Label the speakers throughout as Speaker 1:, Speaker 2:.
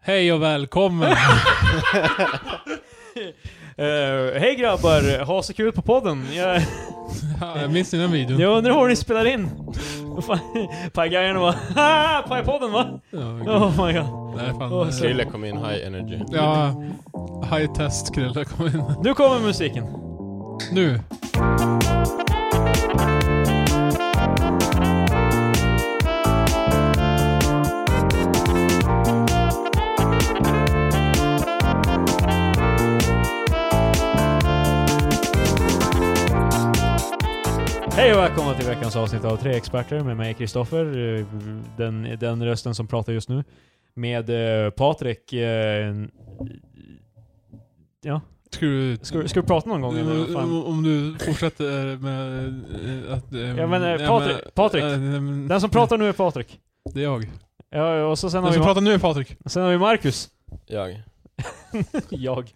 Speaker 1: Hej och välkommen!
Speaker 2: Eh, Hej grabbar, ha så kul på podden. Jag,
Speaker 1: Ja, jag minns den videon.
Speaker 2: jag undrar hur ni spelar in. Vad fan, Pajgrejerna bara "Haha, Pajpodden va?
Speaker 1: Ja, gud.
Speaker 2: Oh my god.
Speaker 1: Nej, fan.
Speaker 2: Åh,
Speaker 1: eh,
Speaker 2: så-
Speaker 3: Krille kom in, high energy.
Speaker 1: Ja, high test Krille kom in.
Speaker 2: Nu kommer musiken.
Speaker 1: Nu.
Speaker 2: Hej och välkomna till veckans avsnitt av Tre Experter med mig Kristoffer, eh, den, den rösten som pratar just nu. Med eh, Patrik. eh, Ja,
Speaker 1: Ska du...
Speaker 2: ska, du- ska du prata någon gång eller? vad fan?
Speaker 1: Om, om du fortsätter med eh, att... eh,
Speaker 2: Ja, men, eh,
Speaker 1: ja,
Speaker 2: Patrik- Patrik.
Speaker 1: eh, men-
Speaker 2: Den som pratar nu är Patrik.
Speaker 1: Det är jag.
Speaker 2: Ja, och så sen har,
Speaker 1: Den
Speaker 2: vi,
Speaker 1: som
Speaker 2: Ma-
Speaker 1: pratar nu är Patrik.
Speaker 2: sen har vi Marcus.
Speaker 3: Jag.
Speaker 2: Jag.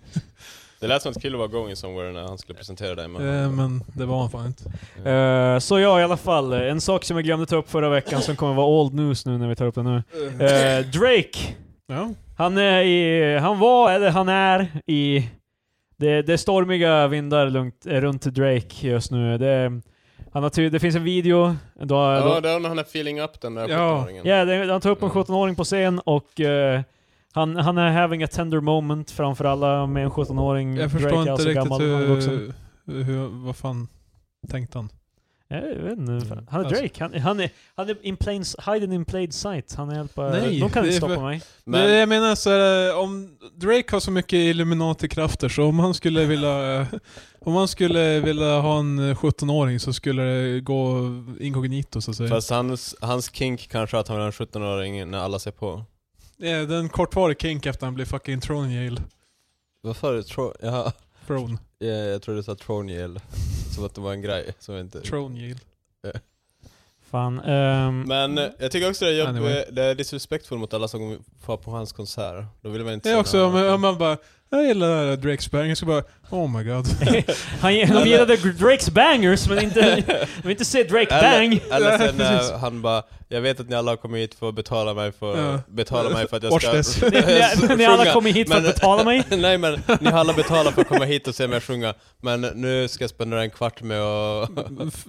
Speaker 3: Det lät som att Krille var going somewhere när han skulle presentera dig. Men...
Speaker 1: Eh, Men det var han fan inte.
Speaker 2: Eh, så ja, i alla fall. En sak som jag glömde ta upp förra veckan som kommer vara old news nu när vi tar upp den nu. Eh, Drake.
Speaker 1: Ja.
Speaker 2: Han är i, han var, eller han är i, det, det är stormiga vindar lugnt, eh, runt Drake just nu. Det, han har ty, det finns en video, då,
Speaker 3: ja,
Speaker 2: då,
Speaker 3: det är när han är feeling up den där
Speaker 1: Ja.
Speaker 3: 17-åringen.
Speaker 2: ja, det, han tar upp en
Speaker 1: Mm.
Speaker 2: 17-åring på scen och eh, han, han är having a tender moment framför alla med en 17-åring.
Speaker 1: Jag förstår inte riktigt
Speaker 2: han är alltså vuxen.
Speaker 1: hur, hur... Vad fan tänkte han?
Speaker 2: Jag vet inte. fan. Han är
Speaker 1: Alltså-
Speaker 2: Drake. Han, han är, han är in plain, s- hidden in plain sight. Han är helt bara...
Speaker 1: Nej,
Speaker 2: de kan
Speaker 1: det
Speaker 2: inte
Speaker 1: är
Speaker 2: stoppa
Speaker 1: för-
Speaker 2: mig.
Speaker 3: Men
Speaker 1: Det jag menar så är det, om Drake har så mycket Illuminati-krafter så om han skulle vilja eh, om han skulle vilja ha en eh, 17-åring så skulle det gå inkognito så att säga.
Speaker 3: fast hans, hans kink kanske att han är en 17-åring när alla ser på.
Speaker 1: Eh, Det är en kortvarig kink efter han blir fucking thrown i jail.
Speaker 3: Varför? Tro- ja,
Speaker 1: Thrown.
Speaker 3: ja, jag trodde du sa Troniel. Som att det var en grej. Som inte...
Speaker 1: Thrown jail.
Speaker 2: Fan. ehm,
Speaker 3: Men eh, jag tycker också det är, jobb,
Speaker 1: Anyway.
Speaker 3: eh, det är disrespektfullt mot alla som var på hans konsert. Då vill man inte
Speaker 1: Det är
Speaker 3: se
Speaker 1: också
Speaker 3: när-
Speaker 1: om, om man bara jag gillar Drakes bang, jag ska bara oh my god.
Speaker 2: han, de gillade Drakes bangers, men inte, de vill inte se Drake bang.
Speaker 3: Eller, eller sen
Speaker 1: Ja, precis.
Speaker 3: när han bara, jag vet att ni alla har kommit hit för att betala mig för,
Speaker 1: Ja.
Speaker 3: betala mig för att jag
Speaker 1: Watch
Speaker 3: ska...
Speaker 1: this.
Speaker 2: Ni, ni, ni alla
Speaker 3: sjunga.
Speaker 2: kommer hit för att
Speaker 3: Men-
Speaker 2: betala mig.
Speaker 3: Nej men, ni har alla betalat för att komma hit och se mig sjunga, men nu ska jag spendera en kvart med att...
Speaker 1: F-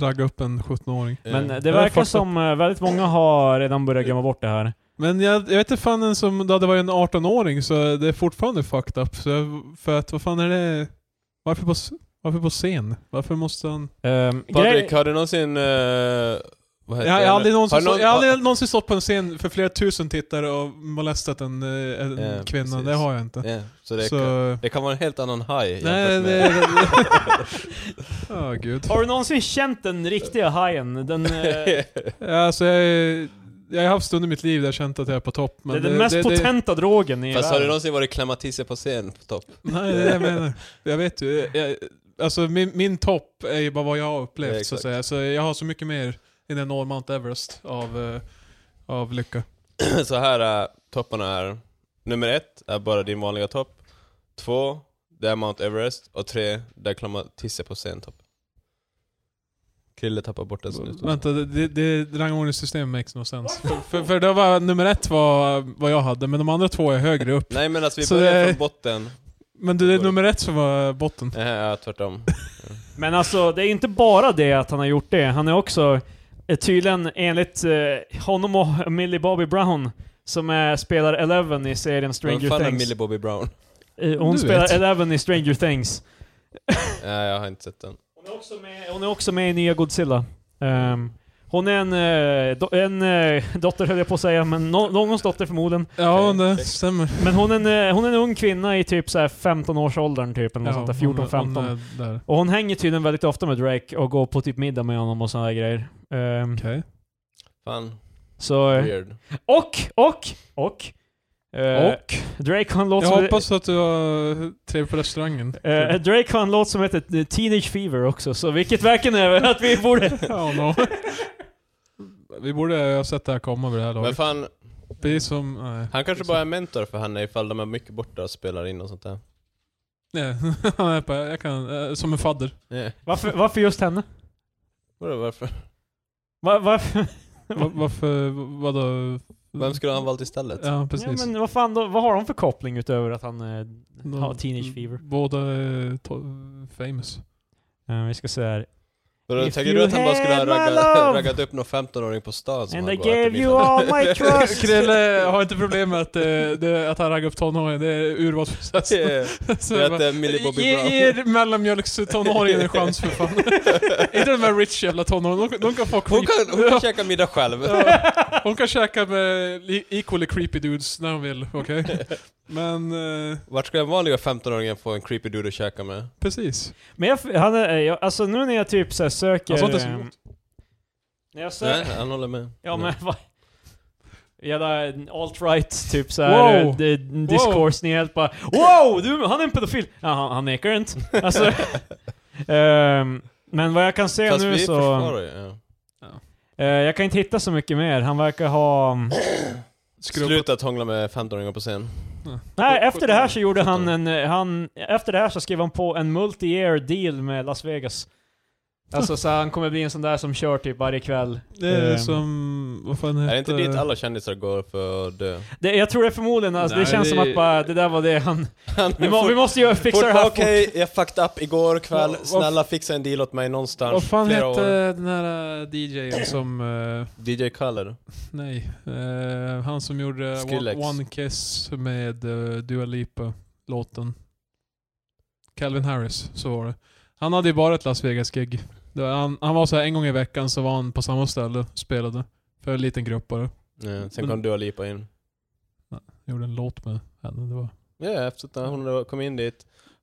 Speaker 1: Ragga upp en 17-åring.
Speaker 2: Men
Speaker 3: Eh,
Speaker 2: det
Speaker 1: har
Speaker 2: verkar
Speaker 1: fått-
Speaker 2: som eh, väldigt många har redan börjat glömma bort det här.
Speaker 1: Men jag, jag vet inte fan ens om det hade varit en 18-åring så det är fortfarande fucked up. Så jag, för att vad fan är det? Varför på, s- varför på scen? Varför måste han...
Speaker 2: Um,
Speaker 3: Patrik, har du någonsin... eh, vad heter
Speaker 1: Jag har
Speaker 3: det?
Speaker 1: aldrig någonsin,
Speaker 3: Äh, Har
Speaker 1: stå,
Speaker 3: du någon-
Speaker 1: jag har
Speaker 3: har-
Speaker 1: aldrig någonsin stått på en scen för flera tusen tittare och molestat en, eh, en
Speaker 3: Ja,
Speaker 1: kvinna.
Speaker 3: precis.
Speaker 1: Det har jag inte.
Speaker 3: Ja, så det,
Speaker 1: så...
Speaker 3: Kan, det kan vara en helt annan high
Speaker 1: Nej, det...
Speaker 3: jämfört med...
Speaker 1: det- Ja, gud.
Speaker 2: Har du någonsin känt den riktiga hajen? Den, eh, det
Speaker 1: Alltså, jag, är- jag har haft stunder i mitt liv där jag känt att jag är på topp. Men
Speaker 2: är den mest potenta drogen i
Speaker 3: Fast har du
Speaker 2: världen.
Speaker 3: någonsin varit klemmatisse på scen på topp?
Speaker 1: Nej, det är det jag menar. Jag vet ju. Jag, alltså min, min topp är ju bara vad jag har upplevt
Speaker 3: Ja,
Speaker 1: så att
Speaker 3: exakt.
Speaker 1: säga. Så jag har så mycket mer än en norr Mount Everest av, eh, av lycka.
Speaker 3: så här är topparna är. Nummer ett är bara din vanliga topp. Två, det är Mount Everest. Och tre, det är klemmatisse på scen topp. Krille tappar bort den snut.
Speaker 1: Vänta, det, det, det rangordningssystemet makes no sense. För, för, för det var, nummer ett var vad jag hade, men de andra två är högre upp.
Speaker 3: Nej men alltså vi
Speaker 1: Så
Speaker 3: börjar
Speaker 1: det-
Speaker 3: från botten.
Speaker 1: Men det är nummer ett som var botten.
Speaker 3: Eh, Ja, tvärtom.
Speaker 2: Men alltså, det är inte bara det att han har gjort det. Han är också eh, tydligen, enligt eh, honom och Millie Bobby Brown, som är, spelar Eleven i serien
Speaker 3: Vem
Speaker 2: Stranger
Speaker 3: fan är
Speaker 2: Things.
Speaker 3: Millie Bobby Brown?
Speaker 2: Eh, Hon
Speaker 1: Du
Speaker 2: spelar
Speaker 1: vet.
Speaker 2: Eleven i Stranger Things.
Speaker 3: Nej, jag har inte sett den.
Speaker 2: Hon är också med, hon är också med i nya Godzilla. Ehm, hon är en, eh, do, en eh, dotter höll jag på att säga, men no, någons dotter förmodligen.
Speaker 1: Ja,
Speaker 3: Okej,
Speaker 1: det
Speaker 3: okej.
Speaker 1: stämmer.
Speaker 2: Men hon är en, eh, hon är en ung kvinna i typ så här 15-årsåldern typ, eller något sånt där,
Speaker 1: hon- hon eh,
Speaker 2: 14-15.
Speaker 1: är där.
Speaker 2: Och hon hänger tydligen väldigt ofta med Drake och går på typ middag med honom och såna där grejer. Ehm,
Speaker 1: Okej.
Speaker 3: Fan,
Speaker 2: så... eh,
Speaker 3: weird.
Speaker 2: Och, och, och. Eh,
Speaker 1: Och?
Speaker 2: Drake har en låt
Speaker 1: Jag
Speaker 2: som
Speaker 1: hoppas att du har trevligt på restaurangen.
Speaker 2: eh, Drake har en låt som heter eh, Teenage Fever också, så vilket verkligen är att vi borde...
Speaker 1: Ja, no. Vi borde ha sett det här komma vid det här
Speaker 3: Men
Speaker 1: laget.
Speaker 3: fan,
Speaker 1: Precis som... Nej.
Speaker 3: han kanske bara är mentor för henne ifall de är mycket borta och spelar in och sånt där.
Speaker 1: Nej, han är bara, jag kan, eh, som en fadder.
Speaker 3: Nej,
Speaker 2: Varför, varför just henne? Mm.
Speaker 3: vadå varför?
Speaker 2: Va- varför?
Speaker 1: Va- Varför, vadå?
Speaker 3: Vem skulle han valt istället?
Speaker 1: Ja, precis.
Speaker 2: Ja, men vad fan då, vad har de för koppling utöver att han eh,
Speaker 1: De-
Speaker 2: har teenage fever?
Speaker 1: Båda är to- famous.
Speaker 2: Eh, vi ska se här.
Speaker 3: Vadå,
Speaker 2: If
Speaker 3: Tänker
Speaker 2: you
Speaker 3: du att han bara skulle ha
Speaker 2: had my
Speaker 3: raggat,
Speaker 2: love.
Speaker 3: raggat upp någon 15-åring på stan som
Speaker 2: And I
Speaker 3: han går
Speaker 2: gave you all my trust!
Speaker 1: Krille har inte problem med att, eh, det, att han raggar upp tonåringen, det är
Speaker 2: Alltså,
Speaker 1: urvalsprocessen.
Speaker 3: Yeah.
Speaker 1: Så
Speaker 3: Det
Speaker 1: jag
Speaker 3: är att
Speaker 1: bara,
Speaker 3: det är Millie Bobby
Speaker 1: Ge,
Speaker 3: Brown.
Speaker 1: ge mellanmjölkstonåringen en chans för fan. inte de här rich jävla tonåringarna, de, de kan få
Speaker 3: Hon
Speaker 1: creep.
Speaker 3: kan, hon kan käka middag själv.
Speaker 1: Ja. Hon kan käka med li- equally creepy dudes när hon vill, okej? Men, eh,
Speaker 3: Vart skulle den vanliga 15-åringen få en creepy dude att käka med?
Speaker 1: precis.
Speaker 2: Men jag, f- han, är- eh, jag, alltså nu när jag typ så här söker...
Speaker 1: Jag sa inte så
Speaker 2: ehm,
Speaker 1: emot.
Speaker 2: när jag söker...
Speaker 3: Nej, han håller med.
Speaker 2: Ja
Speaker 3: Nej.
Speaker 2: men vad... Jävla alt-right typ såhär,
Speaker 1: Wow.
Speaker 2: wow. discourse ni är helt bara Wow! Du, han är en pedofil! Ja, han, han nekar inte. Alltså, ehm, men vad jag kan se
Speaker 3: Fast
Speaker 2: nu
Speaker 3: vi
Speaker 2: så...
Speaker 3: försvarar ju. Ja.
Speaker 2: eh, jag kan inte hitta så mycket mer, han verkar ha...
Speaker 1: Skrubb-
Speaker 3: Sluta hångla med 15-åringar på scen.
Speaker 2: Nej, efter det här så gjorde han en... eh, Han, efter det här så skrev han på en multi-year deal med Las Vegas. Alltså så han kommer bli en sån där som kör typ varje kväll.
Speaker 1: Det är
Speaker 2: Ehm.
Speaker 1: som, vad fan heter
Speaker 3: Är det inte dit alla kändisar går för att dö?
Speaker 2: Det, jag tror det är förmodligen, alltså,
Speaker 1: Nej,
Speaker 2: det känns
Speaker 1: det-
Speaker 2: som att bara, det där var det han...
Speaker 3: Han
Speaker 2: Vi, må, vi måste ju fixa det här
Speaker 3: Fortfarande
Speaker 2: fort.
Speaker 3: okej, jag fucked up igår
Speaker 1: Vad-
Speaker 3: kväll.
Speaker 1: vad-
Speaker 3: Snälla fixa en deal åt mig någonstans.
Speaker 1: Vad fan
Speaker 3: flera år.
Speaker 1: hette den här eh, DJn som, eh,
Speaker 3: DJ Khaled.
Speaker 1: nej, eh, han som gjorde one,
Speaker 3: Skrillex.
Speaker 1: one Kiss med eh, Dua Lipa-låten. Calvin Harris, så var det. Han hade ju bara ett Las Vegas-gig. Det var- Han, han var så här en gång i veckan så var han på samma ställe och spelade. För en liten grupp bara.
Speaker 3: Ja, sen
Speaker 1: Men-
Speaker 3: kom Dua Lipa in.
Speaker 1: Gjorde en låt med henne. Det var.
Speaker 3: Ja, efter att hon kom in dit.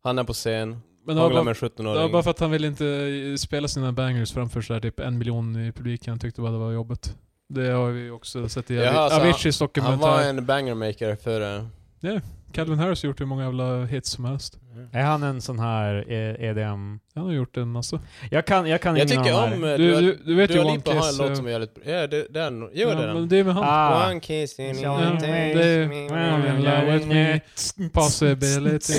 Speaker 3: Han är på scen,
Speaker 1: Men det var,
Speaker 3: hånglar
Speaker 1: bara,
Speaker 3: med en
Speaker 1: det var bara
Speaker 3: 17-åring.
Speaker 1: för att han ville inte eh, spela sina bangers framför sådär typ en miljon i publiken. Han tyckte bara det var jobbigt. Det har vi också sett i
Speaker 3: Jaha,
Speaker 1: Avi-
Speaker 3: så han-
Speaker 1: Aviciis
Speaker 3: Han var
Speaker 1: dokumentär.
Speaker 3: en bangermaker för... eh,
Speaker 1: Calvin Harris har gjort hur många jävla hits som helst.
Speaker 2: Är han en sån här eh, EDM...
Speaker 1: Han har gjort en massa.
Speaker 2: Jag kan, jag kan
Speaker 3: Jag
Speaker 2: ingen
Speaker 3: tycker
Speaker 2: av de
Speaker 3: om...
Speaker 2: här.
Speaker 3: eh,
Speaker 1: Du,
Speaker 3: Dua-
Speaker 1: du, du vet ju
Speaker 3: Dua
Speaker 1: One
Speaker 3: Lipa har en
Speaker 1: Kiss.
Speaker 3: låt
Speaker 1: eh,
Speaker 3: som är jävligt bra. Ja, det, den. Jo, det är
Speaker 1: ja,
Speaker 3: den.
Speaker 1: men det är med han.
Speaker 2: Ah.
Speaker 3: One kiss in
Speaker 2: Ja,
Speaker 3: your
Speaker 2: det
Speaker 1: är-
Speaker 3: face.
Speaker 1: I'm in love with Mm. me. Possibility.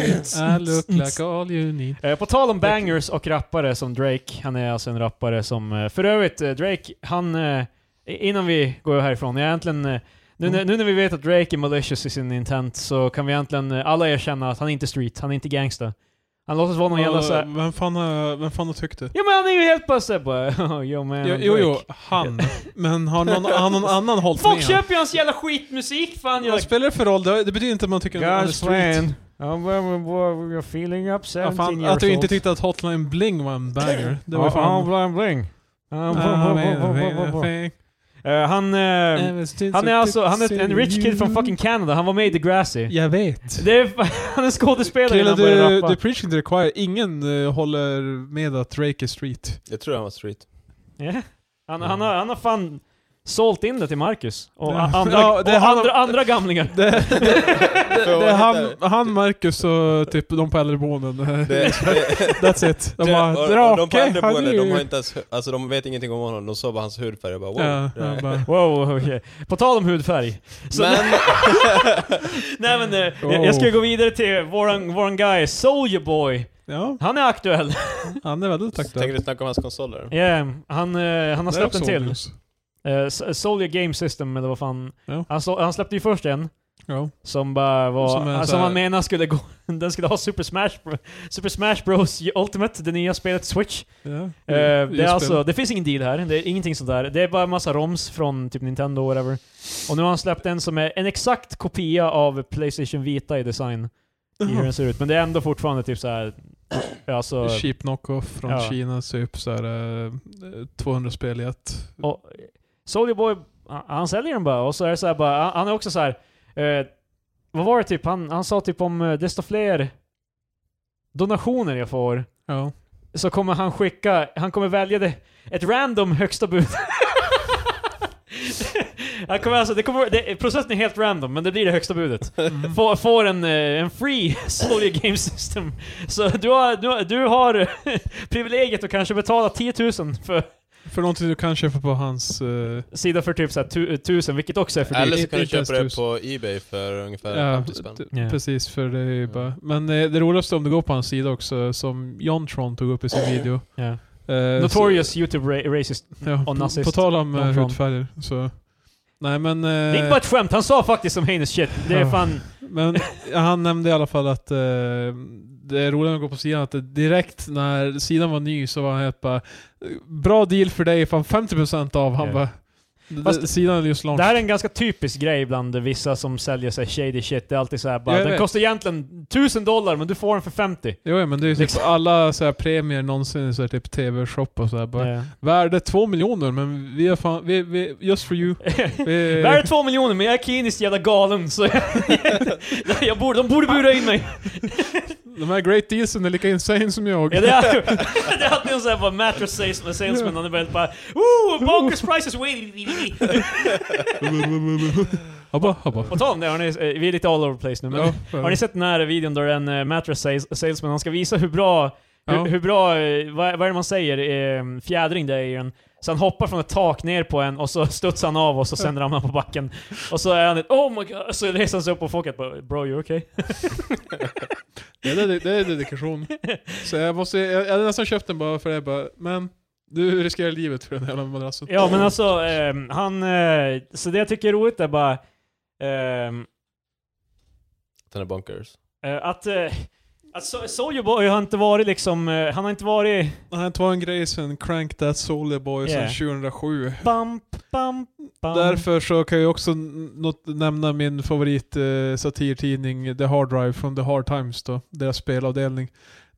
Speaker 1: I look like all you need.
Speaker 2: Eh, På tal om bangers och rappare som Drake, han är alltså en rappare som... eh, För övrigt, eh, Drake, han... eh, Innan vi går härifrån, jag är egentligen... eh, Nu,
Speaker 1: Mm.
Speaker 2: när- nu när vi vet att Drake är malicious i sin intent så kan vi egentligen eh, alla erkänna att han är inte street, han är inte gangsta. Han låtsas vara någon jävla
Speaker 1: Ja,
Speaker 2: såhär...
Speaker 1: Vem fan har, vem fan har tyckt det?
Speaker 2: Ja men han är ju helt bara såhär bara... "Oh, Yo man,
Speaker 1: Jo,
Speaker 2: I'm
Speaker 1: jo, jo
Speaker 2: Drake."
Speaker 1: han. Men har någon, har någon annan hållit
Speaker 2: Folk
Speaker 1: med han?
Speaker 2: köper ju hans jävla skitmusik fan! Jag
Speaker 1: Vad spelar det för roll? Det, det betyder inte att man tycker att han är
Speaker 2: God's
Speaker 1: street.
Speaker 2: plan. I'm, I'm, I'm feeling up 17
Speaker 1: Ja, fan,
Speaker 2: years
Speaker 1: att du inte
Speaker 2: old.
Speaker 1: tyckte att Hotline Bling var en banger. Det var
Speaker 2: Ja,
Speaker 1: ju fan...
Speaker 2: ja, bling, bling. Ja, bling, bling, bling, bling, bling, bling.
Speaker 1: Han
Speaker 2: Eh, Han... eh, Han är alltså han är en rich kid från fucking Canada, han var med i Degrassi.
Speaker 1: Jag vet.
Speaker 2: Det är, han är skådespelare
Speaker 1: Krille,
Speaker 2: innan han började
Speaker 1: du,
Speaker 2: rappa.
Speaker 1: du preaching to the choir. Ingen eh, håller med att Drake är street.
Speaker 3: Jag tror han var street.
Speaker 2: Ja. Han, han, har, han har fan sålt in det till Marcus. Och
Speaker 1: Ja.
Speaker 2: a- andra,
Speaker 1: Ja, det är
Speaker 2: och
Speaker 1: han-
Speaker 2: andra, andra gamlingar.
Speaker 1: Det, det, det,
Speaker 3: vad
Speaker 1: det är han,
Speaker 3: heter
Speaker 1: han, Marcus och typ de på äldreboenden.
Speaker 3: Det, det,
Speaker 1: That's it. De
Speaker 3: det,
Speaker 1: bara,
Speaker 3: och- och
Speaker 1: drake,
Speaker 3: de på
Speaker 1: han är
Speaker 3: äldreboende, de har
Speaker 1: ju...
Speaker 3: inte ens, alltså de vet ingenting om honom, de såg bara hans hudfärg och bara wow.
Speaker 1: Ja,
Speaker 3: det är-
Speaker 1: han bara,
Speaker 2: Wow, okej. På tal om hudfärg. Så-
Speaker 3: Men,
Speaker 2: Nej men, eh, jag, jag ska
Speaker 1: Oh.
Speaker 2: gå vidare till våran, våran guy, Soulja Boy.
Speaker 1: ja,
Speaker 2: Han är aktuell.
Speaker 1: han är väldigt
Speaker 3: tänker
Speaker 1: aktuell.
Speaker 3: du snacka om hans konsoler?
Speaker 2: Yeah, han, eh, han har
Speaker 1: Det är
Speaker 2: släppt en
Speaker 1: också
Speaker 2: till.
Speaker 1: Obvious.
Speaker 2: Uh, Soulja Game System eller vad fan.
Speaker 1: Ja.
Speaker 2: Han, så, han släppte ju först en
Speaker 1: Ja.
Speaker 2: som bara var...
Speaker 1: Som
Speaker 2: Som,
Speaker 1: är
Speaker 2: alltså,
Speaker 1: så här-
Speaker 2: man menar skulle gå... Den skulle ha Super Smash, Bro- Super Smash Bros Ultimate, det nya spelet Switch.
Speaker 1: Ja.
Speaker 2: Eh, det,
Speaker 1: Just
Speaker 2: är alltså, det finns ingen deal här, det är ingenting sånt där. Det är bara en massa ROMs från typ Nintendo och whatever. Och nu har han släppt en som är en exakt kopia av Playstation Vita i design. I hur den ser ut. Men det är ändå fortfarande typ så här. Alltså,
Speaker 1: Cheap knockoff från
Speaker 2: Ja.
Speaker 1: Kina, typ såhär eh, 200 spel i ett.
Speaker 2: Och Soldier Boy, han, han säljer den bara. Och så är det så här bara, han, han är också så här. Eh, vad var det typ? Han, han sa typ om eh, desto fler donationer jag får
Speaker 1: Ja.
Speaker 2: så kommer han skicka, han kommer välja det, ett random högsta bud. han kommer alltså, det kommer, det, processen är helt random, men det blir det högsta budet.
Speaker 1: Mm.
Speaker 2: Får, får en, eh, en free Soldier Game System. Så du har, du, har- du har privilegiet att kanske betala 10 000 för
Speaker 1: För någonting du kan köpa på hans... eh,
Speaker 2: sida för typ såhär tu, tusen, vilket också är för
Speaker 3: Eller
Speaker 2: dyrt.
Speaker 1: Inte-
Speaker 3: så kan du
Speaker 1: inte ens
Speaker 3: köpa det
Speaker 1: tusen.
Speaker 3: på Ebay för ungefär
Speaker 1: ja,
Speaker 3: 50 spänn.
Speaker 1: d-
Speaker 2: Ja.
Speaker 1: Precis, för det är ju bara... Men eh, det roligaste om du går på hans sida också, som John Tron tog upp i sin video.
Speaker 2: Ja.
Speaker 1: Eh,
Speaker 2: Notorious YouTube ra- racist.
Speaker 1: så, ja,
Speaker 2: och
Speaker 1: på,
Speaker 2: nazist.
Speaker 1: på tal om eh,
Speaker 2: John Tron.
Speaker 1: hudfärger, så... Nej men...
Speaker 2: Det är inte
Speaker 1: Eh,
Speaker 2: bara ett skämt, han sa faktiskt som heinous shit. Det är
Speaker 1: Ja.
Speaker 2: fan...
Speaker 1: men han nämnde i alla fall att eh, det är roligt att gå på sidan, att det direkt när sidan var ny så var han helt bara Bra deal för dig, fan 50% av. Han
Speaker 2: Ja.
Speaker 1: bara...
Speaker 2: Fast-
Speaker 1: "Det- sidan är just
Speaker 2: Det
Speaker 1: launched.
Speaker 2: här är en ganska typisk grej bland vissa som säljer sig shady shit. Det är alltid så här bara,
Speaker 1: Jag
Speaker 2: den
Speaker 1: vet.
Speaker 2: kostar egentligen 1000 dollar men du får den för 50.
Speaker 1: Jo, ja, men det är ju typ
Speaker 2: Liksom.
Speaker 1: alla så här premier någonsin, så här, typ TV-shop och sådär. bara
Speaker 2: Ja.
Speaker 1: Värde 2 miljoner, men vi är fan... Vi, vi, just for you. Vi,
Speaker 2: Det här är två miljoner men jag är kliniskt jävla galen så jag, jag borde, de borde bura in mig.
Speaker 1: de här great dealsen är lika insane som jag.
Speaker 2: Ja, det är det är alltid en sån här bara mattress sales- salesman, han är väldigt bara Ooh, bonkers prices way!
Speaker 1: Habba, habba.
Speaker 2: På tal om det, har ni, eh, vi är lite all over the place nu men
Speaker 1: Ja,
Speaker 2: Har ni sett den här videon där en eh, mattress sales- salesman, han ska visa hur bra,
Speaker 1: Ja.
Speaker 2: hur, hur bra, eh, vad, vad är det man säger, eh, fjädring det är i den. Så han hoppar från ett tak ner på en och så studsar han av och så sen ramlar han på backen. Och så är han ett oh my god, så reser han sig upp och folket bara bro you okay?
Speaker 1: Ja, det, är, det är dedikation. Så jag, måste, jag, jag hade nästan köpt den bara för det. Bara, men du riskerar livet för den jävla madrassen.
Speaker 2: Ja men alltså, eh, han, eh, så det jag tycker är roligt är bara ehm,
Speaker 3: Den är bonkers.
Speaker 2: eh, att eh, att So- Soulja Boy har inte varit liksom, eh, han har inte varit
Speaker 1: Det här var en grej sen Crank That Soulja Boy
Speaker 2: Yeah.
Speaker 1: sen 2007.
Speaker 2: bump, bump, bump.
Speaker 1: Därför så kan jag också n- något, nämna min favorit eh, satirtidning The Hard Drive från The Hard Times då, deras spelavdelning.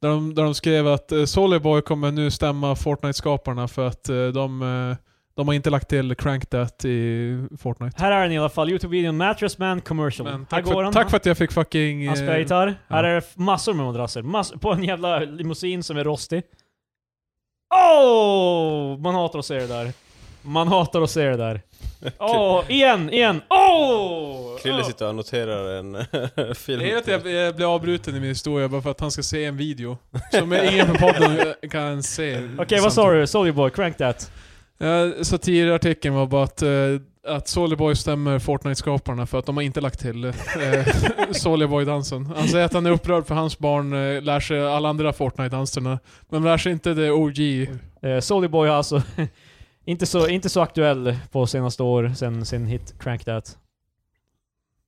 Speaker 1: Där de, där de skrev att eh, Soulja Boy kommer nu stämma Fortnite-skaparna för att eh, de, eh, de har inte lagt till Crank That i Fortnite.
Speaker 2: Här är den i alla fall, Youtube-videon Mattress Man Commercial.
Speaker 1: Men
Speaker 2: här
Speaker 1: tack,
Speaker 2: går
Speaker 1: för,
Speaker 2: han.
Speaker 1: tack för att jag fick fucking...
Speaker 2: han spelar
Speaker 1: eh,
Speaker 2: gitarr. Här
Speaker 1: ja.
Speaker 2: är det massor med madrasser. Mass på en jävla limousin som är rostig. Oh! Man hatar att se det där. Man hatar att se det där. Oh, igen, igen. Oh!
Speaker 3: Krille
Speaker 2: oh.
Speaker 3: sitter och noterar en film.
Speaker 1: Det är att jag, jag blir avbruten i min historia bara för att han ska se en video. Som ingen på podden kan se.
Speaker 2: Okej, vad sa du? Sorry boy, crank that.
Speaker 1: Eh, Satirartikeln var bara att, eh, att Soulja Boy stämmer Fortnite-skaparna för att de har inte lagt till eh, Soulja Boy-dansen. Alltså, Han säger att han är upprörd för hans barn eh, lär sig alla andra Fortnite-danserna. Men lär sig inte det OG.
Speaker 2: Uh, Sorry boy har alltså inte så, inte så aktuell på senaste år sen sin hit Crank that.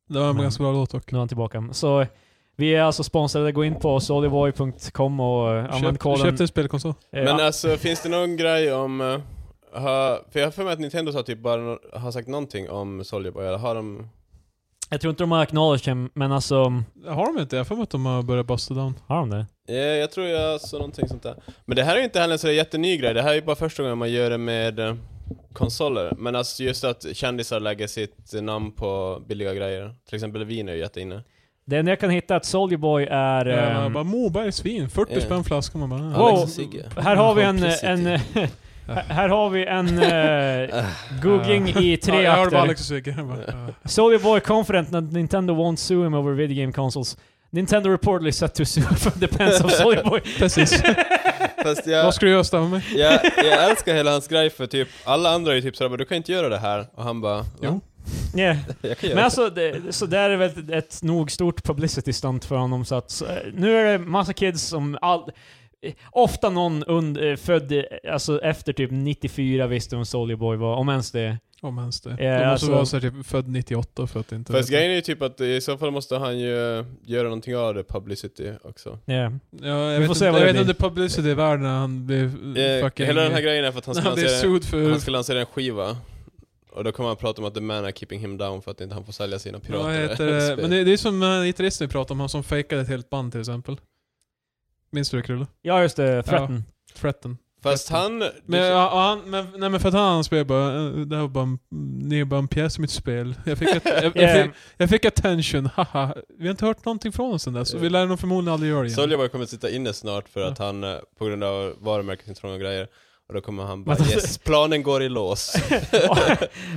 Speaker 1: Det var en
Speaker 2: Men-
Speaker 1: ganska bra låt dock.
Speaker 2: Nu är han tillbaka. Så vi är alltså sponsrade. Gå in på sollyboy.com och eh, använd
Speaker 1: Köp,
Speaker 2: koden.
Speaker 1: köpte en spelkonsol.
Speaker 2: eh,
Speaker 3: Men alltså finns det någon grej om... eh, ha, för jag har för mig att Nintendo sa typ bara, no- har sagt någonting om Soldier Boy, eller har de...
Speaker 2: Jag tror inte de har acknowledged him, men alltså...
Speaker 1: Har de inte? Jag har för mig att de har börjat busta down.
Speaker 2: Har de det?
Speaker 3: Ja, jag tror jag såg någonting sånt där. Men det här är ju inte heller en så där jätteny grej, det här är ju bara första gången man gör det med eh, konsoler. Men alltså just att kändisar lägger sitt namn på billiga grejer. Till exempel vin är ju jätteinne.
Speaker 2: Det enda jag kan hitta att Soldier Boy är...
Speaker 1: Ja,
Speaker 2: ehm,
Speaker 1: man bara Moberg svin, 40
Speaker 3: Ja.
Speaker 1: spänn flaskan. Man bara,
Speaker 3: Alex
Speaker 2: Wow.
Speaker 3: och Sigge.
Speaker 2: här har vi en...
Speaker 3: Complicity.
Speaker 2: en här, här har vi en eh, googling i
Speaker 1: Ja,
Speaker 2: tre
Speaker 1: jag hörde bara liksom-
Speaker 2: akter.
Speaker 1: Alex och Sigge. Jag bara, ja.
Speaker 2: Soldier Boy confident that Nintendo won't sue him over video game consoles. Nintendo reportedly set to sue for the pens of Soldier Boy.
Speaker 1: Precis.
Speaker 3: Fast
Speaker 1: Vad
Speaker 3: jag,
Speaker 1: ska du göra stämma mig?
Speaker 3: jag, jag älskar hela hans grej för typ, alla andra är ju typ sådär bara, du kan inte göra det här. Och han bara, "Va?
Speaker 1: Jo.
Speaker 2: Yeah.
Speaker 3: jag kan
Speaker 2: Men
Speaker 3: göra det.
Speaker 2: alltså, det, så där är väl ett nog stort publicity stunt för honom så att... Så, eh, nu är det massa kids som... All, eh, ofta någon und, eh, född eh, alltså, efter typ 94 visste vem Soldier Boy var, om ens det.
Speaker 1: Om ens det.
Speaker 2: Ja,
Speaker 1: De måste
Speaker 2: alltså-
Speaker 1: vara så här, typ, född 98 för att inte...
Speaker 3: Fast grejen är ju typ att i så fall måste han ju eh, göra någonting av det, publicity också.
Speaker 2: Yeah.
Speaker 1: ja, jag
Speaker 2: Vi
Speaker 1: vet
Speaker 2: får se
Speaker 1: inte-
Speaker 2: vad
Speaker 1: jag
Speaker 2: det
Speaker 1: vet inte
Speaker 2: blir.
Speaker 1: publicity i världen när han blir eh,
Speaker 3: Eh,
Speaker 1: fucking...
Speaker 3: hela den här grejen är för att han
Speaker 1: när
Speaker 3: ska,
Speaker 1: han blir
Speaker 3: lansera,
Speaker 1: sued för...
Speaker 3: han ska lansera en skiva. Och då kommer han prata om att the man are keeping him down för att inte han får sälja sina
Speaker 1: Ja,
Speaker 3: pirater.
Speaker 1: vad heter det? Men det, det är som eh, gitarristen vi pratade om, han som fejkade ett helt band till exempel. Minns du det Krille?
Speaker 2: Ja, just det. Threaten.
Speaker 1: Threaten.
Speaker 3: Fast han...
Speaker 1: Men,
Speaker 3: det-
Speaker 1: ja, och han, men, nej, men för att han spelade bara, eh, det här var bara en, ni är bara en pjäs i mitt spel. Jag fick, att, jag, jag,
Speaker 2: Eh,
Speaker 1: fick, jag fick attention, haha. Vi har inte hört någonting från honom sen dess, och vi lär nog förmodligen aldrig göra det igen.
Speaker 3: Solja bara kommer att sitta inne snart för att han, eh, på grund av varumärkesintrång och grejer, och då kommer han bara
Speaker 2: Men alltså-
Speaker 3: 'Yes, planen går i lås'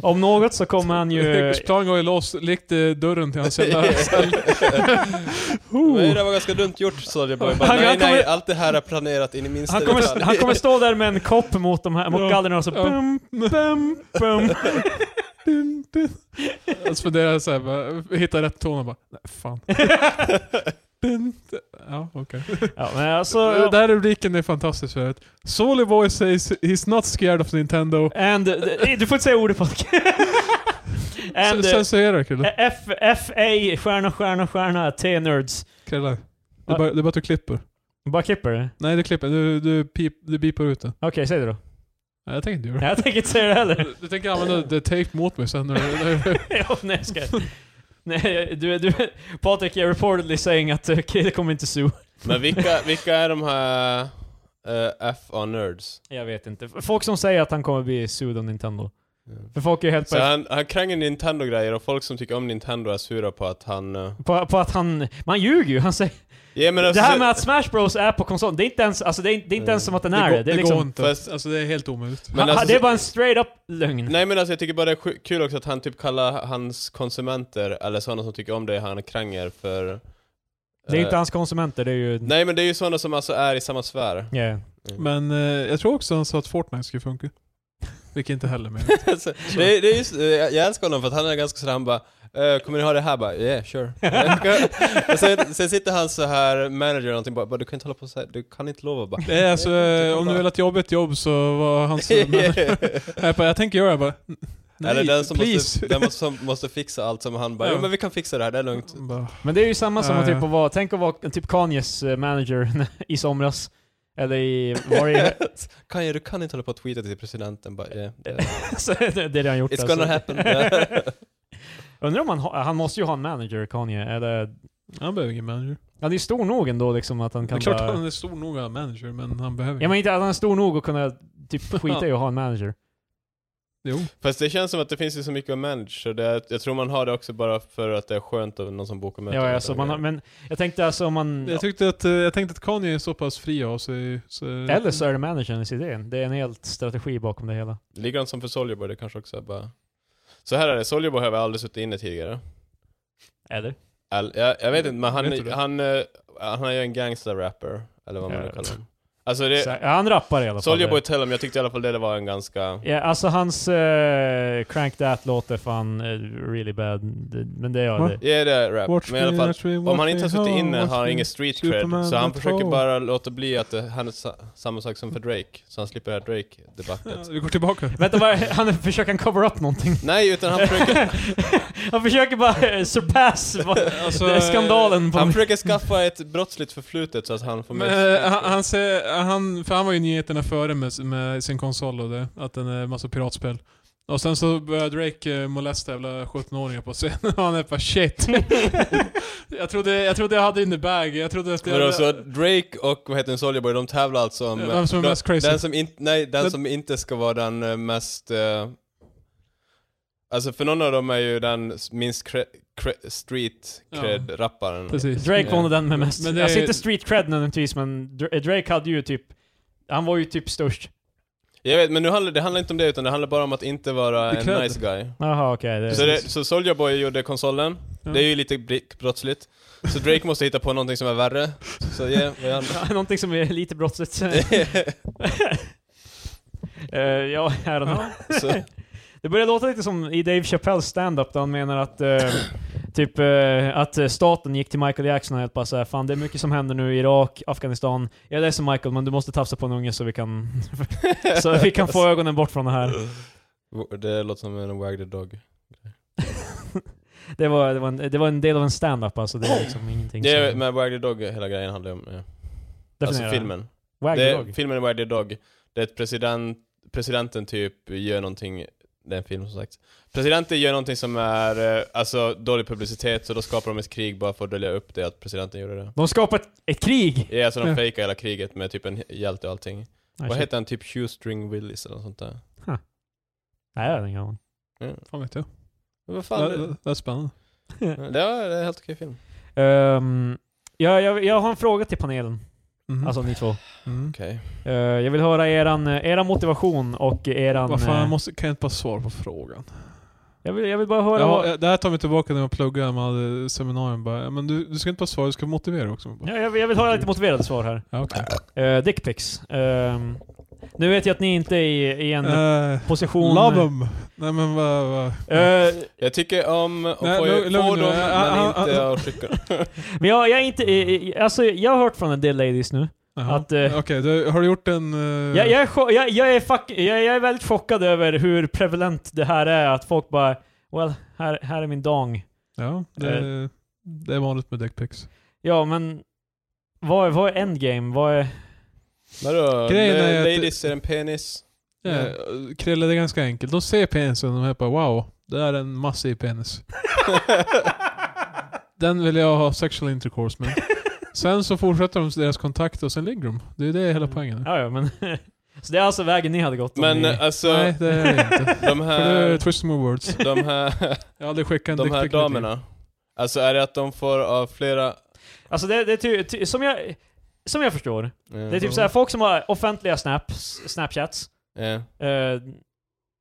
Speaker 2: om något så kommer han ju...
Speaker 1: Plan går ju loss, likt eh, dörren till hans jävla cell.
Speaker 3: Men det var ganska dumt gjort Soldier Boy. Bara,
Speaker 2: Han-
Speaker 3: nej,
Speaker 2: han kommer-
Speaker 3: nej, allt det här är planerat in i minsta
Speaker 2: Han kommer,
Speaker 3: detalj.
Speaker 2: han kommer stå där med en kopp mot, de här,
Speaker 1: Ja.
Speaker 2: mot gallerna och så...
Speaker 1: Ja.
Speaker 2: Bum, bum, bum.
Speaker 1: Dun, dun. Och så funderar jag såhär, bara, hittar rätt ton och bara, nej fan. Dun, dun. Ja, okej.
Speaker 2: Ja, men alltså...
Speaker 1: eh, Den här rubriken är fantastisk för att Solly Boy says he's not scared of Nintendo.
Speaker 2: And, eh, du får inte säga ordet på And eh,
Speaker 1: Censurera Krille.
Speaker 2: F, FA, stjärna, stjärna, stjärna, T-nerds.
Speaker 1: Krille. Det
Speaker 2: Va?
Speaker 1: är bara, det är bara att du klipper.
Speaker 2: Bara klipper det?
Speaker 1: Nej, du klipper. Du, du, pip, du beepar ut det.
Speaker 2: Okej, säg det då.
Speaker 1: Nej, jag tänker inte göra det.
Speaker 2: Nej, Jag tänker inte säga det heller.
Speaker 1: Du, du tänker använda the tape mot mig sen när du...
Speaker 2: ja, nej, jag skojar. Nej, du, du, Patrik är reportedly saying att eh, Krille kommer inte sue.
Speaker 3: Men vilka, vilka är de här eh, FA nerds?
Speaker 2: Jag vet inte. Folk som säger att han kommer bli sued av Nintendo. För folk är ju helt
Speaker 3: Så
Speaker 2: på,
Speaker 3: han, han kränger Nintendo-grejer och folk som tycker om Nintendo är sura på att han... eh,
Speaker 2: på, på att han... Man ljuger ju. Han säger...
Speaker 3: Ja, men
Speaker 2: Det
Speaker 3: alltså,
Speaker 2: här med att Smash Bros är på konsolen, det är inte ens, alltså, det är, det är inte
Speaker 3: Mm.
Speaker 2: ens som att den är det. Det, är liksom,
Speaker 1: går inte.
Speaker 3: fast-
Speaker 1: alltså det är helt omöjligt.
Speaker 3: Men
Speaker 2: ha-
Speaker 3: alltså-
Speaker 2: det är bara en straight up lögn.
Speaker 3: Nej men alltså jag tycker bara det är sj- kul också att han typ kallar hans konsumenter, eller sådana som tycker om det han kränger för... eh,
Speaker 2: Det är inte hans konsumenter, det är ju...
Speaker 3: Nej men det är ju sådana som alltså är i samma sfär.
Speaker 2: Yeah.
Speaker 1: Men eh, jag tror också han sa att Fortnite skulle funka. Vilket inte heller med.
Speaker 3: Alltså, det, är- det är just, eh, jag jag älskar honom för att han är ganska sådär, han bara eh, Kommer ni ha det här? Bara, yeah sure. och sen, sen sitter han så här manager eller någonting bara, bara, du kan inte hålla på så här, du kan inte lova bara.
Speaker 1: Det är alltså, eh, om du vill att jobbet jobb så var hans... Men, jag, bara, jag tänker göra det bara. n- Nej,
Speaker 3: Eller den som
Speaker 1: please.
Speaker 3: måste, den måste, som måste fixa allt som han bara,
Speaker 1: Ja.
Speaker 3: jo men vi kan fixa det här, det är lugnt.
Speaker 1: Bara,
Speaker 2: Men det är ju samma som
Speaker 1: Ja,
Speaker 2: att typ
Speaker 1: ja.
Speaker 2: att vara, tänk att vara typ Kanyes eh, manager i somras. Eller i varje...
Speaker 3: Kanye, du kan inte hålla på och tweeta till presidenten bara, yeah. det-
Speaker 2: så det det är det han gjort alltså.
Speaker 3: It's gonna happen.
Speaker 2: Undrar om han, ha- han måste ju ha en manager, Kanye. Eller,
Speaker 1: han behöver ingen manager.
Speaker 2: han är ju stor nog ändå liksom att han
Speaker 1: Det
Speaker 2: kan
Speaker 1: är klart
Speaker 2: bara...
Speaker 1: han är stor nog att ha manager, men han behöver
Speaker 2: Jag
Speaker 1: ingen.
Speaker 2: menar inte att han är stor nog att kunna typ skita i att ha en manager.
Speaker 1: Jo.
Speaker 2: Mm,
Speaker 3: Fast det känns som att det finns ju så mycket att manage, så det, är- jag tror man har det också bara för att det är skönt av någon som bokar möten.
Speaker 2: Ja, alltså, man, har- men jag tänkte alltså om man...
Speaker 1: Jag, tyckte att, eh, jag tänkte att Kanye är så pass fri av sig. Så,
Speaker 2: Eller så är det managerns idé. Det är en helt strategi bakom det hela.
Speaker 3: Ligger han som för Soulja Boy, det kanske också är bara... Så här är det, Soulja Boy har väl aldrig suttit inne tidigare?
Speaker 2: Eller?
Speaker 3: All, jag, jag vet inte, men han,
Speaker 1: Vet du det?
Speaker 3: han, eh, han är ju en gangster-rapper, eller vad man
Speaker 2: Ja.
Speaker 3: nu kallar honom. Alltså
Speaker 2: Så, ja,
Speaker 3: det,
Speaker 2: han rappar i alla fall.
Speaker 3: Soulja Boy Tell 'em, jag tyckte i alla fall det var en ganska...
Speaker 2: Ja, alltså hans eh, Crank That låt är fan eh, really bad. Det- Men det gör
Speaker 1: Va?
Speaker 2: det.
Speaker 3: Ja, det är rap. men i alla fall, om han inte har suttit inne har han ingen street cred,
Speaker 1: Superman
Speaker 3: så han
Speaker 1: at
Speaker 3: försöker
Speaker 1: home.
Speaker 3: bara låta bli att det händer sa, samma sak som för Drake, så han slipper det här Drake-debaclet.
Speaker 1: Vi går tillbaka.
Speaker 2: Vänta, vad, han försöker han cover up någonting?
Speaker 3: Nej, utan han försöker...
Speaker 2: han försöker bara eh, surpass vad,
Speaker 1: Alltså,
Speaker 2: det är skandalen på...
Speaker 3: Han försöker skaffa ett brottsligt förflutet så att han får
Speaker 1: Men,
Speaker 3: med...
Speaker 1: eh, han, han, säger, han, för han var ju i nyheterna före med, med sin konsol och det, att den är massa piratspel. Och sen så började Drake eh, molesta jävla 17-åringar på scenen och han är bara shit. jag, trodde, jag trodde jag hade in the bag, jag trodde att
Speaker 3: Vadå,
Speaker 1: jag...
Speaker 3: så Drake och vad heter den, Soulja Boy, de tävlar alltså om...
Speaker 1: Vem som är
Speaker 3: de-
Speaker 1: mest crazy.
Speaker 3: Den som inte, nej, den
Speaker 1: Men-
Speaker 3: som inte ska vara den eh, mest... eh, alltså för någon av dem är ju den s- minst cre, cre, street
Speaker 1: Ja.
Speaker 3: cred-rapparen.
Speaker 1: Precis.
Speaker 2: Drake var nog
Speaker 3: Ja.
Speaker 2: den med mest.
Speaker 1: Men det är-
Speaker 2: Alltså inte street cred nödvändigtvis, men Dra- eh, Drake hade ju typ... Han var ju typ störst.
Speaker 3: Jag vet, men nu handlar, det handlar inte om det utan det handlar bara om att inte vara
Speaker 1: Det är cred.
Speaker 3: en nice guy.
Speaker 2: Jaha, okej.
Speaker 3: Så, det,
Speaker 2: det...
Speaker 3: så Soulja Boy gjorde konsolen,
Speaker 1: Ja.
Speaker 3: det är ju lite bri- brottsligt. Så Drake måste hitta på någonting som är värre. Så yeah, vad gör han?
Speaker 2: Någonting som är lite brottsligt. Eh, ja, I don't know.
Speaker 3: så,
Speaker 2: Det börjar låta lite som i Dave Chappelles stand-up där han menar att eh, Typ eh, att eh, staten gick till Michael Jackson och helt bara såhär, fan det är mycket som händer nu i Irak, Afghanistan. Jag är ledsen Michael, men du måste tafsa på en unge så vi kan, så vi kan få ögonen bort från det här.
Speaker 3: Det låter som en wag the dog.
Speaker 2: Det var, det var, en, det var en del av en stand-up alltså, det var liksom ingenting
Speaker 3: Det är
Speaker 2: som-
Speaker 3: med Wag the Dog hela grejen handlar om. Ja. Alltså
Speaker 2: definiera.
Speaker 3: filmen.
Speaker 2: Wag the
Speaker 3: det,
Speaker 2: dog.
Speaker 3: Filmen Wag the Dog. Det är ett president, presidenten typ gör någonting, det är en film som sagt. Presidenten gör någonting som är, eh, alltså dålig publicitet, så då skapar de ett krig bara för att dölja upp det att presidenten gjorde det.
Speaker 2: De skapar ett, ett krig!
Speaker 3: Ja, alltså de
Speaker 1: Ja. Ah,
Speaker 3: fejkar hela kriget med typ en hjälte och allting. Vad heter han? Typ Shoestring Willis eller något sånt där.
Speaker 2: Nej, jag har ingen aning.
Speaker 1: Fan vet jag.
Speaker 3: Men Vad fan,
Speaker 1: Det,
Speaker 3: det,
Speaker 1: det, det är spännande.
Speaker 3: det var det är en helt okej film.
Speaker 2: Ehm, jag, jag, jag har en fråga till panelen,
Speaker 3: Mm.
Speaker 1: Mhm.
Speaker 2: alltså ni två.
Speaker 1: Mm.
Speaker 3: Okej.
Speaker 2: Eh, jag vill höra eran, eh, eran motivation och eran...
Speaker 1: Vad
Speaker 2: eh,
Speaker 1: fan, måste, kan jag inte bara svara på frågan?
Speaker 2: jag, vill, jag vill bara höra
Speaker 1: Ja, eh,
Speaker 2: vad...
Speaker 1: det här tar mig tillbaka när jag pluggade, man hade eh, seminarium bara, ja, men du, du ska inte bara svara, du ska motivera också. Bara,
Speaker 2: Ja, jag, vill- jag vill höra lite motiverade svar här.
Speaker 1: Ja, okej.
Speaker 2: Uh, Dickpics. Ehm, nu vet jag att ni inte är i, i en
Speaker 1: Eh,
Speaker 2: position...
Speaker 1: Love 'em! Nej men vad... vad-
Speaker 2: Eh,
Speaker 3: Jag tycker om att
Speaker 1: Nej,
Speaker 3: få,
Speaker 1: lugn-
Speaker 3: få
Speaker 1: lugn nu.
Speaker 3: dem,
Speaker 1: Ah,
Speaker 3: men
Speaker 1: ah,
Speaker 3: inte
Speaker 1: ah.
Speaker 3: att skicka
Speaker 2: men jag, jag är inte... i- i- alltså, jag har hört från en del ladies nu.
Speaker 1: Jaha.
Speaker 2: Att, eh,
Speaker 1: Okej, du, har du gjort en... eh,
Speaker 2: Jag, jag, är, cho- jag, jag, är fuck, jag, jag är väldigt chockad över hur prevalent det här är, att folk bara Well, här, här är min dong.
Speaker 1: Ja, det,
Speaker 2: Eh.
Speaker 1: det är vanligt med dickpics.
Speaker 2: Ja, men vad är, vad är endgame? Vad är...
Speaker 3: Vadå?
Speaker 1: Grejen
Speaker 3: Grejen
Speaker 1: är att-
Speaker 3: ladies är en penis. Eh,
Speaker 1: Ja, Eh, Krille, det är ganska enkelt. De ser penisen och de är bara wow, det är en massiv penis. Den vill jag ha sexual intercourse med. Sen så fortsätter de deras kontakt och sen ligger de. Det är det hela poängen.
Speaker 2: Mm. Ja, ja, men... Så det är alltså vägen ni hade gått om
Speaker 3: Men
Speaker 2: ni...
Speaker 3: eh, alltså,
Speaker 1: Nej, det är det inte.
Speaker 3: de
Speaker 1: För det är
Speaker 3: här,
Speaker 1: twist more words.
Speaker 3: de här,
Speaker 1: Jag har aldrig skickat en typ.
Speaker 3: de här
Speaker 1: dickpic i mitt liv.
Speaker 3: damerna. Alltså är det att de får av flera...
Speaker 2: Alltså det, det är ty, ty, som jag... Som jag förstår. Det är typ
Speaker 1: Ja.
Speaker 2: såhär, folk som har offentliga snaps, snapchats,
Speaker 3: Ja,
Speaker 2: eh,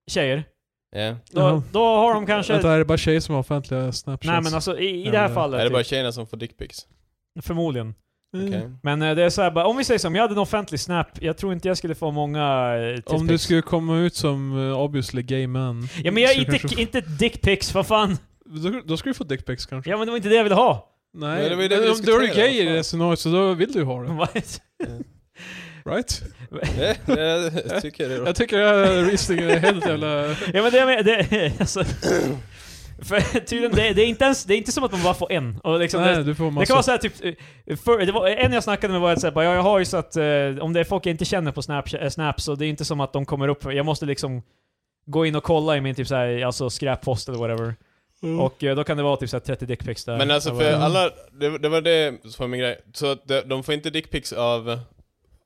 Speaker 2: tjejer,
Speaker 3: ja.
Speaker 2: då,
Speaker 1: Jaha.
Speaker 2: då har de kanske...
Speaker 1: Vänta, är det bara tjejer som har offentliga snapchats?
Speaker 2: nej men alltså i, i
Speaker 1: Ja,
Speaker 2: det här
Speaker 1: det-
Speaker 2: fallet,
Speaker 3: Är det bara
Speaker 2: typ,
Speaker 3: tjejerna som får dickpics?
Speaker 2: förmodligen.
Speaker 1: Mm.
Speaker 3: Okej.
Speaker 2: Men eh, det är såhär bara, om vi säger som, jag hade en offentlig snap, jag tror inte jag skulle få många
Speaker 1: Om
Speaker 2: eh, titpics.
Speaker 1: du skulle komma ut som eh, obviously gay man.
Speaker 2: Ja men jag
Speaker 1: så
Speaker 2: är inte,
Speaker 1: kanske-
Speaker 2: inte dickpics, vad fan!
Speaker 1: Då, då skulle du få dickpics kanske.
Speaker 2: Ja men det var inte det jag ville ha!
Speaker 1: Nej,
Speaker 3: Nej, det var ju det
Speaker 1: men
Speaker 3: vi
Speaker 1: om du är
Speaker 3: diskuterade,
Speaker 1: gay i
Speaker 3: vad
Speaker 1: det
Speaker 3: fan.
Speaker 1: scenariot så då vill du ju ha
Speaker 2: Mm.
Speaker 1: det. Right?
Speaker 3: Ja, ja, jag tycker det är bra.
Speaker 1: Jag tycker det här reasoningen är helt jävla...
Speaker 2: ja men det jag menar, det, alltså, för tydligen, det, det, är inte ens, det är inte som att man bara får en. Och liksom, det,
Speaker 1: Nej, du får
Speaker 2: Det kan vara
Speaker 1: massa...
Speaker 2: såhär typ, eh, för, det var, en jag snackade med var att säga, bara, ja, jag har ju så att eh, om det är folk jag inte känner på Snap, eh, Snap så det är inte som att de kommer upp, jag måste liksom gå in och kolla i min typ såhär, alltså skräppost eller whatever.
Speaker 1: Mm.
Speaker 2: Och eh, då kan det vara typ såhär 30 dickpics där.
Speaker 3: Men alltså
Speaker 2: Jag
Speaker 3: för
Speaker 2: bara,
Speaker 3: alla, det, det var det som var min grej. Så att de, de får inte dickpics av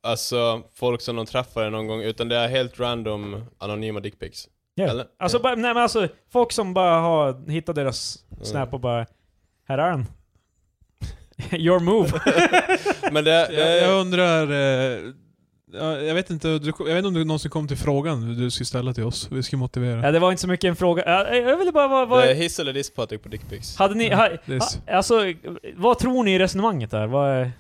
Speaker 3: alltså folk som de träffar någon gång, utan det är helt random anonyma dickpics.
Speaker 2: Ja.
Speaker 3: Eller?
Speaker 2: Alltså, bara, nej, men alltså folk som bara har hittat deras
Speaker 3: Mm.
Speaker 2: Snap och bara, här är den. Your move.
Speaker 3: Men det, det
Speaker 1: Jag, jag undrar... Eh, ja, jag, vet inte, du, jag vet inte om du någonsin kom till frågan du skulle ställa till oss. Vi skulle motivera.
Speaker 2: ja, det var inte så mycket en fråga, jag, jag ville bara, vad,
Speaker 3: det är
Speaker 2: vad,
Speaker 3: hiss eller diss Patrik på dickpics.
Speaker 2: hade ni, ha,
Speaker 1: det är s-
Speaker 2: ha, alltså vad tror ni i resonemanget där? Vad är...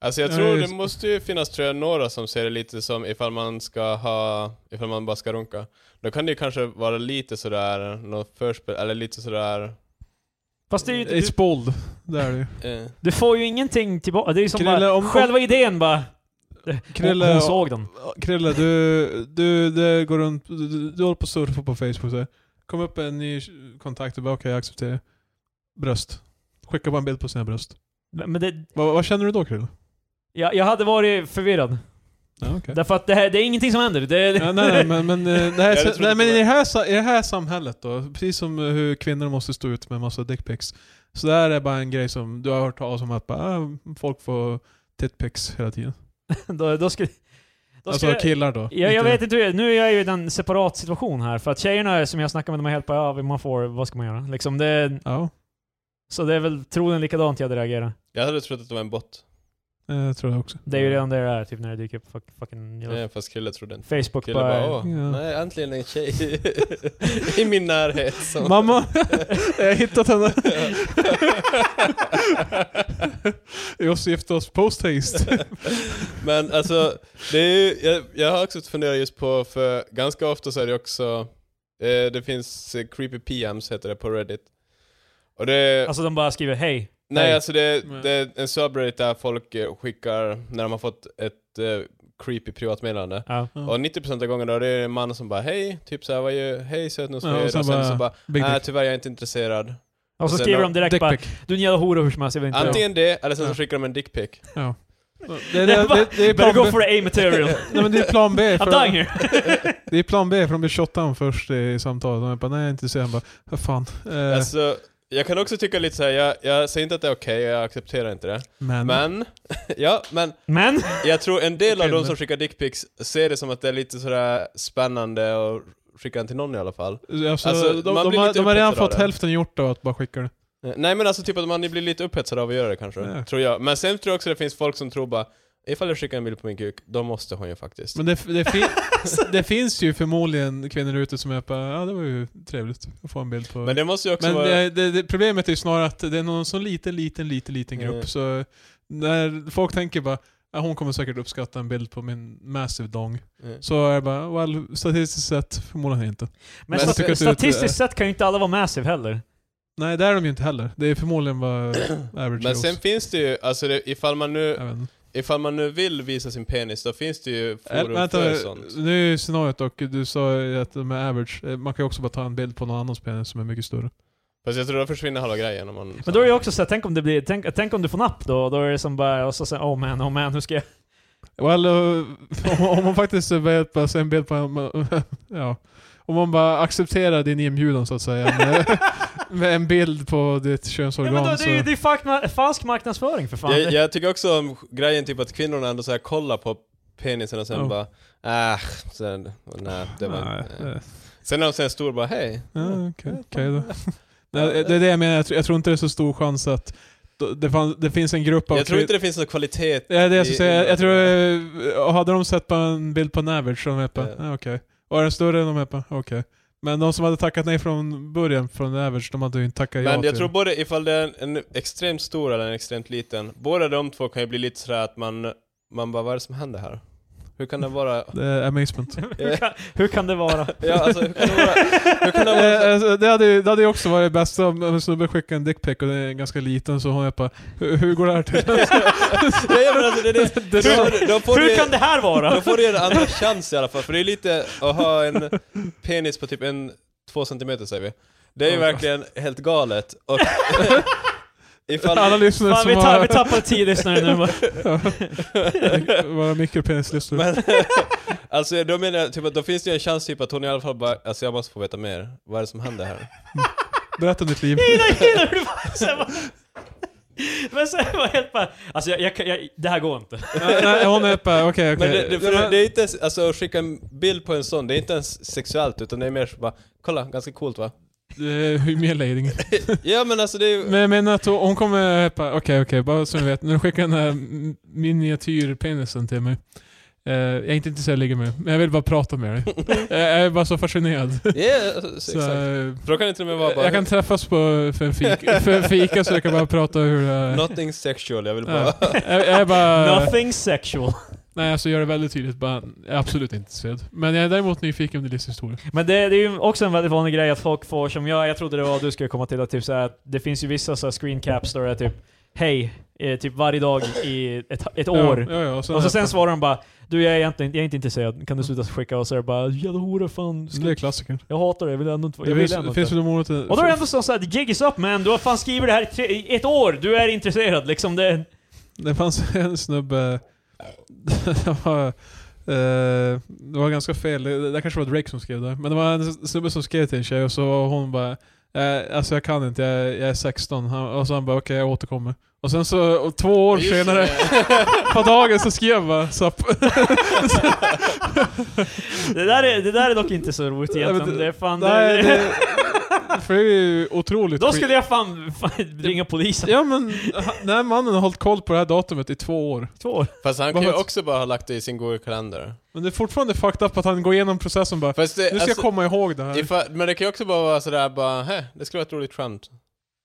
Speaker 3: Alltså jag
Speaker 1: Ja,
Speaker 3: tror det
Speaker 1: just det.
Speaker 3: måste ju finnas tror jag, några som ser det lite som ifall man ska ha, ifall man bara ska runka. Då kan det ju kanske vara lite sådär, något förspel, eller lite sådär...
Speaker 2: Fast det är ju, typ- du-
Speaker 1: It's bold. Det är det ju.
Speaker 3: Eh.
Speaker 2: Du får ju ingenting tillbaka. Det är ju som
Speaker 1: Krille,
Speaker 2: bara,
Speaker 1: om-
Speaker 2: själva idén bara... Krille,
Speaker 1: Krille,
Speaker 2: hon, hon
Speaker 1: om-
Speaker 2: såg den.
Speaker 1: Krille, du, du, det går runt, du, du, du håller på och surfar på Facebook så här. Kom upp en ny kontakt och bara okej, jag accepterar. Bröst. Skicka bara en bild på sina bröst.
Speaker 2: Men men det,
Speaker 1: Vad, vad känner du då Krille?
Speaker 2: jag, jag hade varit förvirrad.
Speaker 1: Ja, okej.
Speaker 2: Därför att det, här, det är ingenting som händer. Det, det,
Speaker 1: Ja, nej, nej, men, men, eh, det
Speaker 3: Ja, det
Speaker 1: här,
Speaker 3: tror
Speaker 1: nej,
Speaker 3: jag
Speaker 1: men i,
Speaker 3: inte.
Speaker 1: det här, sa- i det här samhället då, precis som eh, hur kvinnor måste stå ut med massa dickpics. Så det här är bara en grej som du har hört talas om att bara, ah, folk får titpics hela tiden.
Speaker 2: då, då skulle... Då
Speaker 1: Alltså
Speaker 2: skulle
Speaker 1: killar då.
Speaker 2: jag, jag vet inte hur jag, Nu är jag ju i en separat situation här. För att tjejerna som jag snackar med, de är helt bara ja, man får, vad ska man göra? Liksom det,
Speaker 1: Ja,
Speaker 2: så det är väl troligen likadant jag hade reagerat.
Speaker 3: Jag hade trott att det var en bot.
Speaker 1: eh, jag tror det också.
Speaker 2: Det är ju redan det det är, typ när det dyker upp fuck, fucking...
Speaker 3: Eh, fast Krille trodde inte.
Speaker 2: Facebook
Speaker 3: Krille
Speaker 2: bara...
Speaker 3: bara åh,
Speaker 1: Ja.
Speaker 3: nej äntligen en tjej i min närhet. Som...
Speaker 1: Mamma, jag har hittat henne. Vi måste gifta oss post haste.
Speaker 3: Men alltså, det är ju, jag, jag har också funderat just på, för ganska ofta så är det också, eh, det finns eh, creepy PMs heter det på Reddit. Och det,
Speaker 2: Alltså de bara skriver hej.
Speaker 3: nej
Speaker 2: nej.
Speaker 3: alltså det,
Speaker 1: Nej.
Speaker 3: det är en subreddit där folk eh, skickar, när de har fått ett eh, creepy privatmeddelande.
Speaker 2: Ja.
Speaker 3: Och 90% av gångerna då är det en man som bara hej, typ såhär, vad gör hej sötnos,
Speaker 1: Ja,
Speaker 3: vad
Speaker 1: och
Speaker 3: gör du?
Speaker 1: sen
Speaker 3: Och sen
Speaker 1: bara-
Speaker 3: så bara,
Speaker 1: Big
Speaker 3: nej
Speaker 1: dick.
Speaker 3: tyvärr jag är inte intresserad.
Speaker 2: Och så
Speaker 1: Alltså,
Speaker 3: Och sen
Speaker 2: skriver
Speaker 3: då-
Speaker 2: de direkt
Speaker 1: dick
Speaker 2: bara
Speaker 1: pic.
Speaker 2: Du är en jävla hora hur som helst, jag vill inte...
Speaker 3: Antingen det, eller sen så
Speaker 1: Ja.
Speaker 3: skickar de en dickpic.
Speaker 1: Ja. Det, är- det, är- det, det är
Speaker 2: Better
Speaker 1: plan
Speaker 2: go
Speaker 1: B.
Speaker 2: for the A-material.
Speaker 1: Nej, men det är plan B.
Speaker 2: I'm
Speaker 1: För
Speaker 2: dying here.
Speaker 1: det är plan B för de blir shottade först i samtalet. De bara nej jag är inte så Han bara vad fan. Eh,
Speaker 3: Alltså, jag kan också tycka lite såhär, jag, jag säger inte att det är okej, jag accepterar inte det.
Speaker 1: men.
Speaker 3: Men, ja, men
Speaker 2: Men?
Speaker 3: jag tror en del av
Speaker 1: Okej,
Speaker 3: de
Speaker 1: men-
Speaker 3: som skickar dickpics ser det som att det är lite sådär spännande och skickar den till någon i alla fall.
Speaker 1: Alltså,
Speaker 3: Alltså,
Speaker 1: de,
Speaker 3: man
Speaker 1: de,
Speaker 3: blir
Speaker 1: har,
Speaker 3: lite
Speaker 1: de har redan
Speaker 3: upphetsad av
Speaker 1: fått
Speaker 3: det.
Speaker 1: hälften gjort av att bara skicka det.
Speaker 3: Nej men alltså typ att man blir lite upphetsad av att göra det kanske,
Speaker 1: Ja.
Speaker 3: tror jag. Men sen tror jag också det finns folk som tror bara, ifall jag skickar en bild på min kuk, då måste hon ju faktiskt.
Speaker 1: Men det, det, fin,
Speaker 3: Alltså.
Speaker 1: det finns ju förmodligen kvinnor ute som är bara ja det var ju trevligt att få en bild på.
Speaker 3: Men det måste ju också
Speaker 1: Men
Speaker 3: vara...
Speaker 1: det, det, det, problemet är ju snarare att det är någon sån liten, liten, liten, liten grupp.
Speaker 3: Mm.
Speaker 1: Så när folk tänker bara "Ja, hon kommer säkert uppskatta en bild på min massive dong.
Speaker 3: Mm.
Speaker 1: Så är det bara, well, statistiskt sett förmodligen inte.
Speaker 2: Men
Speaker 3: Men jag
Speaker 2: stat
Speaker 1: tycker att du-
Speaker 2: statistiskt sett kan ju inte alla vara massive heller.
Speaker 1: Nej, det är de ju inte heller. Det är förmodligen bara average
Speaker 3: Men sen
Speaker 1: girls.
Speaker 3: finns det ju, alltså det, ifall man nu
Speaker 1: Jag vet inte.
Speaker 3: ifall man nu vill visa sin penis, då finns det ju
Speaker 1: Eller,
Speaker 3: forum
Speaker 1: vänta,
Speaker 3: för sånt.
Speaker 1: nu är ju scenariot dock, du sa ju att de är average. Eh, Man kan ju också bara ta en bild på någon annans penis som är mycket större.
Speaker 3: Fast jag tror då försvinner halva grejen om man...
Speaker 2: Men då är det ju också så här, tänk om det blir, tänk, tänk om du får napp då, då är det som bara, och så säger oh man, oh man, hur ska jag...
Speaker 1: Well, eh, om, om man faktiskt vet bara se en bild på en, ja. Om man bara accepterar din inbjudan så att säga. Med, med en bild på ditt
Speaker 2: Ja,
Speaker 1: könsorgan
Speaker 2: men då, det
Speaker 1: så...
Speaker 2: är ju det är falsk, ma- falsk marknadsföring för fan.
Speaker 3: jag, jag tycker också om grejen typ att kvinnorna ändå så här kollar på penisen och sen
Speaker 2: Oh.
Speaker 1: Ja.
Speaker 3: bara... Ah, sen, nej, det var...
Speaker 1: Nej,
Speaker 3: eh.
Speaker 1: eh,
Speaker 3: Sen när de ser en stor bara hej.
Speaker 1: ja, okej okej då. Nej, det är det jag menar, jag tror, jag tror inte det är så stor chans att det, fann, det finns en grupp av
Speaker 3: Jag tror
Speaker 1: kvi-
Speaker 3: inte det finns någon kvalitet
Speaker 1: Ja, det är det jag skulle
Speaker 3: i-
Speaker 1: säga. Jag tror... eh, Hade de sett på en bild på en average så de är på,
Speaker 3: Ja.
Speaker 1: ja. okej. Och är den större än de är på, okej. Men de som hade tackat nej från början, från average, de hade ju inte tackat ja
Speaker 3: Men jag
Speaker 1: till
Speaker 3: tror
Speaker 1: den.
Speaker 3: både ifall det är en extremt stor eller en extremt liten, båda de två kan ju bli lite sådär att man, man bara vad är det som händer här? Hur kan det vara...
Speaker 1: Det är amazement.
Speaker 2: hur, kan, hur kan det vara?
Speaker 3: Ja, alltså, hur kan det vara... Hur kan det vara
Speaker 1: Eh,
Speaker 3: så?
Speaker 1: alltså, det, hade, ju- det hade ju också varit bäst om en snubbe skickade en dickpic och den är ganska liten så hon är på hur, hur går det här till?
Speaker 3: Ja, jag menar, alltså, det, är det,
Speaker 1: Det är
Speaker 3: Hur- då får
Speaker 2: hur
Speaker 3: du,
Speaker 2: kan det här vara?
Speaker 3: Då får du en andra chans i alla fall, för det är lite att ha en penis på typ en, två centimeter säger vi. Det är ju
Speaker 1: Ja.
Speaker 3: verkligen helt galet. Och ifall...
Speaker 1: Alla lyssnare
Speaker 2: Fan,
Speaker 1: som
Speaker 2: vi, tar, vi
Speaker 1: har
Speaker 2: tappar tio lyssnare nu. bara.
Speaker 1: våra mikropenislyssnare.
Speaker 3: Men, alltså då menar jag typ att då finns det ju en chans typ att hon i alla fall bara, alltså jag måste få veta mer. Vad är det som händer här?
Speaker 1: Berätta om ditt liv.
Speaker 2: Gillar, gillar hur du bara så här bara- Men sen var jag helt bara, alltså jag, jag, kan- jag, det här går inte.
Speaker 1: nej, nej, hon är på, okej okej.
Speaker 3: Men det, det, för
Speaker 1: Ja,
Speaker 3: det,
Speaker 1: men-
Speaker 3: är inte ens, alltså att skicka en bild på en sån, det är inte ens sexuellt utan det är mer så bara, kolla, ganska coolt va?
Speaker 1: det är humiliating.
Speaker 3: ja men alltså det är ju...
Speaker 1: Men jag menar att hon hon kommer... bara, Okej, okej, bara så ni vet. Nu skickar den här m- miniatyrpenisen till mig. Eh, jag är inte intresserad av att ligga med men jag vill bara prata med dig. Eh, jag är bara så fascinerad.
Speaker 3: Ja, alltså,
Speaker 1: Så,
Speaker 3: exakt.
Speaker 1: eh,
Speaker 3: För då kan det till och med vara bara,
Speaker 1: jag kan träffas på, för, en fika, för en fika så jag kan bara prata hur det är.
Speaker 3: nothing sexual, jag vill bara...
Speaker 1: Ja. jag, jag är bara...
Speaker 2: Nothing sexual.
Speaker 1: Nej, alltså gör det väldigt tydligt. Bara, jag är absolut inte intresserad. Men jag är däremot nyfiken på din livshistoria.
Speaker 2: Men det, det är ju också en väldigt vanlig grej att folk får, som jag, jag trodde det var du skulle komma till, att typ så här, att det finns ju vissa så här screen caps där det är typ Hej, eh, typ varje dag i ett, ett år.
Speaker 1: Ja, ja, ja, och sen,
Speaker 2: Och så sen svarar de bara Du jag är egentligen jag är inte intresserad, kan du sluta skicka? Och så är det bara Jävla hora fan,
Speaker 1: Det är klassikern.
Speaker 2: jag hatar det, jag vill ändå inte,
Speaker 1: Det
Speaker 2: jag
Speaker 1: finns,
Speaker 2: vill ändå
Speaker 1: finns
Speaker 2: inte.
Speaker 1: väl någon månad
Speaker 2: Och då är det ändå så såhär, gig is up man, du har fan skrivit det här i tre, i ett år, du är intresserad liksom. Det,
Speaker 1: Det fanns en snubbe... det, var, eh, det var ganska fel. Det, det kanske var Drake som skrev det. Men det var en snubbe som skrev till en tjej och så var hon bara eh, Alltså jag kan inte, jag, jag är 16. Han, och så han bara okej jag återkommer. Och sen så och två år
Speaker 3: Just
Speaker 1: senare på dagen så skrev jag bara Zapp.
Speaker 2: det, där är, det där är dock inte så roligt
Speaker 1: Nej, men
Speaker 2: egentligen,
Speaker 1: det-
Speaker 2: det är fan...
Speaker 1: Nej,
Speaker 2: det,
Speaker 1: det, för det är ju otroligt
Speaker 2: då
Speaker 1: skit.
Speaker 2: skulle jag fan, fan ringa polisen.
Speaker 1: Ja men ha- den här mannen har hållit koll på det här datumet i två år.
Speaker 2: Två år.
Speaker 3: Fast han kan ju
Speaker 1: Varför-
Speaker 3: också bara ha lagt det i sin Google kalender.
Speaker 1: Men det är fortfarande fucked up att han går igenom processen bara
Speaker 3: Fast det,
Speaker 1: Nu ska jag komma ihåg det här.
Speaker 3: ifall, men Alltså, det kan ju också bara vara sådär bara, hä, det skulle vara ett roligt skämt.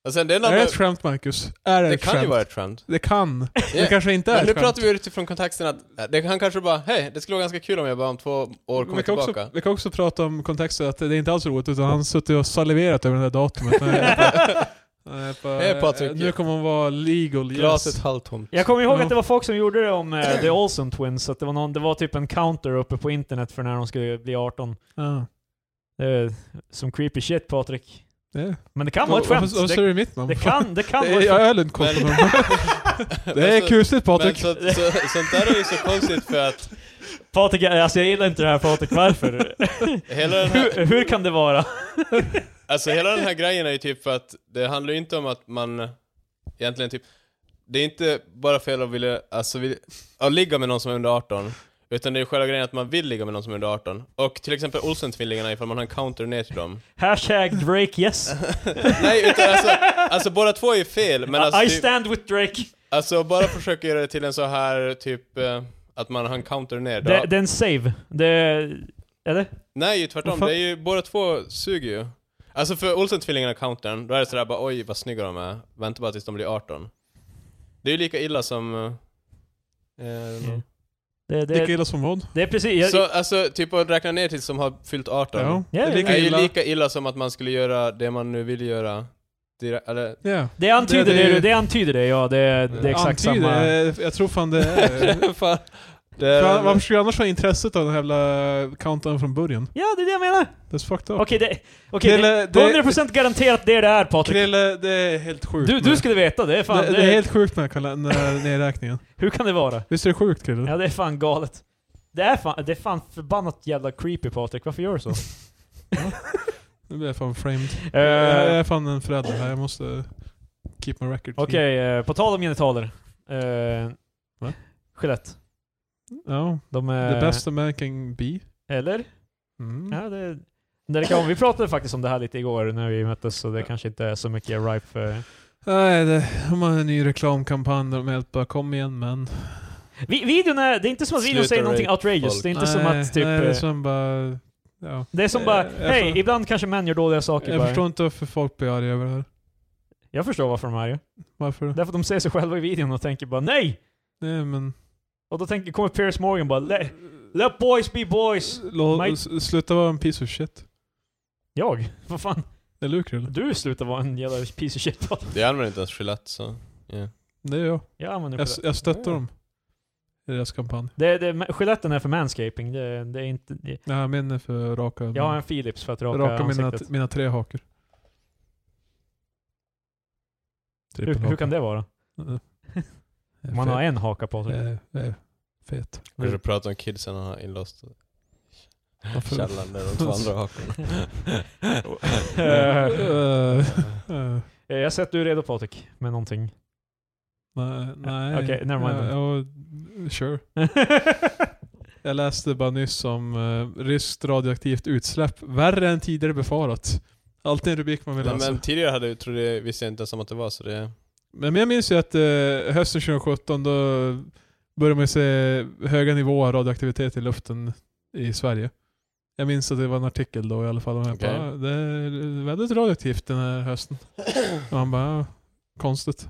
Speaker 3: Och sen det är något,
Speaker 1: Är det ett skämt Marcus? Är det,
Speaker 3: det
Speaker 1: ett
Speaker 3: kan
Speaker 1: skämt?
Speaker 3: ju vara ett skämt.
Speaker 1: Det kan.
Speaker 3: Ja.
Speaker 1: Det kanske inte är
Speaker 3: Men
Speaker 1: ett
Speaker 3: nu
Speaker 1: skämt.
Speaker 3: pratar vi utifrån kontexten att, äh, det, han kanske bara, hej, det skulle vara ganska kul om jag bara om två år kommer
Speaker 1: vi, kan
Speaker 3: tillbaka.
Speaker 1: också, vi kan också prata om kontexten att det är inte alls roligt utan han har suttit och saliverat över det här datumet. Nej, jag bara- nej, jag bara-
Speaker 3: Hej, Patrik.
Speaker 1: Nu kommer han vara legal
Speaker 3: Glaset
Speaker 1: yes.
Speaker 3: halvtomt.
Speaker 2: Jag kommer ihåg
Speaker 1: Ja.
Speaker 2: att det var folk som gjorde det om eh, The Olsen Twins, att det var, någon, det var typ en counter uppe på internet för när de skulle bli 18.
Speaker 1: Ja.
Speaker 2: Det är som creepy shit Patrik.
Speaker 1: Det-
Speaker 2: Men det kan vara ett skämt.
Speaker 1: Varför varför
Speaker 2: Det,
Speaker 1: säger du mitt namn?
Speaker 2: det kan, det kan
Speaker 1: Det
Speaker 2: vara
Speaker 1: är-
Speaker 2: ett
Speaker 1: Jag
Speaker 2: skämt.
Speaker 1: höll inte koll på
Speaker 3: Men-
Speaker 1: honom. Det är kusligt
Speaker 3: Men
Speaker 1: Patrik.
Speaker 3: så, så, sånt där är ju så konstigt för att
Speaker 2: Patrik, jag- alltså jag gillar inte det här Patrik, varför?
Speaker 3: hela den här,
Speaker 2: hur, hur kan det vara?
Speaker 3: alltså hela den här grejen är ju typ för att det handlar ju inte om att man egentligen typ, det är inte bara fel att vilja, alltså vill, att ligga med någon som är under 18, utan det är ju själva grejen att man vill ligga med någon som är under 18. Och till exempel Olsen-tvillingarna ifall man har en counter ner till dem.
Speaker 2: Hashtag Drake yes.
Speaker 3: Nej, utan alltså, alltså båda två är ju fel, men alltså,
Speaker 2: I
Speaker 3: typ,
Speaker 2: stand with Drake.
Speaker 3: alltså bara försöka göra det till en så här typ, eh, att man har en counter ner. Då,
Speaker 2: Det, det är en save. Det, eller?
Speaker 3: Nej, ju
Speaker 1: Vad
Speaker 3: tvärtom.
Speaker 1: fan?
Speaker 3: Det är ju, båda två suger ju. Alltså för Olsen-tvillingarna och countern, då är det sådär bara oj vad snygga de är. Vänta bara tills de blir 18. Det är ju lika illa som... eh, eh,
Speaker 2: Mm. Det, det,
Speaker 1: Lika
Speaker 2: det,
Speaker 1: illa som vad?
Speaker 2: är precis...
Speaker 3: Så
Speaker 2: Jag,
Speaker 3: alltså, typ att räkna ner tills de har fyllt 18.
Speaker 1: Ja. Det
Speaker 2: Ja,
Speaker 1: är
Speaker 2: ja,
Speaker 3: Det är
Speaker 1: lika
Speaker 3: ju
Speaker 1: illa.
Speaker 3: lika illa som att man skulle göra det man nu vill göra Direkt, eller,
Speaker 1: Yeah.
Speaker 2: Det antyder det,
Speaker 1: Det- det-
Speaker 2: det, antyder det ja. Det, det är exakt
Speaker 1: Antyder,
Speaker 2: samma.
Speaker 1: eh, Jag tror fan det är...
Speaker 3: fan, det,
Speaker 1: För Varför skulle jag annars ha intresset av den här jävla countdown från början?
Speaker 2: Ja, det är det jag menar.
Speaker 1: That's fucked up.
Speaker 2: Okej, det, okej,
Speaker 1: Krille,
Speaker 2: det,
Speaker 1: det-
Speaker 2: 100% garanterat det det är Patrik.
Speaker 1: Krille, det är helt sjukt.
Speaker 2: Du, du
Speaker 1: med-
Speaker 2: skulle veta det. är Fan,
Speaker 1: det, det är helt sjukt med den här nedräkningen.
Speaker 2: Hur kan det vara?
Speaker 1: Visst är det sjukt Krille?
Speaker 2: Ja, det är fan galet. Det är fan, det är fan förbannat jävla creepy Patrik, varför gör du så?
Speaker 1: Nu blir jag fan framed.
Speaker 2: Eh,
Speaker 1: jag är fan en förälder här, jag måste keep my record clean.
Speaker 2: Okej, eh, på tal om genitaler. Uh,
Speaker 1: Va?
Speaker 2: Skелett.
Speaker 1: Ja,
Speaker 2: De är...
Speaker 1: the best American bee.
Speaker 2: Eller?
Speaker 1: Mm.
Speaker 2: Eh. Ja, det, när det kan, vi pratade faktiskt om det här lite igår när vi möttes, så det kanske inte är så mycket ripe för...
Speaker 1: Nej, det, de har en ny reklamkampanj där de helt bara kom igen men.
Speaker 2: Vi, videon är... Det är inte som att videon
Speaker 3: Sluta
Speaker 2: säger någonting
Speaker 3: rape
Speaker 2: outrageous.
Speaker 3: folk.
Speaker 2: Det är inte
Speaker 1: nej,
Speaker 2: som att typ...
Speaker 1: Nej, det är
Speaker 2: eh,
Speaker 1: som bara... Ja.
Speaker 2: Det är som
Speaker 3: Eh,
Speaker 2: bara,
Speaker 3: jag
Speaker 2: hej,
Speaker 3: får-
Speaker 2: ibland kanske män gör dåliga saker
Speaker 1: Jag
Speaker 2: bara.
Speaker 1: förstår inte varför folk blir arga över det här.
Speaker 2: Jag förstår varför de är arga.
Speaker 1: Varför?
Speaker 2: Därför att de ser sig själva i videon och tänker bara nej!
Speaker 1: Nej men...
Speaker 2: Och då tänker, kommer Piers Morgan bara let, let boys be boys!
Speaker 1: Lå,
Speaker 2: Mike-
Speaker 1: s- Sluta vara en piece of shit.
Speaker 2: Jag? Vad fan?
Speaker 1: Eller hur Krille?
Speaker 2: Du slutar vara en jävla piece of shit.
Speaker 3: det använder inte ens Gillette så...
Speaker 1: Det är jag.
Speaker 2: Jag använder
Speaker 1: Jag,
Speaker 2: Gillette.
Speaker 1: jag stöttar
Speaker 2: Ja.
Speaker 1: dem. I deras kampanj.
Speaker 2: Det, det, Skeletten är för manscaping. Det, det är inte, det,
Speaker 1: Nej, min är för raka.
Speaker 2: jag har en Philips för att raka,
Speaker 1: raka mina,
Speaker 2: ansiktet.
Speaker 1: mina tre hakor.
Speaker 2: Hur, hur kan det vara?
Speaker 1: vara?
Speaker 2: Man har en haka på sig.
Speaker 1: Fet.
Speaker 3: Kanske pratar om kidsen han har inlåst
Speaker 1: Varför?
Speaker 3: källaren där de två andra hakorna.
Speaker 2: Eh,
Speaker 1: Eh, eh,
Speaker 2: eh, jag har sett du är redo Patrik, med någonting.
Speaker 1: Nej. nej.
Speaker 2: Okej, never mind
Speaker 1: Eh, ja, sure. Jag läste bara nyss om uh, ryskt radioaktivt utsläpp. Värre än tidigare befarat. Alltid en rubrik man vill
Speaker 3: Men,
Speaker 1: läsa.
Speaker 2: Alltså.
Speaker 3: men tidigare hade jag, trodde, jag- visste jag inte ens om att det var så det...
Speaker 1: Men jag minns ju att eh, hösten 2017 då började man ju se höga nivåer av radioaktivitet i luften i Sverige. Jag minns att det var en artikel då i alla fall. Och jag
Speaker 3: Okej.
Speaker 1: bara, "Ah, det är väldigt radioaktivt den här hösten. Och man bara, "Ah, konstigt.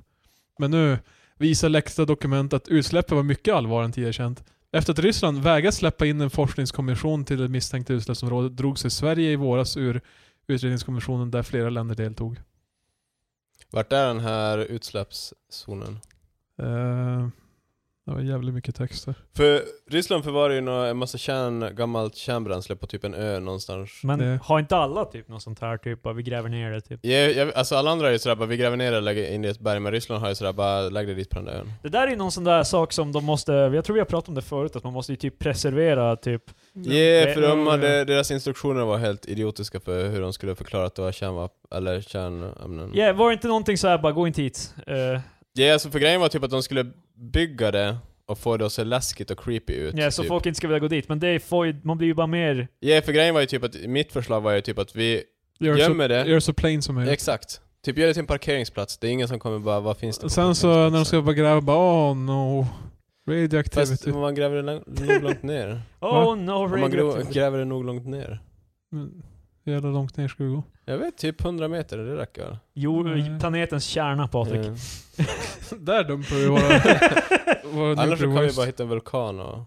Speaker 1: Men nu visar läckta dokument att utsläppen var mycket allvarligare än tidigare känt. Efter att Ryssland vägrat släppa in en forskningskommission till det misstänkta utsläppsområdet drog sig Sverige i våras ur utredningskommissionen där flera länder deltog.
Speaker 3: Vart är den här utsläppszonen?
Speaker 1: Eh, det var jävligt mycket texter.
Speaker 3: För Ryssland förvarar ju några- en massa kärn, gammalt kärnbränsle på typ en ö någonstans.
Speaker 2: Men
Speaker 1: Det-
Speaker 2: har inte alla typ något sånt här typ, bara vi gräver ner det typ?
Speaker 3: Jag, jag, alltså alla andra är ju sådär bara, vi gräver ner det och lägger in det i ett berg, men Ryssland har ju sådär bara, lägg det dit på den där ön.
Speaker 2: Det där är någon sån där sak som de måste, jag tror vi har pratat om det förut, att man måste ju typ preservera typ... eh,
Speaker 3: Ja, för de hade, deras instruktioner var helt idiotiska för hur de skulle förklara att det var kärnvapen, eller kärnämnen.
Speaker 2: Ja, var det inte någonting så här bara gå inte hit? Eh,
Speaker 3: Ja, alltså för grejen var typ att de skulle bygga det och få det att se läskigt och creepy ut.
Speaker 2: ja, så
Speaker 3: typ.
Speaker 2: folk inte ska vilja gå dit, men det får ju, man blir ju bara mer...
Speaker 3: Ja, för grejen var ju typ att, mitt förslag var ju typ att vi,
Speaker 1: Gör så,
Speaker 3: Gömmer det.
Speaker 1: Gör så plain som möjligt.
Speaker 3: exakt, typ gör det till en parkeringsplats. Det är ingen som kommer bara, vad finns det på
Speaker 1: Sen så när de
Speaker 3: parkeringsplatsen?"
Speaker 1: ska bara gräva, bara oh no.
Speaker 3: Fast
Speaker 1: Radioactivity.
Speaker 3: man gräver det lång- nog långt ner.
Speaker 2: Oh
Speaker 1: Va?
Speaker 2: no,
Speaker 3: Om man gro-
Speaker 2: radioactivity.
Speaker 3: gräver det nog långt ner.
Speaker 1: Men Hur jävla långt ner ska vi gå?
Speaker 3: Jag vet, typ 100 meter, det räcker väl?
Speaker 2: Jo,
Speaker 1: Nej.
Speaker 2: planetens kärna Patrik.
Speaker 3: Ja.
Speaker 1: Där dumpar vi våra... våra
Speaker 3: Eh, Annars så
Speaker 1: nuclear
Speaker 3: kan vi
Speaker 1: waste.
Speaker 3: bara hitta en vulkan och...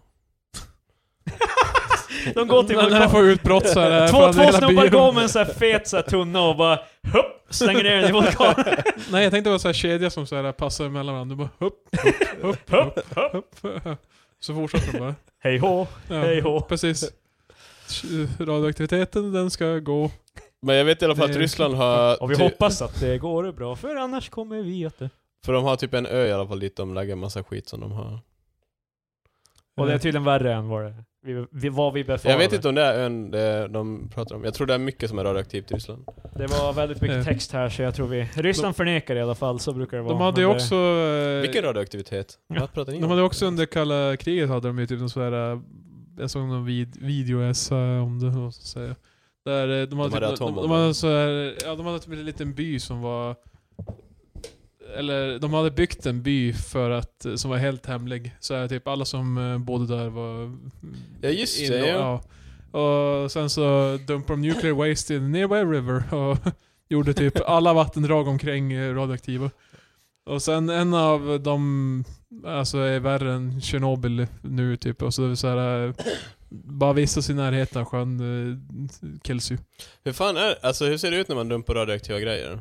Speaker 2: De går till
Speaker 1: När- När jag får utbrott så här. eh,
Speaker 2: Två,
Speaker 1: från
Speaker 2: två
Speaker 1: hela
Speaker 2: snubbar
Speaker 1: byn.
Speaker 2: går med en sån här fet så här tunna och bara hopp, slänger ner den i vulkanen.
Speaker 1: Nej jag tänkte vara så här kedja som så här eh, passar emellan varandra. Du bara upp, upp, upp, upp, upp. Så fortsätter de bara.
Speaker 2: Hej hå.
Speaker 1: Ja,
Speaker 2: Hej då.
Speaker 1: Precis. Radioaktiviteten den ska gå.
Speaker 3: Men jag vet i alla fall
Speaker 1: Det-
Speaker 3: att Ryssland har...
Speaker 2: Och vi
Speaker 3: ty-
Speaker 2: hoppas att det går bra, för annars kommer vi att det...
Speaker 3: För de har typ en ö i alla fall dit de lägger massa skit som de har.
Speaker 2: Och det är tydligen värre än vad det vi, vi, vad vi befarade.
Speaker 3: Jag vet inte om det är ön det de pratar om. Jag tror det är mycket som är radioaktivt i Ryssland.
Speaker 2: Det var väldigt
Speaker 1: Ja.
Speaker 2: mycket text här så jag tror vi... Ryssland förnekar i alla fall, så brukar det vara.
Speaker 1: Eh. De hade ju
Speaker 2: men det-
Speaker 1: också... eh,
Speaker 3: Vilken radioaktivitet? Vad pratar ni om?
Speaker 1: De hade också under kalla kriget hade de ju typ en sån här, jag såg någon vid, videoessä om det, vad ska jag säga. Där eh, de hade,
Speaker 3: hade
Speaker 1: typ, de, de
Speaker 3: atombomber.
Speaker 1: hade så här, ja de hade typ en liten by som var, eller de hade byggt en by för att, eh, som var helt hemlig. Så här, typ alla som eh, bodde där var... mm,
Speaker 3: Ja, just
Speaker 1: inlå-
Speaker 3: det, ja.
Speaker 1: ja. Och sen så dumpade de nuclear waste in nearby river och gjorde typ alla vattendrag omkring eh, radioaktiva. Och sen en av dem, alltså är värre än Tjernobyl nu typ. Och så det är så här, eh, bara vistas i närheten av sjön eh, kills ju.
Speaker 3: Hur fan är Alltså hur ser det ut när man dumpar radioaktiva grejer?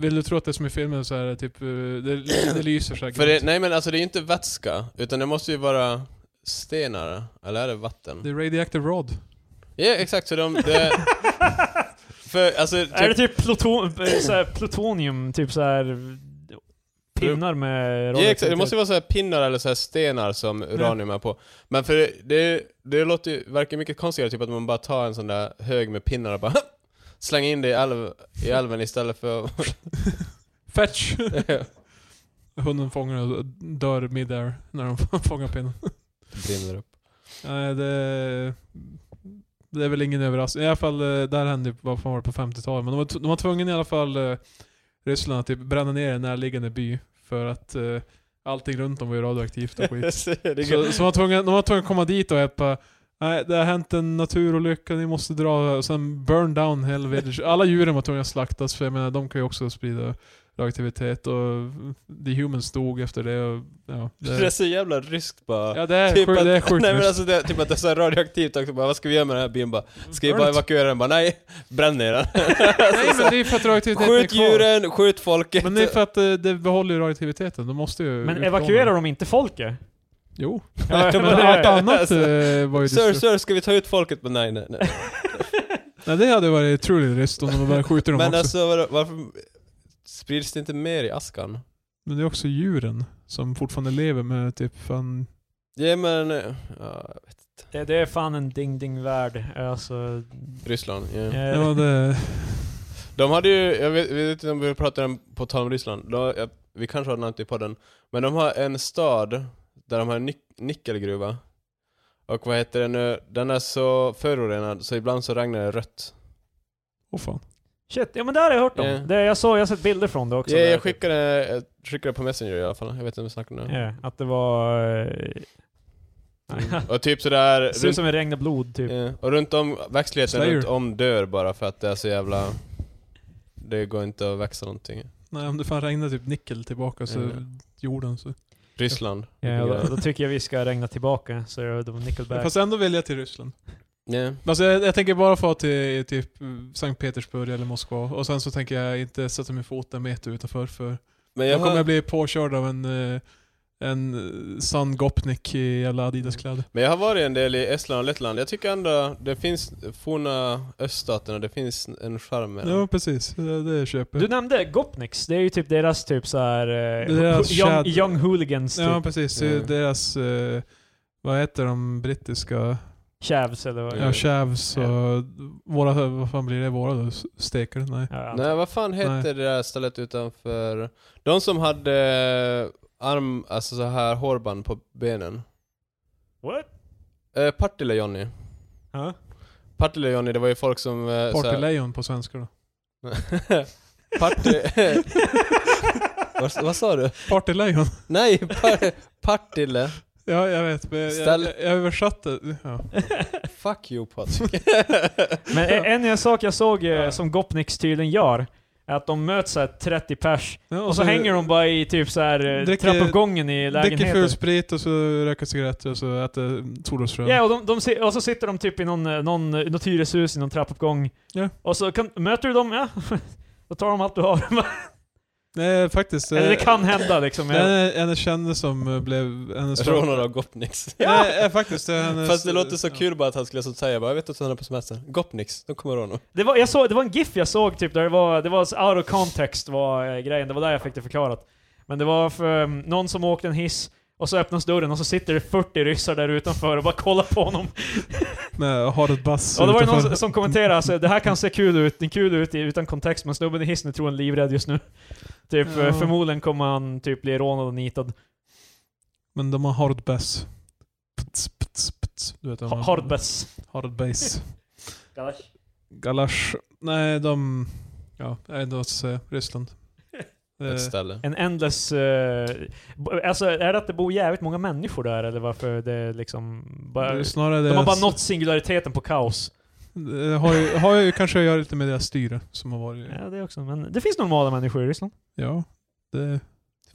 Speaker 1: Vill du tro att det som i filmen så är det typ, eh, det, det lyser säkert.
Speaker 3: För det, nej men alltså det är ju inte vätska, utan det måste ju vara stenar, eller är det
Speaker 1: det
Speaker 3: vatten?
Speaker 1: är radioactive rod.
Speaker 3: Ja exakt, så de... Det, för alltså...
Speaker 2: Är det typ pluton, eh, så här plutonium, typ så här pinnar med
Speaker 3: Ja, exakt. Det måste ju vara så här pinnar eller så här stenar som uranium är på. Men för det, det, det låter ju, verkar mycket konstigare typ att man bara tar en sån där hög med pinnar och bara slänger in det i, älv, i älven istället för att-
Speaker 1: Fetch! Hunden fångar och dör midair när de fångar pinnen.
Speaker 3: brinner upp.
Speaker 1: Nej, det, det är väl ingen överraskning. I alla fall, eh, där hände ju- vad fan var det på 50-talet. Men de var, tv- de var tvungna i alla fall eh, Ryssland att typ bränna ner en närliggande by för att eh, allting runt dem var ju radioaktivt och skit. så, så de var tvungna, de var tvungna att komma dit och hjälpa Nej, det har hänt en naturolycka, ni måste dra. Och sen burn down hela village. Alla djuren var tvungna att slaktas, för jag menar, de kan ju också sprida radioaktivitet. Och the humans dog efter det. Och, ja,
Speaker 3: Det är
Speaker 1: det,
Speaker 3: så jävla ryskt bara.
Speaker 1: ja, det är
Speaker 3: Typ
Speaker 1: sjukt. Äh,
Speaker 3: att,
Speaker 1: Det är sjukt
Speaker 3: nej men
Speaker 1: just.
Speaker 3: alltså det, typ att det är så här radioaktivt också, bara, vad ska vi göra med den här byn? Bara, ska vi
Speaker 1: Burn
Speaker 3: bara
Speaker 1: it.
Speaker 3: evakuera den? Bara, nej, bränn ner den. Alltså,
Speaker 1: Nej men det är för att radioaktiviteten är
Speaker 3: Skjut
Speaker 1: kvar.
Speaker 3: djuren, skjut folket.
Speaker 1: Men det är för att eh, det behåller ju radioaktiviteten. De måste ju...
Speaker 2: Men
Speaker 1: utplåna
Speaker 2: evakuerar
Speaker 1: den.
Speaker 2: de inte folket?
Speaker 1: Jo.
Speaker 2: Ja,
Speaker 1: Men
Speaker 2: men det-
Speaker 1: allt annat
Speaker 3: alltså.
Speaker 1: eh, var ju
Speaker 3: Sir,
Speaker 1: dystert.
Speaker 3: sir, ska vi ta ut folket? Men nej, nej, nej.
Speaker 1: Nej det hade varit otroligt trist om de bara skjuter dem
Speaker 3: Men
Speaker 1: också.
Speaker 3: alltså vadå, varför sprids det inte mer i askan?
Speaker 1: Men det är också djuren som fortfarande lever med typ fan...
Speaker 3: Ja men, eh, ja,
Speaker 2: Det, det är fan en ding-ding-värld. Alltså,
Speaker 3: Ryssland. ja.
Speaker 1: Det
Speaker 2: eh,
Speaker 1: var det...
Speaker 3: De hade ju, jag vet, jag vet inte om vi pratade om, på tal om Ryssland, Då- jag, vi kanske har nämnt det i podden, men de har en stad där de har en nick- nickelgruva. Och vad heter det nu, den är så förorenad så ibland så regnar det rött.
Speaker 1: Åh fan.
Speaker 2: shit, ja men det här har jag hört om.
Speaker 3: Ja.
Speaker 2: Det, jag, såg, jag har sett bilder från det också.
Speaker 3: Ja,
Speaker 2: där, typ.
Speaker 3: jag skickade, jag skickade på Messenger i alla fall, jag vet inte om vi snackar om det.
Speaker 2: Ja, att det var... eh,
Speaker 3: Och typ sådär,
Speaker 2: det ser ut
Speaker 3: runt,
Speaker 2: som en regn av blod typ.
Speaker 3: ja, och runt om, växtligheten
Speaker 1: Slayer.
Speaker 3: runt om dör bara för att det är så jävla, det går inte att växa någonting.
Speaker 1: Nej om det fan regnar typ nickel tillbaka så...
Speaker 3: Ja.
Speaker 1: Jorden så...
Speaker 3: Ryssland.
Speaker 2: Ja, då, då tycker jag vi ska regna tillbaka, så är det Nickelback.
Speaker 1: Fast ändå vill jag till Ryssland.
Speaker 3: Ja.
Speaker 1: Alltså jag, jag tänker bara få till typ Sankt Petersburg eller Moskva. Och sen så tänker jag inte sätta min fot en meter utanför för
Speaker 3: Men jag
Speaker 1: Jag kommer
Speaker 3: har,
Speaker 1: att bli påkörd av en, eh, en eh, sann Gopnik i jävla Adidas-kläder.
Speaker 3: men jag har varit en del i Estland och Lettland. Jag tycker ändå det finns forna öststaterna, det finns en charm med
Speaker 1: Ja,
Speaker 3: dem.
Speaker 1: precis. Det, det köper
Speaker 2: Du
Speaker 1: jag.
Speaker 2: nämnde Gopniks, det är ju typ deras typ såhär...
Speaker 1: Det är deras
Speaker 2: young,
Speaker 1: shad-
Speaker 2: young Hooligans typ.
Speaker 1: Ja, precis. Det är
Speaker 3: Ja.
Speaker 1: Deras, eh, vad heter de brittiska?
Speaker 2: Chavs eller vad
Speaker 3: Ja.
Speaker 1: Ja, Chavs
Speaker 2: Ja.
Speaker 1: och våra, vad fan blir det? Våra då? Steker? Nej.
Speaker 2: Ja, jag
Speaker 3: Nej, vad fan hette
Speaker 1: Nej.
Speaker 3: det där stället utanför... De som hade arm, alltså så här hårband på benen.
Speaker 2: What?
Speaker 3: Eh, Partille-Johnny.
Speaker 2: Ja.
Speaker 3: Partille-Johnny, det var ju folk som... Eh, så här-
Speaker 1: Partylejon på svenska då.
Speaker 3: Partille... vad, vad sa du?
Speaker 1: Partylejon?
Speaker 3: Nej, par, Partille.
Speaker 1: ja, jag vet. Men jag, jag,
Speaker 3: Ställ-
Speaker 1: jag översatte. Ja.
Speaker 3: Fuck you Patrik.
Speaker 2: Men en- en, en sak jag såg eh, som Gopniks tydligen gör, är att de möts såhär 30 pers,
Speaker 1: Ja,
Speaker 2: och så hänger de bara i typ såhär eh,
Speaker 1: Dricker-
Speaker 2: trappuppgången i
Speaker 1: Dricker ful
Speaker 2: lägenheten.
Speaker 1: sprit och så röker cigaretter och så äter solrosfrön.
Speaker 2: Ja, och, de, de, si- och så sitter de typ i någon, eh, någon, eh, något hyreshus i någon trappuppgång.
Speaker 1: Ja.
Speaker 2: Och så kan, möter du dem, ja. Då tar de allt du har.
Speaker 1: Nej, faktiskt.
Speaker 2: Eller det
Speaker 1: eh,
Speaker 2: kan hända liksom.
Speaker 1: Det är en- en kändis som eh, blev... Hennes
Speaker 3: Rånad av Gopniks.
Speaker 1: Nej, eh, faktiskt. Det är hennes,
Speaker 3: Fast det låter så
Speaker 1: ja.
Speaker 3: kul bara att han skulle så säga bara, jag vet att han är på semester. Gopniks, de kommer råna.
Speaker 2: Det var, jag såg, det var en GIF jag såg typ, där det var, det var så out of context var eh, grejen, det var där jag fick det förklarat. Men det var för um, någon som åkte en hiss, och så öppnas dörren och så sitter det 40 ryssar där utanför och bara kollar på honom.
Speaker 1: Med har ett bass
Speaker 2: Och då var det någon
Speaker 1: utanför.
Speaker 2: som- som kommenterade alltså, det här kan se kul ut, det är kul ut i- utan kontext, men snubben i hissen är troligen livrädd just nu. Typ,
Speaker 1: Ja.
Speaker 2: eh, förmodligen kommer han typ bli rånad och nitad.
Speaker 1: Men de har hard bass. Pts, pts, pts. Du vet, de
Speaker 2: Ha- Hardbass.
Speaker 1: Hard bass. Galasch. Nej, de... Ja, jag vet inte vad jag ska säga. Ryssland.
Speaker 3: Ett
Speaker 1: Eh,
Speaker 3: ställe.
Speaker 2: En endless... eh, bo- alltså, är det att det bor jävligt många människor där, eller varför det är liksom...
Speaker 1: det är
Speaker 2: Bara,
Speaker 1: snarare
Speaker 2: de har
Speaker 1: deras-
Speaker 2: bara nått singulariteten på kaos.
Speaker 1: Det har ju, har ju kanske att göra lite med deras styre som har varit...
Speaker 2: Ja, det också. Men det finns normala människor i Ryssland.
Speaker 1: Ja, det...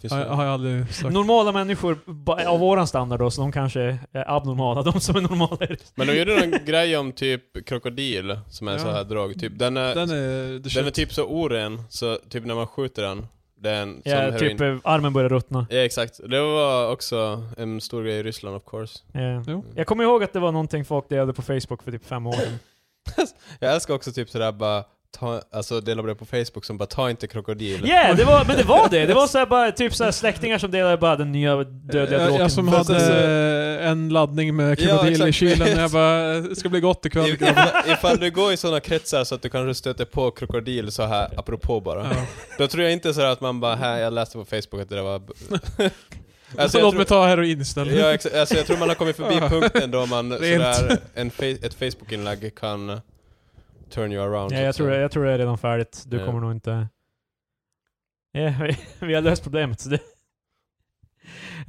Speaker 3: Finns
Speaker 1: Har,
Speaker 3: det-
Speaker 1: har jag aldrig sagt.
Speaker 2: Normala människor ba- av våran standard då, så de kanske är abnormala. De som är normala är
Speaker 3: Men de gjorde någon grej om typ krokodil, som är
Speaker 1: Ja.
Speaker 3: en så här drag, typ. Den är,
Speaker 1: Den
Speaker 3: den är,
Speaker 1: är... Det är typ...
Speaker 3: typ så oren, så typ när man skjuter den, det är en som
Speaker 2: ja,
Speaker 3: heroin.
Speaker 2: typ eh, armen börjar ruttna.
Speaker 3: Ja, exakt. Det var också en stor grej i Ryssland of course.
Speaker 2: Ja.
Speaker 1: Jo.
Speaker 2: Jag kommer ihåg att det var någonting folk delade på Facebook för typ fem år sedan.
Speaker 3: Jag älskar också typ sådär bara, ta, alltså dela på det på Facebook som bara ta inte krokodil.
Speaker 2: Yeah, det var, men det var det! Det var så här bara, typ så här släktingar som delade bara den nya dödliga
Speaker 1: Jag,
Speaker 2: dråken.
Speaker 1: jag som
Speaker 3: Fast
Speaker 1: hade
Speaker 3: alltså-
Speaker 1: en laddning med
Speaker 3: Ja,
Speaker 1: krokodil i
Speaker 3: exakt.
Speaker 1: kylen när jag bara, "Eh, det ska bli gott ikväll.
Speaker 3: I- ifall, ifall du går i sådana kretsar så att du kanske stöter på krokodil så här apropå bara.
Speaker 1: Ja.
Speaker 3: Då tror jag inte sådär att man bara, här jag läste på Facebook att det där var...
Speaker 1: Alltså,
Speaker 3: jag
Speaker 1: Låt
Speaker 3: tror-
Speaker 1: mig ta heroin istället.
Speaker 3: Ja, exa- alltså jag tror man har kommit förbi punkten då man
Speaker 1: Rent.
Speaker 3: sådär, en fa- ett Facebook-inlägg kan turn you around.
Speaker 2: Ja,
Speaker 3: typ så
Speaker 2: jag
Speaker 3: att
Speaker 2: tror,
Speaker 3: säga.
Speaker 2: jag tror det är redan färdigt. Du
Speaker 3: Ja.
Speaker 2: kommer nog inte... Ja, vi, vi har löst problemet. så Det.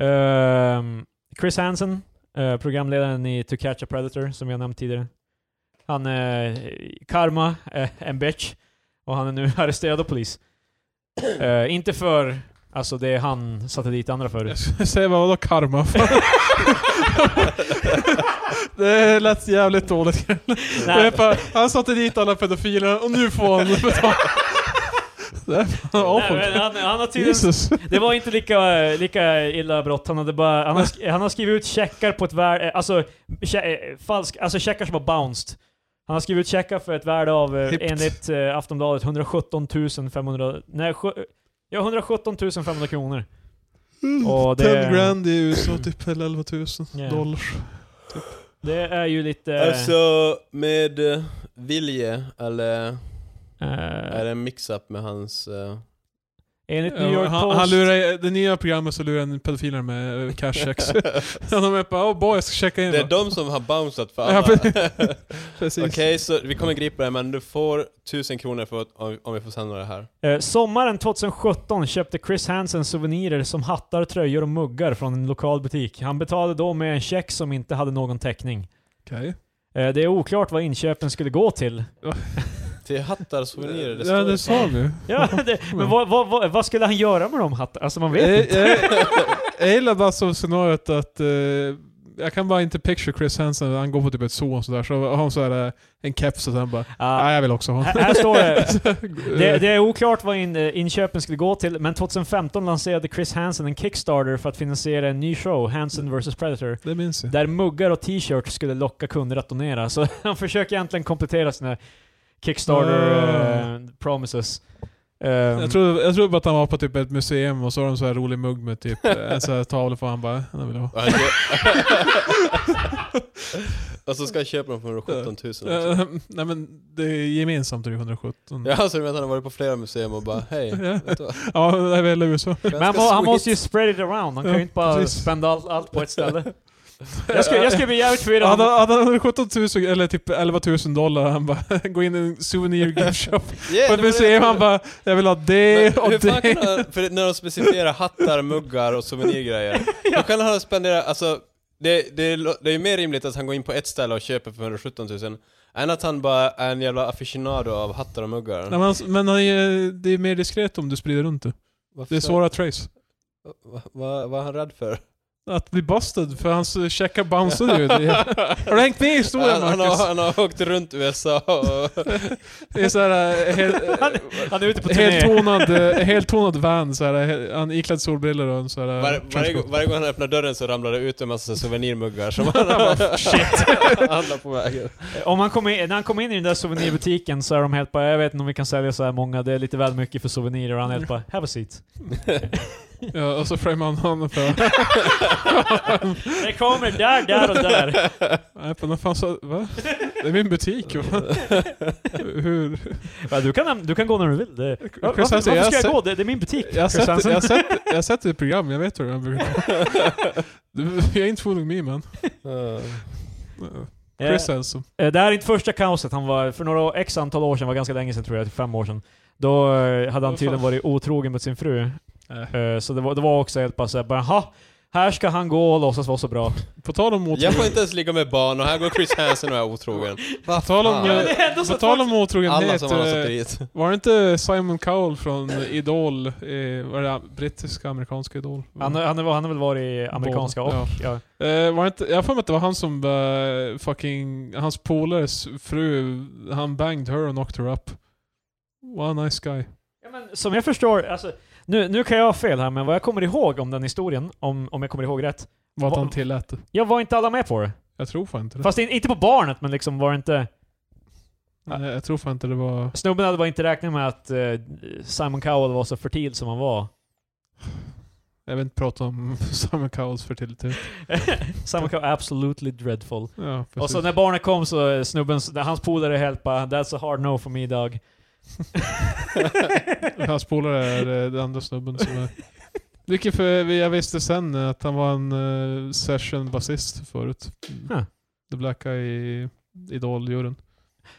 Speaker 2: Ehm, Chris Hansen, eh, programledaren i To Catch a Predator, som jag nämnt tidigare. Han är karma, eh, en bitch. Och han är nu arresterad av polis. Eh, inte för alltså det han satte dit andra för.
Speaker 1: Jag säger bara, vadå karma? det lät jävligt dåligt. Det är bara, han satte dit alla pedofiler och nu får han betala. Det är fan
Speaker 2: Nej,
Speaker 1: awful.
Speaker 2: men han, han har tydligen
Speaker 1: Jesus.
Speaker 2: Det var inte lika, lika illa brott, han hade bara... Han har, sk- han har skrivit ut checkar på ett värde... eh, Alltså, che, eh, falsk, alltså checkar som har bounced. Han har skrivit ut checkar för ett värde av, eh,
Speaker 1: Hippt.
Speaker 2: enligt eh, Aftonbladet, 117 500... Nej, sju- ja, 117 500 kronor. Och det-
Speaker 1: 10 Mm. grand i USA, typ, eller 11 000
Speaker 2: Ja.
Speaker 1: dollar.
Speaker 2: Det är ju lite...
Speaker 3: Alltså med eh, Vilje, eller är
Speaker 2: eh,
Speaker 3: det en mix-up med hans... eh,
Speaker 2: enligt New
Speaker 1: Ja,
Speaker 2: York
Speaker 1: han,
Speaker 2: Post...
Speaker 1: han lurar, det nya programmet så lurar en pedofiler med eh, cash checks. De är bara, oh boy, jag ska checka in.
Speaker 3: det är
Speaker 1: då."
Speaker 3: de som har bouncat för
Speaker 1: Ja,
Speaker 3: alla.
Speaker 1: precis.
Speaker 3: Okej,
Speaker 1: Precis.
Speaker 3: så vi kommer gripa det men du får 1000 kronor för att, om, om vi får sända det här.
Speaker 2: Eh, sommaren 2017 köpte Chris Hansen souvenirer som hattar, tröjor och muggar från en lokal butik. Han betalade då med en check som inte hade någon täckning.
Speaker 1: Okej.
Speaker 2: Eh, Det är oklart vad inköpen skulle gå till.
Speaker 3: Till hattar och souvenirer, det
Speaker 1: Ja,
Speaker 3: står ju
Speaker 1: det
Speaker 3: så.
Speaker 1: sa vi
Speaker 2: Ja, det, men vad, vad, vad, vad skulle han göra med de hattarna? Alltså man vet inte.
Speaker 1: Jag, jag, jag gillar bara så scenariot att eh, jag kan bara inte picture Chris Hansen, han går på typ ett zoo och sådär, så har han såhär eh, en keps och sen bara
Speaker 2: Ah,
Speaker 1: Nej jag vill också ha.
Speaker 2: här, här står det. Det,
Speaker 1: Eh,
Speaker 2: det är oklart vad in, eh, inköpen skulle gå till, men 2015 lanserade Chris Hansen en Kickstarter för att finansiera en ny show, Hansen vs Predator,
Speaker 1: det minns jag.
Speaker 2: där muggar och t-shirts skulle locka kunder att donera. Så han försöker egentligen komplettera sina eh,
Speaker 1: Ah.
Speaker 2: Kickstarter-promises. Ehm,
Speaker 1: Jag tror, jag tror bara att han var på typ ett museum och så har de så här rolig mugg med typ en sån här tavla på han bara, den vill jag ha.
Speaker 3: Och han kö- och så Alltså, ska jag köpa dem för 17 000 också.
Speaker 1: Eh, nej men det är gemensamt typ, är det 117.
Speaker 3: Ja, så du menar han har varit på flera museum och bara hej.
Speaker 1: Ja.
Speaker 3: vet du vad?
Speaker 1: Ja, det är väl USA.
Speaker 2: Men han,
Speaker 3: Ganska
Speaker 2: må, han
Speaker 3: sweet.
Speaker 2: måste ju spread it around, han kan
Speaker 1: Ja,
Speaker 2: ju inte bara
Speaker 1: precis.
Speaker 2: spända allt, allt på ett ställe. jag, skulle, jag skulle bli jävligt förvirrad.
Speaker 1: Hade
Speaker 2: om-
Speaker 1: hade han 117 000 eller typ 11 000 dollar, han bara går in i en souvenir gift shop
Speaker 3: Yeah,
Speaker 1: på
Speaker 3: det
Speaker 1: ett
Speaker 3: var det
Speaker 1: museum,
Speaker 3: jag
Speaker 1: han
Speaker 3: trodde.
Speaker 1: bara jag vill ha det
Speaker 3: Men
Speaker 1: och
Speaker 3: hur fan
Speaker 1: det.
Speaker 3: kan han, för när de specificerar hattar, muggar och souvenirgrejer, då kan han spendera, alltså det, det, är lo- det är ju mer rimligt att han går in på ett ställe och köper för 117 000 än att han bara är en jävla aficionado av hattar och muggar.
Speaker 1: Nej, men han- men han är, det är mer diskret om du sprider runt det.
Speaker 3: Varför
Speaker 1: Det är
Speaker 3: ska-
Speaker 1: svårare att trace.
Speaker 3: Va- va- Vad är han rädd för?
Speaker 1: Att bli busted, för hans eh, checkar bounceade ju. Det är- Har du hängt med i historien
Speaker 3: han, han, har,
Speaker 1: Marcus?
Speaker 3: han har åkt runt USA och...
Speaker 1: Det är såhär eh, helt,
Speaker 2: han, han är ute på
Speaker 1: eh,
Speaker 2: turné.
Speaker 1: helt, tonad, eh, helt tonad van, så här, eh, han är iklädd solbrillor och en så här, eh,
Speaker 3: Var, varje,
Speaker 1: trenchcoat.
Speaker 3: gång- varje gång han öppnar dörren så ramlar det ut en massa souvenirmuggar som han har handlar på vägen.
Speaker 2: Om han kommer in, när han kommer in i den där souvenirbutiken så är de helt bara jag vet inte om vi kan sälja så här många, det är lite väl mycket för souvenirer. Och han är helt bara have a seat.
Speaker 1: Ja, och så framar han honom för...
Speaker 2: Det kommer där, där och där.
Speaker 1: Nej, men vad fan sa... Va? Det är min butik. Va? Hur?
Speaker 2: Ja, du, kan, du kan gå när du vill. Det, varför,
Speaker 1: Hansen,
Speaker 2: varför ska
Speaker 1: jag
Speaker 2: jag,
Speaker 1: ser-
Speaker 2: gå? Det, det är min butik.
Speaker 1: Jag har
Speaker 2: Chris
Speaker 1: sett, jag
Speaker 2: Hansen.
Speaker 1: har sett, jag har sett det i program, jag vet hur den brukar Du, Jag är inte fooling me man.
Speaker 3: Ja.
Speaker 1: Chris
Speaker 2: Eh,
Speaker 1: Hansen.
Speaker 2: eh, Det här är inte första kaoset. Han var för några x antal år sedan, var ganska länge sedan tror jag, typ fem år sedan. Då eh, hade han
Speaker 1: Vad
Speaker 2: tydligen
Speaker 1: fan.
Speaker 2: varit otrogen mot sin fru.
Speaker 1: Nej.
Speaker 2: Eh, Så det var, det var också helt bara såhär, bara jaha, Här ska han gå och låtsas vara så bra.
Speaker 1: På tal om otrogen.
Speaker 3: Jag får inte ens ligga med barn och här går Chris Hansen och är otrogen.
Speaker 1: På tal om,
Speaker 3: Ja, men
Speaker 1: eh,
Speaker 2: är ändå
Speaker 1: på tal om
Speaker 3: Alla
Speaker 1: otrogenhet.
Speaker 3: som har
Speaker 1: eh,
Speaker 3: sotteriet.
Speaker 1: Var det inte Simon Cowell från Idol, eh, var det brittiska, amerikanska Idol?
Speaker 2: Han, han, har- han har väl varit amerikanska och...
Speaker 1: Båda,
Speaker 2: Ja.
Speaker 1: Eh, var det inte, jag har för mig att det var han som eh, fucking, hans polares fru, han banged her och knocked her up. What a nice guy.
Speaker 2: Ja, men, som jag förstår, alltså, nu, nu kan jag ha fel här, men vad jag kommer ihåg om den historien, om, om jag kommer ihåg rätt,
Speaker 1: Vad
Speaker 2: Va-
Speaker 1: han tillät det.
Speaker 2: jag var inte alla med på det.
Speaker 1: Jag tror fan inte det.
Speaker 2: Fast in, inte på barnet, men liksom var det inte...
Speaker 1: Nej, jag tror fan inte det var...
Speaker 2: Snubben hade bara inte räknat med att eh, Simon Cowell var så fertil som han var.
Speaker 1: Jag vill inte prata om Simon Cowells fertilitet.
Speaker 2: Simon Cowell, absolutely dreadful.
Speaker 1: Ja, precis.
Speaker 2: Och så när barnet kom så eh, snubben, hans polare helt bara “That's a hard no for me dog”.
Speaker 1: Hans polare är eh, den andra snubben som är... Vilket för jag visste sen eh, att han var en eh, session-basist förut.
Speaker 2: Huh.
Speaker 1: The Black Eye i Idol-juryn.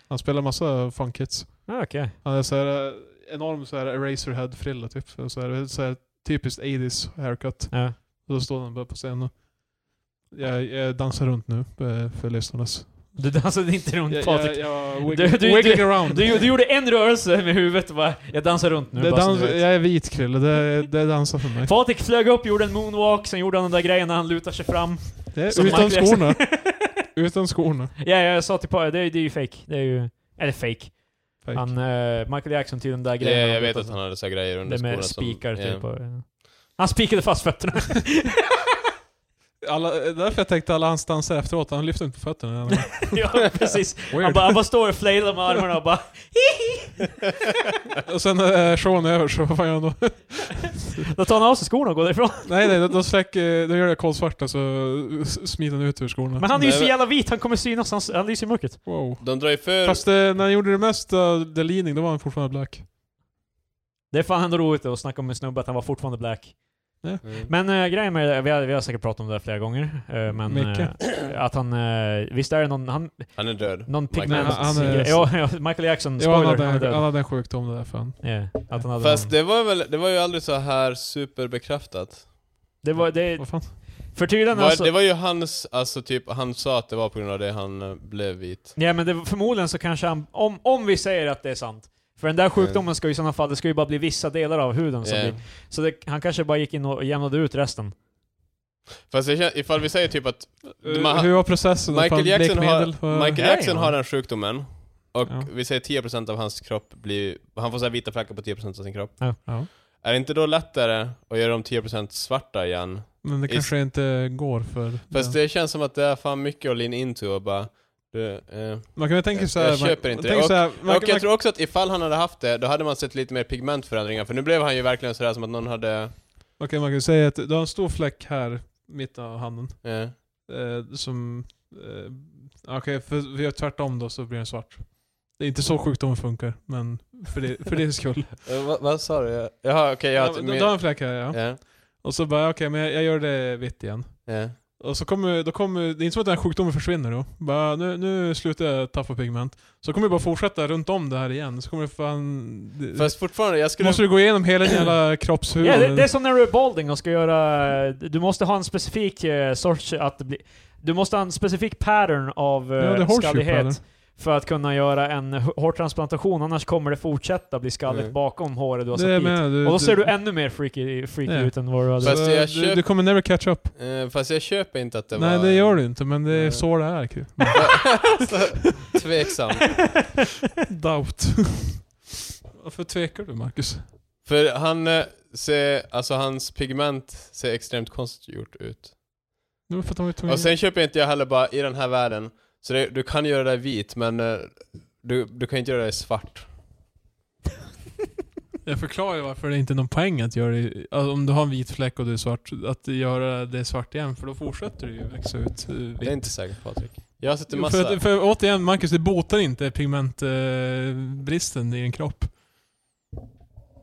Speaker 1: Han spelar massa funk hits.
Speaker 2: Ah, Okej.
Speaker 1: Han är såhär eh, enorm såhär Eraserhead-frilla typ. Så här, så här, typiskt 80s haircut.
Speaker 2: Ja.
Speaker 1: Och då står han bara på scenen och... Jag, jag dansar runt nu eh, för lyssnarnas...
Speaker 2: Du dansade inte runt
Speaker 1: Jag, jag,
Speaker 2: Patrik.
Speaker 1: jag
Speaker 2: Du-
Speaker 1: wigg-
Speaker 2: du- du-
Speaker 1: wiggling around.
Speaker 2: Du, du gjorde en rörelse med huvudet och bara “Jag dansar runt nu”.
Speaker 1: det
Speaker 2: bara, så
Speaker 1: dans,
Speaker 2: du vet.
Speaker 1: jag är vit Krille, det, det dansar för mig.
Speaker 2: Patrik flög upp, gjorde en moonwalk, sen gjorde han den där grejen när han lutar sig fram.
Speaker 1: Det är
Speaker 2: Som
Speaker 1: utan
Speaker 2: Michael Jackson.
Speaker 1: skorna. Utan skorna.
Speaker 2: Ja, jag sa till Patrik, det, är- det är ju fake. Det är ju... Eller fake.
Speaker 1: Fake.
Speaker 2: Han, eh, Michael Jackson till den där
Speaker 3: Ja,
Speaker 2: grejen. när
Speaker 3: jag
Speaker 2: han
Speaker 3: vet
Speaker 2: lutar
Speaker 3: att
Speaker 2: sig
Speaker 3: han hade så här grejer under
Speaker 2: Det
Speaker 3: skorna
Speaker 2: med spikar
Speaker 3: som,
Speaker 2: typ.
Speaker 3: ja.
Speaker 2: och- ja. Han spikade fast fötterna.
Speaker 1: Alla, därför jag tänkte alla hans danser efteråt, han lyfte inte på fötterna.
Speaker 2: ja, precis. Han
Speaker 1: Weird.
Speaker 2: bara, han bara står och flailar med armarna och bara
Speaker 1: Och sen när eh, showen är över så vad fan gör han då?
Speaker 2: Då tar han av sig skorna och går därifrån.
Speaker 1: nej nej, då, då, sträck, eh, då gör jag kolsvarta så eh, s- smiter han ut ur skorna.
Speaker 2: Men han är ju
Speaker 3: Nej,
Speaker 2: så
Speaker 3: men-
Speaker 2: jävla vit, han kommer synas, han, han lyser i mörkret.
Speaker 1: Wow.
Speaker 3: De drar ju för...
Speaker 1: Fast eh, när han gjorde det mesta, The Leaning, då var han fortfarande black.
Speaker 2: Mm, Det är fan ändå roligt att snacka om en snubbe att han var fortfarande black.
Speaker 3: Mm.
Speaker 2: Men eh, grejen med det, där- vi har, vi har säkert pratat om det där flera gånger, eh, men... eh, att han... eh, visst är det någon... Han,
Speaker 3: Han är död.
Speaker 2: någon
Speaker 3: Michael
Speaker 2: pigment...
Speaker 1: Jackson. Nej, han är-
Speaker 2: ja, ja, Michael Jackson,
Speaker 1: Ja, han
Speaker 2: spoiler, han är
Speaker 1: hade, han
Speaker 2: död.
Speaker 1: hade en sjukdom det där fan.
Speaker 2: Ja, att han hade
Speaker 3: Fast
Speaker 2: någon-
Speaker 3: det var, väl, det var ju aldrig så här superbekräftat.
Speaker 2: det var... Det,
Speaker 1: Vad
Speaker 3: eh,
Speaker 1: fan?
Speaker 2: för tydligen
Speaker 3: Var,
Speaker 2: alltså...
Speaker 3: det var ju hans, alltså typ, han sa att det var på grund av det han eh, blev vit.
Speaker 2: Ja men det, var- förmodligen så kanske han... Om, om vi säger att det är sant. För den där
Speaker 1: Mm.
Speaker 2: sjukdomen ska ju i sådana fall, det ska ju bara bli vissa delar av huden som
Speaker 3: Ja.
Speaker 2: blir... Så det, han kanske bara gick in och jämnade ut resten.
Speaker 3: Fast jag känner, ifall vi säger typ att Ma-
Speaker 1: Eh, Hur var processen? då?
Speaker 3: Michael
Speaker 1: Fan,
Speaker 3: Jackson,
Speaker 1: blekmedel?
Speaker 3: har,
Speaker 1: Eh,
Speaker 2: Ja,
Speaker 3: Michael Jackson
Speaker 2: ja.
Speaker 3: har den sjukdomen, och
Speaker 1: Ja.
Speaker 3: vi säger 10% av hans kropp blir... Han får så här vita fläckar på 10% av sin kropp.
Speaker 1: ja.
Speaker 3: Är det inte då lättare att göra dem 10% svarta igen?
Speaker 1: Men det
Speaker 3: Is-
Speaker 1: kanske inte går för...
Speaker 3: Fast
Speaker 1: ja.
Speaker 3: det känns som att det är fan mycket att lean into och bara... Du, eh.
Speaker 1: Man kan väl tänka
Speaker 3: Jag-
Speaker 1: såhär...
Speaker 3: jag
Speaker 1: man-
Speaker 3: köper inte det.
Speaker 1: tänk såhär, man-
Speaker 3: och jag
Speaker 1: man-
Speaker 3: tror också att ifall han hade haft det, då hade man sett lite mer pigmentförändringar, för nu blev han ju verkligen sådär som att någon hade...
Speaker 1: Okej, man kan ju säga att du har en stor fläck här, mitt av handen.
Speaker 3: Eh,
Speaker 1: Eh, som... Eh, Okej, för vi gör tvärtom då så blir den svart. Det är inte så sjukdomen funkar, men för det, för det skull.
Speaker 3: eh, vad, vad sa du? Jaha, okej, jag
Speaker 1: ja, men du, du har en fläck här ja. Mm.
Speaker 3: Ja,
Speaker 1: Och så bara, okej, men jag, jag gör det vitt igen.
Speaker 3: ja.
Speaker 1: Och så kommer, då kommer, det är inte som att den här sjukdomen försvinner då. Bara, nu, nu slutar jag tappa pigment. Så kommer det bara fortsätta runt om det här igen. Så kommer det fan... Det,
Speaker 3: Fast fortfarande, jag skulle...
Speaker 1: måste du gå igenom hela din jävla kroppshuvud.
Speaker 2: Ja, det, det är som när du är balding och ska göra... Du måste ha en specifik eh, sorts... Att det blir, du måste ha en specifik pattern av eh,
Speaker 1: Ja, det är horseshoe
Speaker 2: skallighet.
Speaker 1: pattern.
Speaker 2: För att kunna göra en h- hårtransplantation, annars kommer det fortsätta bli skalligt
Speaker 3: Mm.
Speaker 2: bakom håret du har satt dit.
Speaker 1: menar jag, du-
Speaker 2: och då ser
Speaker 1: du-
Speaker 2: du ännu mer freaky, freaky
Speaker 1: Ja.
Speaker 2: ut än vad du hade...
Speaker 3: Fast
Speaker 1: Så du,
Speaker 3: jag köp-
Speaker 1: du kommer never catch up.
Speaker 3: Eh, fast jag köper inte att det
Speaker 1: Nej
Speaker 3: var...
Speaker 1: det gör du inte, men det är
Speaker 3: Nej.
Speaker 1: så det är. Kul.
Speaker 3: Så, Tveksam.
Speaker 1: Doubt. Varför tvekar du Marcus?
Speaker 3: För han eh, ser, alltså hans pigment ser extremt konstgjort ut.
Speaker 1: Nu har jag fått ta mig tvungen.
Speaker 3: Och sen köper inte jag heller bara i den här världen, så det, du kan göra dig vit men eh, du, du kan inte göra dig svart.
Speaker 1: Jag förklarar ju varför det inte är någon poäng att göra det, alltså, om du har en vit fläck och du är svart, att göra det svart igen för då fortsätter det ju växa ut. eh,
Speaker 3: Det är
Speaker 1: vitt.
Speaker 3: inte säkert Patrik. Jag har sett en
Speaker 1: Jo,
Speaker 3: massa...
Speaker 1: För, att, för återigen Marcus, det botar inte pigmentbristen eh, bristen i din kropp.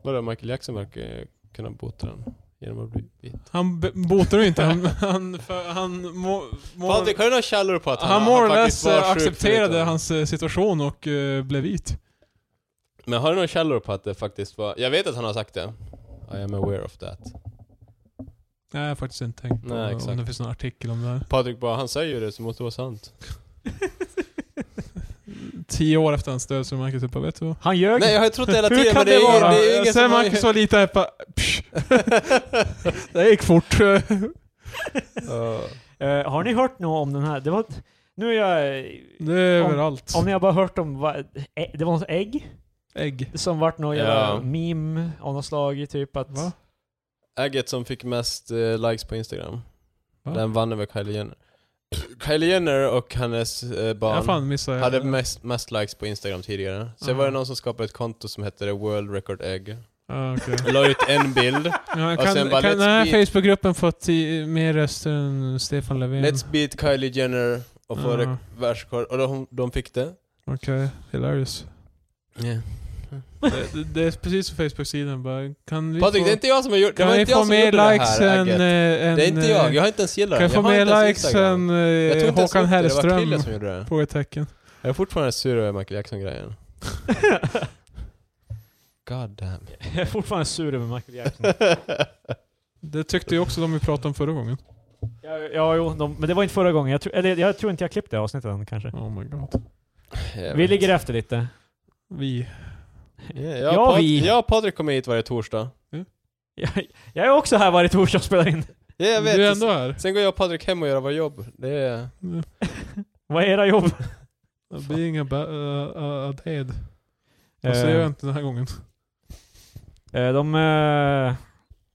Speaker 3: Vadå, Michael Jackson verkar eh, kunna bota den genom att bli vit.
Speaker 1: Han be- botar ju inte, han, han, för, han må, må,
Speaker 3: Patrik, har du några källor på att han,
Speaker 1: han more or
Speaker 3: faktiskt
Speaker 1: less
Speaker 3: var
Speaker 1: eh,
Speaker 3: sjuk
Speaker 1: accepterade
Speaker 3: förutom-
Speaker 1: hans eh, situation och eh, blev vit.
Speaker 3: Men har du några källor på att det faktiskt var... Jag vet att han har sagt det. I am aware of that.
Speaker 1: Nej, jag har faktiskt inte tänkt på
Speaker 3: Nej,
Speaker 1: om
Speaker 3: exakt.
Speaker 1: det finns någon artikel om det här.
Speaker 3: Patrik bara, han säger ju det så måste det vara sant.
Speaker 1: Tio år efter hans död så är Marcus uppe, vet du vad?
Speaker 2: Han ljög!
Speaker 3: Nej jag har ju trott det hela
Speaker 1: Hur
Speaker 3: tiden
Speaker 1: kan
Speaker 3: men
Speaker 1: det,
Speaker 3: det är,
Speaker 1: vara?
Speaker 3: det är ingen
Speaker 1: Sen
Speaker 3: som...
Speaker 1: Marcus var lite här bara, psch. Det gick fort.
Speaker 3: Ja.
Speaker 2: Eh, har ni hört något om den här? Det var... Nu är jag...
Speaker 1: Det är överallt.
Speaker 2: Om ni har bara hört om... Va, ä- det var något ägg
Speaker 1: Ägg.
Speaker 2: som vart något
Speaker 3: Ja.
Speaker 2: jävla meme av något slag, typ att...
Speaker 1: Va?
Speaker 3: Ägget som fick mest eh, likes på Instagram.
Speaker 1: Va?
Speaker 3: Den vann över Kylie Jenner. Kylie Jenner och hennes eh,
Speaker 1: Jag har
Speaker 3: barn
Speaker 1: fan missade
Speaker 3: hade mest, mest likes på Instagram tidigare. Sen var det någon som skapade ett konto som hette The World Record Egg.
Speaker 1: Ja, okej.
Speaker 3: La ut en bild.
Speaker 1: Ja,
Speaker 3: Och
Speaker 1: kan
Speaker 3: sen bara,
Speaker 1: kan den här
Speaker 3: let's beat-
Speaker 1: Facebookgruppen få ti- mer röster än Stefan Löfven?
Speaker 3: Let's beat Kylie Jenner och få
Speaker 1: Ja.
Speaker 3: uh. världsrekord. Och de, de fick det.
Speaker 1: Okej, eh, hilarious. det, det, det är precis som Facebook-sidan bara, kan vi
Speaker 3: Patrik,
Speaker 1: få,
Speaker 3: det är inte jag som har gjort det.
Speaker 1: kan
Speaker 3: var
Speaker 1: vi
Speaker 3: inte jag
Speaker 1: få
Speaker 3: som
Speaker 1: mer
Speaker 3: gjorde det
Speaker 1: likes
Speaker 3: här
Speaker 1: än...
Speaker 3: ägget.
Speaker 1: eh,
Speaker 3: Det är
Speaker 1: än,
Speaker 3: inte jag,
Speaker 1: eh,
Speaker 3: jag har inte ens gillat
Speaker 1: Kan jag
Speaker 3: det.
Speaker 1: få
Speaker 3: har
Speaker 1: mer
Speaker 3: inte ens
Speaker 1: likes
Speaker 3: Instagram.
Speaker 1: än
Speaker 3: Jag tog
Speaker 1: eh,
Speaker 3: inte ens
Speaker 1: Håkan
Speaker 3: upp det, Det var
Speaker 1: Hellström?
Speaker 3: Krille som gjorde det.
Speaker 1: Frågetecken.
Speaker 3: Jag är fortfarande sur över Michael Jackson-grejen. God damn.
Speaker 2: Jag är fortfarande sur över Michael Jackson.
Speaker 1: Det tyckte ju också de vi pratade om förra gången.
Speaker 2: ja, ja, jo, de, men det var inte förra gången. Jag, tror- eller, jag tror inte jag klippte det avsnittet än kanske.
Speaker 1: Oh my god.
Speaker 3: Jag
Speaker 2: Vi
Speaker 3: vet.
Speaker 2: ligger efter lite.
Speaker 1: Vi.
Speaker 3: Ja,
Speaker 2: Ja,
Speaker 3: jag, och Pat-
Speaker 2: vi.
Speaker 3: jag och Patrik kommer hit varje torsdag.
Speaker 2: Jag, jag är också här varje torsdag och spelar in.
Speaker 3: Ja, jag vet.
Speaker 1: Du är ändå här.
Speaker 3: Sen går jag och Patrik hem och gör våra jobb. Det är...
Speaker 2: Vad är era jobb?
Speaker 1: Det blir ingen ba- uh, uh, dead. Och så gör jag inte den här gången.
Speaker 2: Eh, de, eh,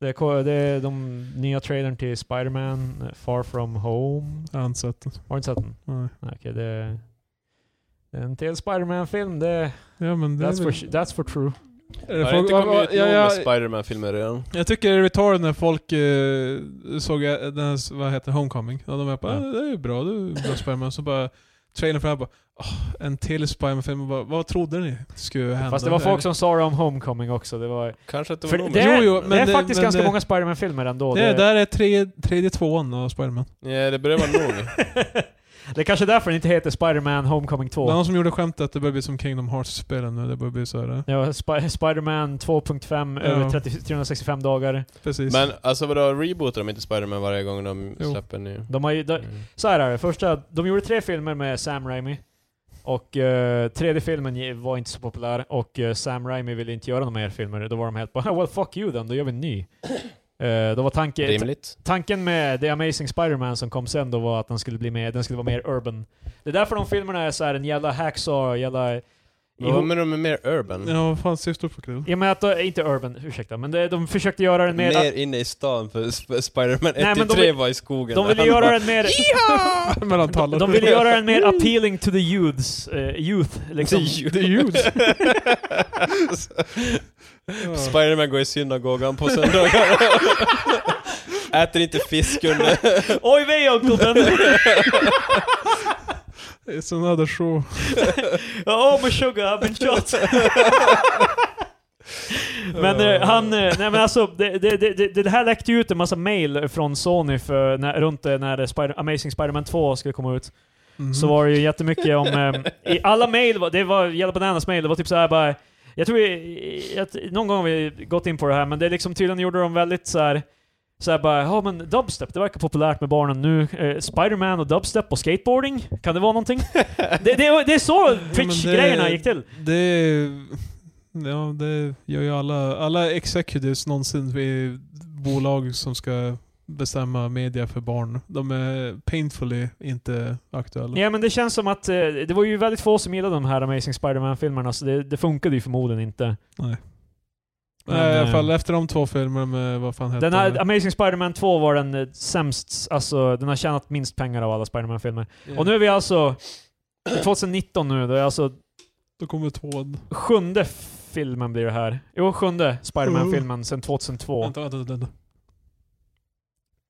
Speaker 2: det, ko- det, de nya trailern till Spider-Man, eh, Far From Home.
Speaker 1: Jag har inte sett den.
Speaker 2: Har du inte sett den?
Speaker 1: Nej.
Speaker 2: Nej, Okej, det, det är en till Spider-Man-film. Det,
Speaker 1: Ja, men det är
Speaker 2: that's, for,
Speaker 1: väl-
Speaker 2: sh- that's for true.
Speaker 1: Är det
Speaker 3: Har det
Speaker 1: folk-
Speaker 3: inte kommit ut
Speaker 1: ja,
Speaker 3: någon
Speaker 1: ja,
Speaker 3: med Spider-Man-filmer redan?
Speaker 1: Jag tycker Return när folk eh, såg eh, den här, vad heter det, Homecoming. Och de var bara
Speaker 2: Ja.
Speaker 1: "Ah, det är ju bra, det är ju bra Spiderman. Så bara trailern fram bara "Ah, en till Spiderman-film. Och bara, Vad trodde ni skulle hända?
Speaker 2: Fast det var folk som sa det om Homecoming också. Det, var,
Speaker 3: Kanske att det
Speaker 2: för
Speaker 3: var någon
Speaker 2: det,
Speaker 3: med-
Speaker 2: är,
Speaker 1: Jo, jo, men
Speaker 2: det är
Speaker 1: det-
Speaker 2: faktiskt
Speaker 1: men
Speaker 2: ganska
Speaker 1: det-
Speaker 2: många Spider-Man-filmer ändå.
Speaker 1: Det, det där är tre, tredje tvåan av Spiderman.
Speaker 3: Ja, det börjar vara nog.
Speaker 2: det är kanske därför den inte heter Spider-Man Homecoming
Speaker 1: Det var
Speaker 2: 2.
Speaker 1: någon som gjorde skämt att det börjar bli som Kingdom Hearts-spelen nu. Det börjar bli eh, såhär.
Speaker 2: Ja, Sp- Spider-Man 2.5
Speaker 1: Ja.
Speaker 2: över 30, 365 dagar.
Speaker 1: Precis.
Speaker 3: Men alltså vadå, rebootar de inte Spider-Man varje gång de
Speaker 1: Jo.
Speaker 3: släpper en ny?
Speaker 2: De har ju, de,
Speaker 3: Mm.
Speaker 2: Så här är det, första, de gjorde tre filmer med Sam Raimi. Och eh, tredje filmen ge- var inte så populär och eh, Sam Raimi ville inte göra några mer filmer. Då var de helt bara “Well fuck you then, då gör vi en ny”. Eh, då var tanke, t-
Speaker 3: Rimligt.
Speaker 2: tanken med The Amazing Spider-Man som kom sen då var att den skulle, bli mer, den skulle vara mer urban. Det är därför de filmerna är så här en jävla hacksaw, jävla...
Speaker 3: Men Vad menar du med mer urban?
Speaker 1: Ja, vad fan syftar du på Krill?
Speaker 2: I och med att, de- inte urban, ursäkta, men det, de försökte göra den mer...
Speaker 3: Mer inne i stan för Sp- Spider-Man
Speaker 2: Nej,
Speaker 3: 1
Speaker 2: men
Speaker 3: till
Speaker 2: de
Speaker 3: 3
Speaker 2: vill-
Speaker 3: var i skogen.
Speaker 2: de ville
Speaker 3: Han
Speaker 2: göra
Speaker 3: bara,
Speaker 2: den mer...
Speaker 1: Mellan
Speaker 2: De,
Speaker 1: tallar.
Speaker 2: de ville göra den mer appealing to the youths, eh, youth. Liksom.
Speaker 1: Det är ljud.
Speaker 3: Spider-Man går i synagogan på söndagar. Äter inte fisk under...
Speaker 2: Oj vej Uncle Ben!
Speaker 1: It's another show.
Speaker 2: Oh my sugar, I've been shot! men eh, han, eh, nej men alltså, det, det, det, det- det här läckte ju ut en massa mail från Sony för när, runt eh, när Spider, Amazing Spider-Man 2 skulle komma ut.
Speaker 1: Mhm.
Speaker 2: Så var det ju jättemycket om, eh, i alla mail, var- det var Yellow Bananas mail, det var typ så här bara, jag tror vi, jag, någon gång har vi gått in på det här, men det är liksom tydligen gjorde de väldigt så här. Så här bara, ja men dubstep, det verkar populärt med barnen nu. Eh, Spider-Man och dubstep och skateboarding, kan det vara någonting? det, det, det är så pitch-grejerna gick till.
Speaker 1: Det... Ja, det gör ju alla, alla executives någonsin vid bolag som ska bestämma media för barn. De är painfully inte aktuella.
Speaker 2: Ja men det känns som att eh, det var ju väldigt få som gillade de här Amazing Spider-Man-filmerna, så det, det funkade ju förmodligen inte.
Speaker 1: Nej,
Speaker 2: Men,
Speaker 1: I alla fall
Speaker 2: eh,
Speaker 1: efter de två filmerna med, vad fan hette
Speaker 2: Den här, Amazing Spider-Man 2 var den eh, sämst, alltså den har tjänat minst pengar av alla Spider-Man-filmer. Och nu är vi alltså 2019 nu, det är alltså
Speaker 1: Då kommer tvåan.
Speaker 2: sjunde filmen blir det här. Jo, sjunde Spider-Man-filmen sedan 2002.
Speaker 1: Vänta, vänta, vänta.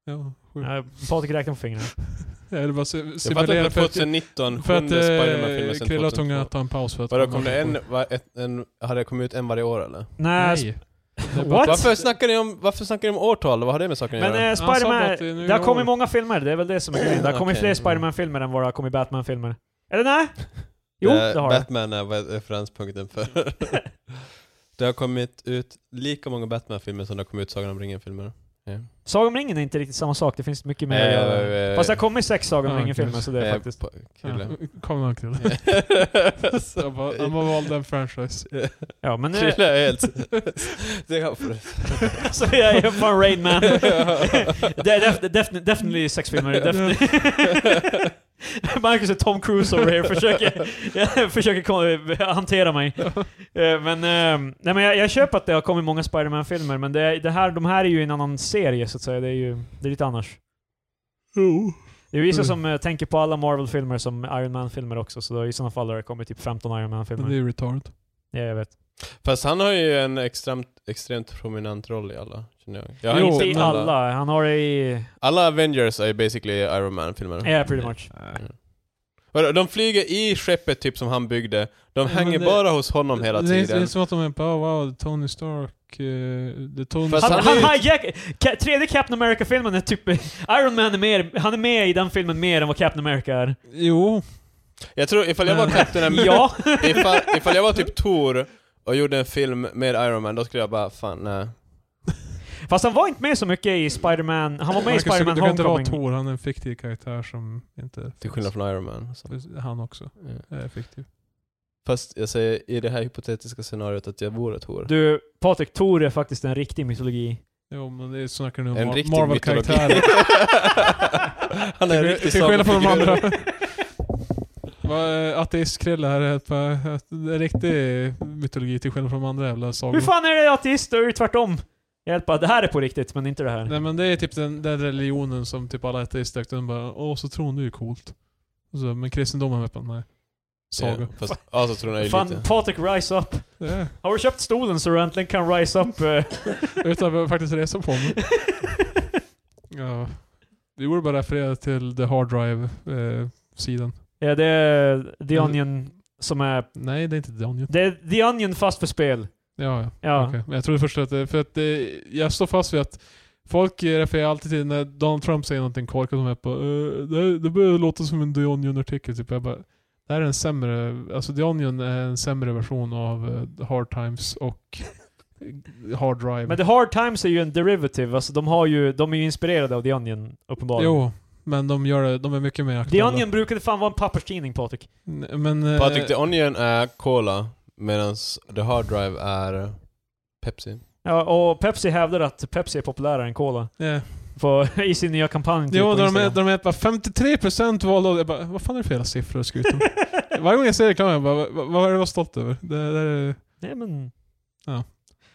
Speaker 1: Ja, sju.
Speaker 2: Ja, Patrik räknar på fingrarna.
Speaker 1: Jag vill bara si-
Speaker 3: Jag fattar
Speaker 1: simulera
Speaker 2: eh,
Speaker 3: inte,
Speaker 1: för att,
Speaker 3: 2019,
Speaker 1: för att
Speaker 3: sjunde
Speaker 1: eh,
Speaker 3: Spider-Man-filmen sen
Speaker 1: Krilla och Tunga
Speaker 3: 2002.
Speaker 1: tar en paus för att...
Speaker 3: Vadå, kom det en, va, ett, en, hade det kommit ut en varje år eller?
Speaker 2: Nej,
Speaker 1: Nej.
Speaker 2: What?
Speaker 3: Varför snackar ni om, varför snackar ni om årtal? Vad har det med saken att
Speaker 2: men
Speaker 3: göra?
Speaker 2: eh,
Speaker 1: sa bara
Speaker 2: Spider-Man,
Speaker 1: att det är nu
Speaker 2: det har
Speaker 1: i år.
Speaker 2: kommit många filmer, det är väl det som är grejen. Det har kommit
Speaker 3: Okej.
Speaker 2: fler Spider-Man-filmer än vad det har kommit Batman-filmer. Eller nej? Jo,
Speaker 3: Eh,
Speaker 2: det har det.
Speaker 3: Batman är vad- referenspunkten för... det har kommit ut lika många Batman-filmer som det har kommit ut Sagan om ringen-filmer. Ja.
Speaker 2: Sagan om ringen är inte riktigt samma sak, det finns mycket mer att
Speaker 3: Eh,
Speaker 2: göra.
Speaker 3: eh,
Speaker 2: Fast det har kommit sex Sagan om
Speaker 1: ja,
Speaker 2: ringen-filmer, så det är
Speaker 3: eh,
Speaker 2: faktiskt...
Speaker 3: på- Krille.
Speaker 1: Kom ihåg till det. Jag bara, han bara valde en franchise.
Speaker 2: Ja, men eh, nu...
Speaker 3: Krille är helt... Det är för
Speaker 2: så alltså, jag är fan Rain Man. det är def- def- definitely sex filmer. Definitely. Marcus är Tom Cruise over here, försöker, försöker kom- hantera mig. Eh, Men, ehm, nej, men jag, jag köper att det har kommit många Spider-Man-filmer, men det, är- det här, de här är ju en annan serie så att säga. Det är ju det är lite annars. Det är vissa
Speaker 1: Mm.
Speaker 2: som eh, tänker på alla Marvel-filmer som Iron Man-filmer också, så då, i sådana fall har det kommit typ 15 Iron Man-filmer.
Speaker 1: Men det är ju retard.
Speaker 2: Ja, jag vet.
Speaker 3: Fast han har ju en extremt, extremt prominent roll i alla, känner jag. jag har
Speaker 1: Jo,
Speaker 2: inte
Speaker 3: sett
Speaker 2: i alla,
Speaker 3: eh,
Speaker 2: han har det i...
Speaker 3: Alla Avengers är ju basically Iron Man-filmer.
Speaker 2: Ja, pretty much.
Speaker 3: Vadå, De flyger i skeppet typ som han byggde. De
Speaker 1: Men
Speaker 3: hänger
Speaker 1: det-
Speaker 3: bara hos honom hela
Speaker 1: det, är, det är
Speaker 3: tiden.
Speaker 1: som att de är bara, oh, wow, Tony Stark. eh, det är Tony
Speaker 3: Fast
Speaker 1: Stark.
Speaker 2: Han,
Speaker 3: Alltså, han
Speaker 2: han,
Speaker 3: är ju-
Speaker 2: hijack- Ca- tredje Captain America-filmen är typ... Iron Man är mer, han är med i den filmen mer än vad Captain America är.
Speaker 1: Jo.
Speaker 3: Jag tror ifall jag var
Speaker 1: Men-
Speaker 3: Captain America,
Speaker 2: Ja!
Speaker 3: ifall, ifall jag var typ Thor och gjorde en film med Iron Man, då skulle jag bara fan nej.
Speaker 2: Fast han var inte med så mycket i Spider-Man... Han var med i
Speaker 1: Marcus, du,
Speaker 2: Spider-Man
Speaker 1: du kan inte vara
Speaker 2: Homecoming.
Speaker 1: Thor, han är en fiktiv karaktär som inte...
Speaker 3: Till skillnad från Iron Man. Så.
Speaker 1: från... Han också.
Speaker 3: Ja.
Speaker 1: Är fiktiv.
Speaker 3: Fast jag säger i det här hypotetiska scenariot att jag vore Thor.
Speaker 2: Du, Patrik, Thor är faktiskt en riktig mytologi.
Speaker 1: Jo men det är snackar nu om
Speaker 3: En
Speaker 1: Mar-
Speaker 3: riktig
Speaker 1: Marvel-karaktärer.
Speaker 3: Han är en riktig
Speaker 1: Till skillnad från de
Speaker 3: sagofigur.
Speaker 1: andra. Vad, eh, Ateist-Krille här är ett par- ett- en riktig mytologi till skillnad från de andra jävla sagorna.
Speaker 2: Hur fan är det ateist? Då är det ju tvärtom. Hjälp, det här är på riktigt, men inte det här.
Speaker 1: Nej men det är typ den, den religionen som typ alla ateister och de bara Åh, så tron det är ju coolt. Och Så, men kristendomen vet man, nej. Saga.
Speaker 3: Ja, fast alltså tror jag är
Speaker 2: Fan,
Speaker 3: lite...
Speaker 2: Patrik, rise up.
Speaker 1: Det är,
Speaker 2: Har du köpt stolen så du äntligen kan rise up? eh?
Speaker 1: utan att behöva faktiskt resa på mig. Ja. Vi borde bara referera till the hard eh, drive-sidan.
Speaker 2: ja, det är The
Speaker 1: Mm.
Speaker 2: Onion som är...
Speaker 1: nej, det är inte The Onion.
Speaker 2: Det är The Onion fast för
Speaker 1: Mm.
Speaker 2: spel.
Speaker 1: Ja, ja.
Speaker 2: Ja.
Speaker 1: Okej, men jag trodde först att det, för att det, jag står fast vid att folk refererar alltid till när Donald Trump säger någonting korkat, de är på uh, det, det börjar låta som en The Onion-artikel, typ. Jag bara, det här är en sämre, alltså The Onion är en sämre version av eh, The Hard Times och Hard Drive.
Speaker 2: Men The Hard Times är ju en derivative, alltså de, har ju, de är ju inspirerade av The Onion, uppenbarligen.
Speaker 1: jo, men de gör det, de är mycket mer
Speaker 2: The
Speaker 1: aktuella.
Speaker 2: Onion brukade fan vara en papperstidning, Patrik.
Speaker 1: N- Men, eh,
Speaker 3: Patrik, The Onion är Cola, medan The Hard Drive är Pepsi.
Speaker 2: Ja, och Pepsi hävdar att Pepsi är populärare än Cola.
Speaker 1: yeah.
Speaker 2: På, I sin nya kampanj typ,
Speaker 1: Jo,
Speaker 2: på
Speaker 1: där de, är,
Speaker 2: Instagram.
Speaker 1: där de är bara 53% valde av- jag bara, vad fan är det för jävla siffror du skriver ut om? Varje gång jag ser reklamen, jag bara, "Vad- vad, vad är det att vara stolt över? Det, det är
Speaker 2: Nej, men...
Speaker 1: Ja.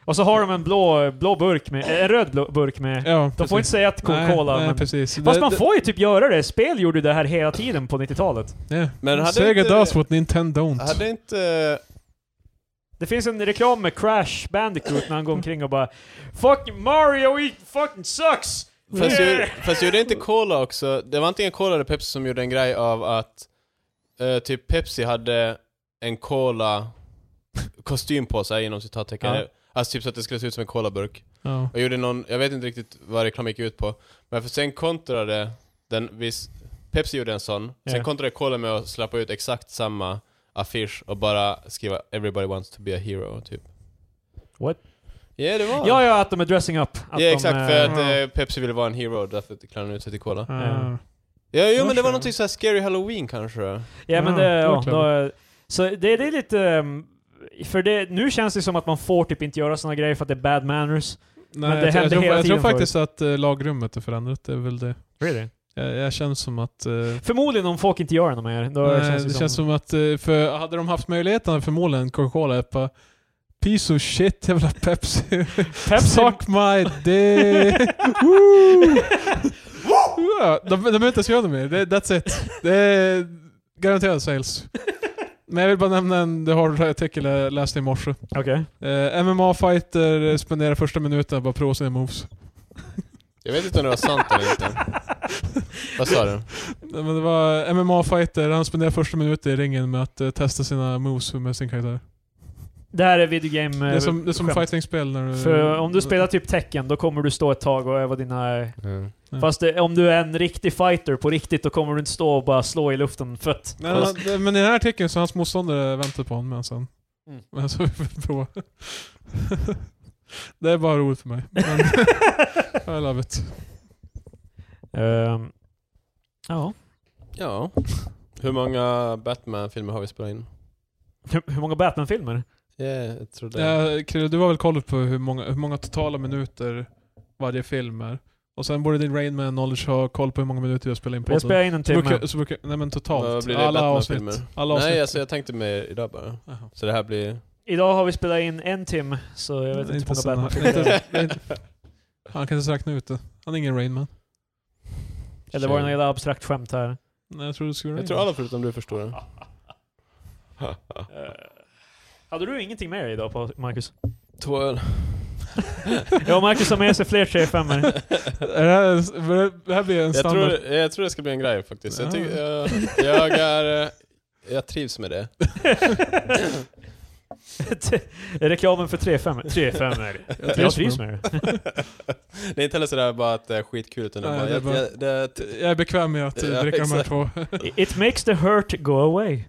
Speaker 2: Och så har de en blå, blå burk med, en röd blå burk med.
Speaker 1: Ja,
Speaker 2: De får inte säga att Coca-Cola,
Speaker 1: Nej, nej,
Speaker 2: men...
Speaker 1: precis.
Speaker 2: Fast man får ju typ göra det. Spel gjorde ju det här hela tiden på 90-talet.
Speaker 1: yeah.
Speaker 3: Men hade
Speaker 1: Sega
Speaker 3: inte-
Speaker 1: does what Nintendo don't.
Speaker 3: Hade inte...
Speaker 2: Det finns en reklam med Crash Bandicoot när han går omkring och bara Fucking Mario, he fucking sucks!
Speaker 3: Fast, gjorde, fast gjorde inte Cola också... Det var antingen Cola eller Pepsi som gjorde en grej av att eh, typ Pepsi hade en Cola-kostym på sig, inom citattecken.
Speaker 2: Ja.
Speaker 3: Alltså typ så att det skulle se ut som en Cola-burk.
Speaker 1: Ja.
Speaker 3: Och gjorde någon... Jag vet inte riktigt vad reklamen gick ut på. Men för sen kontrade den viss... Pepsi gjorde en sån. Sen
Speaker 2: Ja.
Speaker 3: kontrade Cola med att släppa ut exakt samma affisch och bara skriva 'Everybody wants to be a hero' typ.
Speaker 2: What?
Speaker 3: Ja, det var
Speaker 2: Ja, ja, att de är dressing up. Att
Speaker 3: Ja
Speaker 2: de,
Speaker 3: exakt, för
Speaker 2: eh,
Speaker 3: att eh, Pepsi ville vara en hero, därför klär de ut sig till Cola.
Speaker 1: Ja.
Speaker 3: Ja, jo men det
Speaker 1: Varför?
Speaker 3: var någonting såhär scary halloween kanske.
Speaker 2: Ja, men
Speaker 1: Ja,
Speaker 2: det,
Speaker 1: det
Speaker 2: ja,
Speaker 1: var
Speaker 2: då, eh, så det, det är lite... ehm, För det, nu känns det som att man får typ inte göra såna grejer för att det är bad manners.
Speaker 1: Nej,
Speaker 2: det
Speaker 1: jag, tror-
Speaker 2: hände
Speaker 1: jag, tror,
Speaker 2: hela
Speaker 1: jag tror
Speaker 2: tiden
Speaker 1: faktiskt att eh, lagrummet är förändrat, det är väl det.
Speaker 2: Really?
Speaker 1: Jag, jag känns som att... eh,
Speaker 2: Förmodligen om folk inte gör det mer. Då
Speaker 1: nej,
Speaker 2: känns
Speaker 1: det
Speaker 2: det som,
Speaker 1: känns som att... eh, för hade de haft möjligheten hade förmodligen Coca-Cola är på Piece of shit jävla Pepsi.
Speaker 2: Pepsi,
Speaker 1: Suck my dick. Woo! Ja, de de behöver inte ens göra något mer. Det, that's it. Det är garanterad sales. Men jag vill bara nämna en The Hard artikel jag läste i morse.
Speaker 2: Okej.
Speaker 1: Eh, MMA-fighter spenderar första minuten att bara prova sina moves.
Speaker 3: Jag vet inte om det var sant eller inte. Vad sa du?
Speaker 1: Nej, Men det var MMA-fighter, han spenderar första minuten i ringen med att eh, testa sina moves med sin karaktär.
Speaker 2: Det här är videogame...
Speaker 1: Det är som, det är som
Speaker 2: skämt.
Speaker 1: fighting-spel när du...
Speaker 2: För om du spelar typ tecken, då kommer du stå ett tag och öva dina...
Speaker 1: Ja.
Speaker 2: Fast det, om du är en riktig fighter på riktigt, då kommer du inte stå och bara slå i luften för att...
Speaker 1: Nej, men han- men i den här artikeln
Speaker 3: Mm.
Speaker 1: så hans motståndare väntar på honom medan han...
Speaker 2: Mm.
Speaker 1: Men så vi får prova. Det är bara roligt för mig. Men I love it.
Speaker 2: Ehm, ja.
Speaker 3: Ja. Hur många Batman-filmer har vi spelat in?
Speaker 2: Hur, hur många Batman-filmer?
Speaker 3: Ja, jag tror det.
Speaker 1: Ja, Krille, Eh, du har väl koll på hur många, hur många totala minuter varje film är? Och sen borde din Rainman knowledge ha koll på hur många minuter vi har spelat in på
Speaker 2: Jag spelar in en timme.
Speaker 1: brukar, så brukar, Nej men
Speaker 3: Vad
Speaker 1: totalt.
Speaker 3: blir det?
Speaker 1: alla
Speaker 3: Batman-filmer?
Speaker 1: avsnitt. Alla avsnitt.
Speaker 3: Nej, alltså jag tänkte mer idag bara.
Speaker 1: Jaha.
Speaker 3: Så det här blir...
Speaker 2: Idag har vi spelat in en timme, så jag vet
Speaker 1: Det är
Speaker 2: inte hur många
Speaker 1: såna-
Speaker 2: Batman-filmer det är.
Speaker 1: inte- det är inte- Han kan inte räkna ut det. Han är ingen Rainman.
Speaker 2: Eller var det något jävla abstrakt skämt här?
Speaker 1: Nej jag tror du skulle
Speaker 3: Jag tror alla förutom du förstår det.
Speaker 2: Eh, hade du ingenting med dig idag, på Marcus?
Speaker 3: Två öl.
Speaker 2: Jag och Marcus har med sig fler 3-5
Speaker 1: Är det, här, det här blir en
Speaker 3: Jag
Speaker 1: standard. Ah.
Speaker 3: tror, jag tror det ska bli en grej faktiskt. Jag,
Speaker 1: Ja.
Speaker 3: tycker, jag, jag, är, eh, jag trivs med det.
Speaker 2: Reklamen för 3-5 3-5
Speaker 1: Jag
Speaker 2: Jag
Speaker 1: trivs
Speaker 2: trivs
Speaker 1: med
Speaker 2: med det.
Speaker 3: Det är inte heller sådär bara att det är skitkul utan
Speaker 1: Nej,
Speaker 3: det
Speaker 1: det
Speaker 3: är
Speaker 1: är
Speaker 3: bara...
Speaker 1: bara-
Speaker 3: Jag, jag, det,
Speaker 1: dem. Jag är bekväm med att eh,
Speaker 3: Ja,
Speaker 1: dricka de här
Speaker 3: exakt.
Speaker 1: två.
Speaker 2: It makes the hurt go away.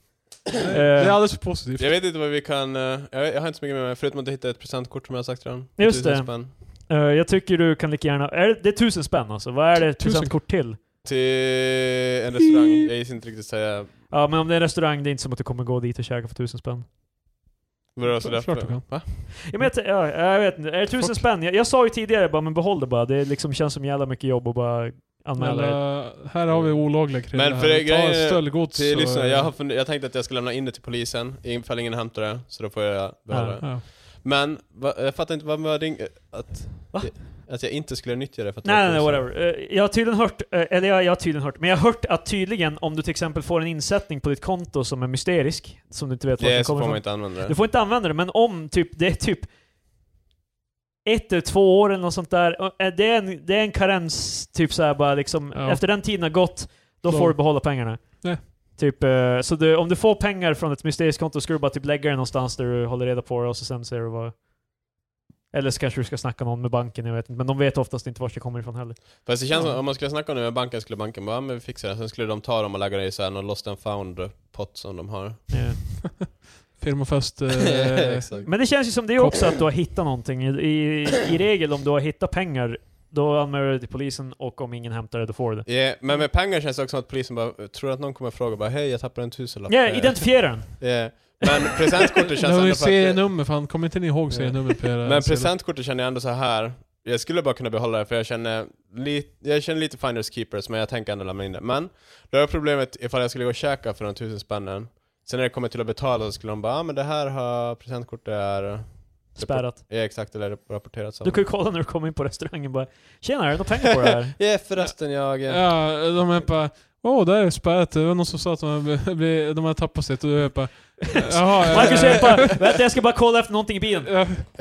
Speaker 2: Eh,
Speaker 1: det är alldeles för positivt.
Speaker 3: jag vet inte vad vi kan... eh, Jag, jag har inte så mycket med mig förutom att hitta ett presentkort som jag har sagt redan.
Speaker 2: Just det.
Speaker 3: Tusen spänn.
Speaker 2: Eh, jag tycker du kan lika gärna... Är det, det är tusen spänn alltså? Vad är det ett
Speaker 1: Tusen.
Speaker 2: presentkort till?
Speaker 3: Till en restaurang. Jag gissar inte riktigt säga
Speaker 2: Ja, men om det är en restaurang, det är inte som att du kommer gå dit och käka för tusen spänn.
Speaker 3: vad det var sådär
Speaker 1: Klart du kan.
Speaker 3: Va?
Speaker 2: Ja, men jag, t- ja, jag vet inte, är det tusen
Speaker 1: Fuck.
Speaker 2: spänn? Jag, jag sa ju tidigare bara, men behåll det bara. Det liksom känns som jävla mycket jobb att bara
Speaker 1: Men,
Speaker 2: anmäla det.
Speaker 1: eh, här har vi olagliga grejer.
Speaker 3: Men för det- grejen är-
Speaker 1: Ta stöldgods
Speaker 3: Till
Speaker 1: och-
Speaker 3: lyssnarna, jag, har fund- jag tänkte att jag skulle lämna in det till polisen ifall ingen hämtar det, så då får jag behålla det.
Speaker 1: Ja.
Speaker 3: Men, va, jag fattar inte, vad var din... eh, Att, eh,
Speaker 2: Va?
Speaker 3: att jag inte skulle nyttja det för att det
Speaker 2: Nej,
Speaker 3: var
Speaker 2: nej, nej,
Speaker 3: tusen.
Speaker 2: whatever. Eh, Jag har tydligen hört, eh, eller jag, jag har tydligen hört, men jag har hört att tydligen om du till exempel får en insättning på ditt konto som är mysterisk, som du inte vet var den
Speaker 3: Det så
Speaker 2: kommer
Speaker 3: får man
Speaker 2: ifrån.
Speaker 3: inte använda
Speaker 2: Du
Speaker 3: det.
Speaker 2: får inte använda det, men om typ, det är typ ett eller två år eller något sånt där. och, eh, Det är en, det är en karens, typ såhär bara liksom,
Speaker 1: Ja.
Speaker 2: efter den tiden har gått, då
Speaker 1: Då-
Speaker 2: får du behålla pengarna.
Speaker 1: Nej.
Speaker 2: Typ, eh, så du, om du får pengar från ett mysteriskt konto ska du bara typ lägga det någonstans där du håller reda på det och så sen ser du vad... Eller så kanske du ska snacka någon med banken, jag vet inte. Men de vet oftast inte vart det kommer ifrån heller.
Speaker 3: Fast det känns som, om man skulle snacka om det med banken skulle banken bara, "Ja, men vi fixar det. Sen skulle de ta dem och lägga det i såhär någon lost and found pott som de har.
Speaker 2: Eh,
Speaker 1: Firmafest... eh,
Speaker 3: Exakt.
Speaker 2: Men det känns ju som det är också att du har hittat någonting. I, i, I regel om du har hittat pengar, då anmäler du det till polisen och om ingen hämtar det, då får du det.
Speaker 3: Ja, men med pengar känns det också som att polisen bara, tror du att någon kommer fråga bara hej jag tappade en tusenlapp?
Speaker 2: Ja,
Speaker 3: Eh,
Speaker 2: identifiera den!
Speaker 3: ja. Men presentkortet känns
Speaker 1: Det har
Speaker 3: ändå
Speaker 1: ju
Speaker 3: för att...
Speaker 1: serienummer fan, kommer inte ni ihåg serienumret på
Speaker 2: Eh,
Speaker 1: era
Speaker 3: Men
Speaker 1: sedlar?
Speaker 3: presentkortet känner jag ändå så här. Jag skulle bara kunna behålla det för jag känner, li, jag känner lite finders keepers men jag tänker ändå lämna in det. Men då är problemet ifall jag skulle gå och käka för de tusen spännen. Sen när det kommer till att betala så skulle de bara ah, men det här har presentkortet är,
Speaker 2: Spärrat.
Speaker 3: är exakt eller rapporterat som.
Speaker 2: Du kan ju kolla när du kommer in på restaurangen bara Tjena, är det några pengar på det här?
Speaker 3: Ja förresten jag... eh,
Speaker 1: Ja, de är bara Åh, där är spärret. Det var någon som sa att de hade, de hade tappat sitt och du är bara Jaha, eh,
Speaker 2: Marcus säger bara Vänta, jag ska bara kolla efter någonting i bilen.
Speaker 1: eh,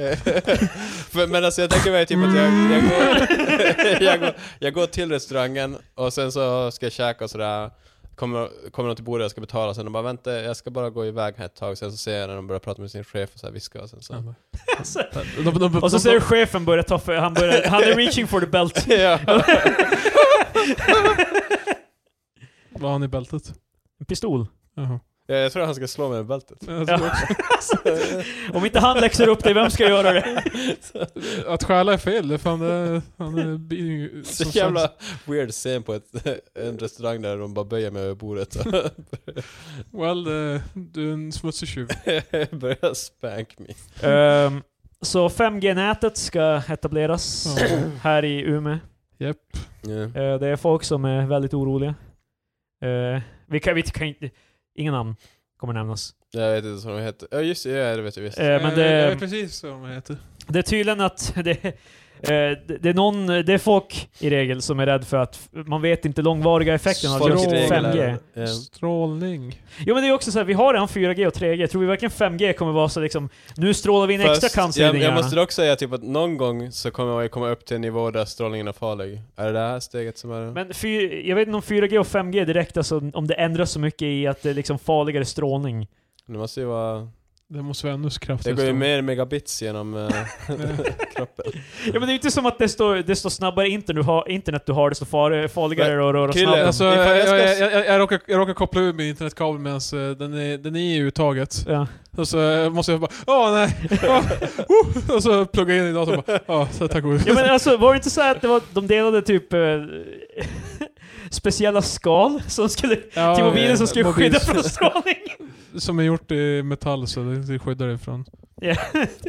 Speaker 3: För, men alltså jag tänker mig typ att jag, jag, går, jag, går, jag går till restaurangen och sen så ska jag käka och sådär. Kommer, kommer de till bordet och ska betala sen de bara vänta jag ska bara gå iväg här ett tag. Sen så ser jag när de börjar prata med sin chef och så här viska och sen så.
Speaker 1: de- de- de-
Speaker 2: Och så
Speaker 1: de-
Speaker 2: ser du chefen börja ta för, han, börjar, han är reaching for the belt.
Speaker 3: ja.
Speaker 1: Var han i bältet?
Speaker 2: En pistol.
Speaker 1: Jaha.
Speaker 3: Ja, jag tror han ska slå mig i bältet.
Speaker 1: Jag
Speaker 2: Ja.
Speaker 1: tror också-
Speaker 2: Om inte han läxar upp dig, vem ska göra det?
Speaker 1: Att stjäla är fel. Det är fan det... Han är bi-
Speaker 3: Så
Speaker 1: som
Speaker 3: jävla weird scen på ett, en restaurang där de bara böjer mig över bordet och
Speaker 1: sagt. Well, eh, du är en smutsig tjuv.
Speaker 3: börjar spank me.
Speaker 2: Ehm, så 5G-nätet ska etableras
Speaker 1: Ja.
Speaker 2: här i Umeå.
Speaker 1: Japp.
Speaker 3: Ja.
Speaker 2: Eh, det är folk som är väldigt oroliga. Eh, vi kan, vi kan inte... Inga namn kommer nämnas.
Speaker 3: Jag vet inte vad de heter. Ja just det, ja, det vet jag visst.
Speaker 2: Eh, men det,
Speaker 1: Jag vet precis vad han heter.
Speaker 2: Det är tydligen att det, eh, det, det, är någon, det är folk i regel som är rädd för att f- man vet inte långvariga effekten av
Speaker 1: Folk
Speaker 2: just
Speaker 1: i regel är-
Speaker 2: 5G.
Speaker 3: Ja.
Speaker 1: Strålning.
Speaker 2: Jo men det är också så här, vi har redan 4G och 3G, tror vi verkligen 5G kommer vara så liksom, nu strålar vi in extra
Speaker 3: Fast
Speaker 2: cancer i
Speaker 3: jag,
Speaker 2: din
Speaker 3: jag
Speaker 2: hjärna.
Speaker 3: måste dock säga typ att någon gång så kommer man ju komma upp till en nivå där strålningen är farlig. Är det det här steget som är...
Speaker 2: Men fy, jag vet inte om 4G och 5G direkt, alltså om det ändras så mycket i att det är liksom farligare strålning.
Speaker 3: Det måste ju vara...
Speaker 1: Det måste vara ännu
Speaker 3: Det
Speaker 1: kraftigare.
Speaker 3: går ju mer megabits genom eh, kroppen.
Speaker 2: Ja men det är ju inte som att desto, desto snabbare internet du har, internet du har desto far, farligare och röra
Speaker 3: Kille,
Speaker 2: snabbare.
Speaker 1: Alltså,
Speaker 3: Ifall jag
Speaker 1: jag,
Speaker 3: ska-
Speaker 1: jag, jag, jag, råkar, jag råkar koppla ur min internetkabel medan eh, den är, den är i uttaget.
Speaker 2: Ja.
Speaker 1: Och så eh, måste jag bara Åh nej! Åh, oh, och så plugga in i datorn och bara Ja, så tack gode.
Speaker 2: ja men alltså var det inte så här att det var, de delade typ eh, speciella skal som skulle,
Speaker 1: Ja,
Speaker 2: till mobilen som
Speaker 1: eh,
Speaker 2: skulle
Speaker 1: mobil-
Speaker 2: skydda från strålning?
Speaker 1: Som är gjort i metall så det det skyddar det ifrån.
Speaker 2: Ja.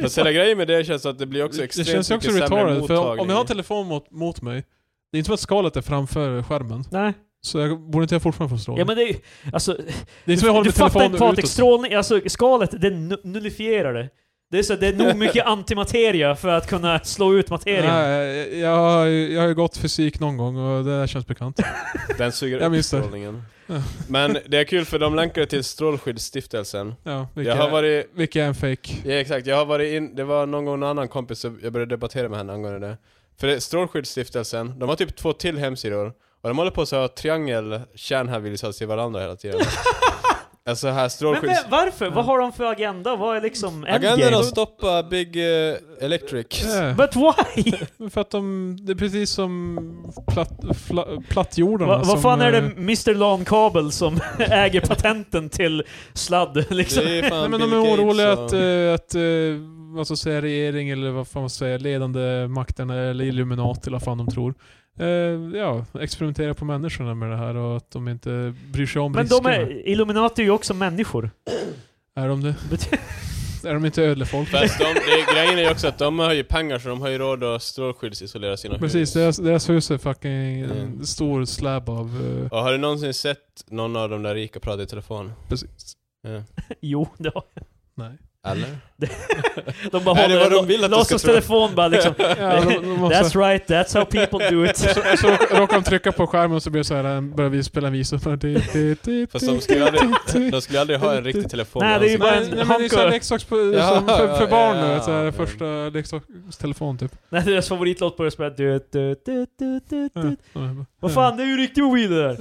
Speaker 3: Fast hela grejen med det känns att det blir också
Speaker 1: Det
Speaker 3: extremt
Speaker 1: känns ju också
Speaker 3: mycket sämre
Speaker 1: retarded, för om-
Speaker 3: mottagning.
Speaker 1: om jag har en telefon mot, mot mig, det är inte som att skalet är framför skärmen.
Speaker 2: Nej.
Speaker 1: Så jag borde inte jag fortfarande få strålning?
Speaker 2: Ja men det är ju, alltså,
Speaker 1: det är som att jag håller
Speaker 2: du
Speaker 1: min
Speaker 2: fattar
Speaker 1: telefon
Speaker 2: inte Patrik,
Speaker 1: utåt.
Speaker 2: strålning, alltså skalet, det nu- nullifierar det. Det är så att det är nog mycket antimateria för att kunna slå ut materien.
Speaker 1: Nej, jag, har ju- jag har ju gått fysik någon gång och det där känns bekant.
Speaker 3: Den suger
Speaker 1: Jag
Speaker 3: upp
Speaker 1: minns det.
Speaker 3: strålningen.
Speaker 1: Ja.
Speaker 3: Men det är kul för de länkar till Strålskyddsstiftelsen.
Speaker 1: Ja, vilka,
Speaker 3: Jag har varit
Speaker 1: vilka är en fake?
Speaker 3: Ja exakt, jag har varit in, det var någon gång en annan kompis som jag började debattera med henne angående det. För det, Strålskyddsstiftelsen, de har typ två till hemsidor. Och de håller på så här triangel kärnhänvisar till varandra hela tiden. alltså här
Speaker 2: Men,
Speaker 3: strålskydds...
Speaker 2: men varför? Vad har de för agenda? Vad är liksom
Speaker 3: Agendan
Speaker 2: endgame?
Speaker 3: att stoppa Big eh, Electric.
Speaker 1: Ja,
Speaker 2: But why?
Speaker 1: Eh, för att de, det är precis som platt, fla, plattjordarna
Speaker 2: Va, vad
Speaker 1: som,
Speaker 2: fan är det
Speaker 1: eh,
Speaker 2: Mr LAN-kabel som äger patenten till sladd liksom?
Speaker 3: Det är fan
Speaker 1: Nej men de
Speaker 3: Bill
Speaker 1: är
Speaker 3: Gates
Speaker 1: oroliga
Speaker 3: och-
Speaker 1: att, eh, att eh, vad ska jag säga, regering eller vad fan man ska säga, ledande makten eller Illuminati eller vad fan de tror. Eh, ja, experimentera på människorna med det här och att de inte bryr sig om
Speaker 2: Men de
Speaker 1: riskerna.
Speaker 2: är, Illuminati är ju också människor.
Speaker 1: Är de det?
Speaker 2: Bet-
Speaker 1: Är de inte ödlefolk?
Speaker 3: Fast de, det, grejen är ju också att de har ju pengar så de har ju råd att strålskyddsisolera sina
Speaker 1: Precis,
Speaker 3: hus.
Speaker 1: deras, deras hus är fucking
Speaker 3: Mm.
Speaker 1: en stor slab av... eh,
Speaker 3: Och har du någonsin sett någon av de där rika prata i telefon?
Speaker 1: precis.
Speaker 3: Ja.
Speaker 2: jo, det har
Speaker 1: Nej.
Speaker 3: Eller?
Speaker 2: de bara
Speaker 3: Nej, det är
Speaker 2: håller
Speaker 3: vad de vill att de ska
Speaker 2: låtsas
Speaker 3: tro.
Speaker 2: telefon bara liksom.
Speaker 1: Ja, de, de måste,
Speaker 2: That's right, that's how people do it.
Speaker 1: så, så råkar de trycka på skärmen och så blir det så här, eh, börjar vi spela en visa.
Speaker 3: Fast de skulle aldrig, de skulle aldrig ha en riktig telefon i
Speaker 2: Nej, det är ju
Speaker 3: ansiktet.
Speaker 2: bara
Speaker 1: Nej,
Speaker 2: en
Speaker 1: nej, men det är
Speaker 2: hanko.
Speaker 1: såhär leksaks på,
Speaker 3: Ja,
Speaker 1: som för, för
Speaker 3: ja,
Speaker 1: barn
Speaker 3: ja,
Speaker 1: nu. vet du, så här,
Speaker 3: ja.
Speaker 1: första leksakstelefon typ.
Speaker 2: När deras favoritlåt börjar spela... Du, du, du, du, du,
Speaker 1: Ja,
Speaker 2: du.
Speaker 1: ja.
Speaker 2: Vad fan, det är ju riktig mobil det där!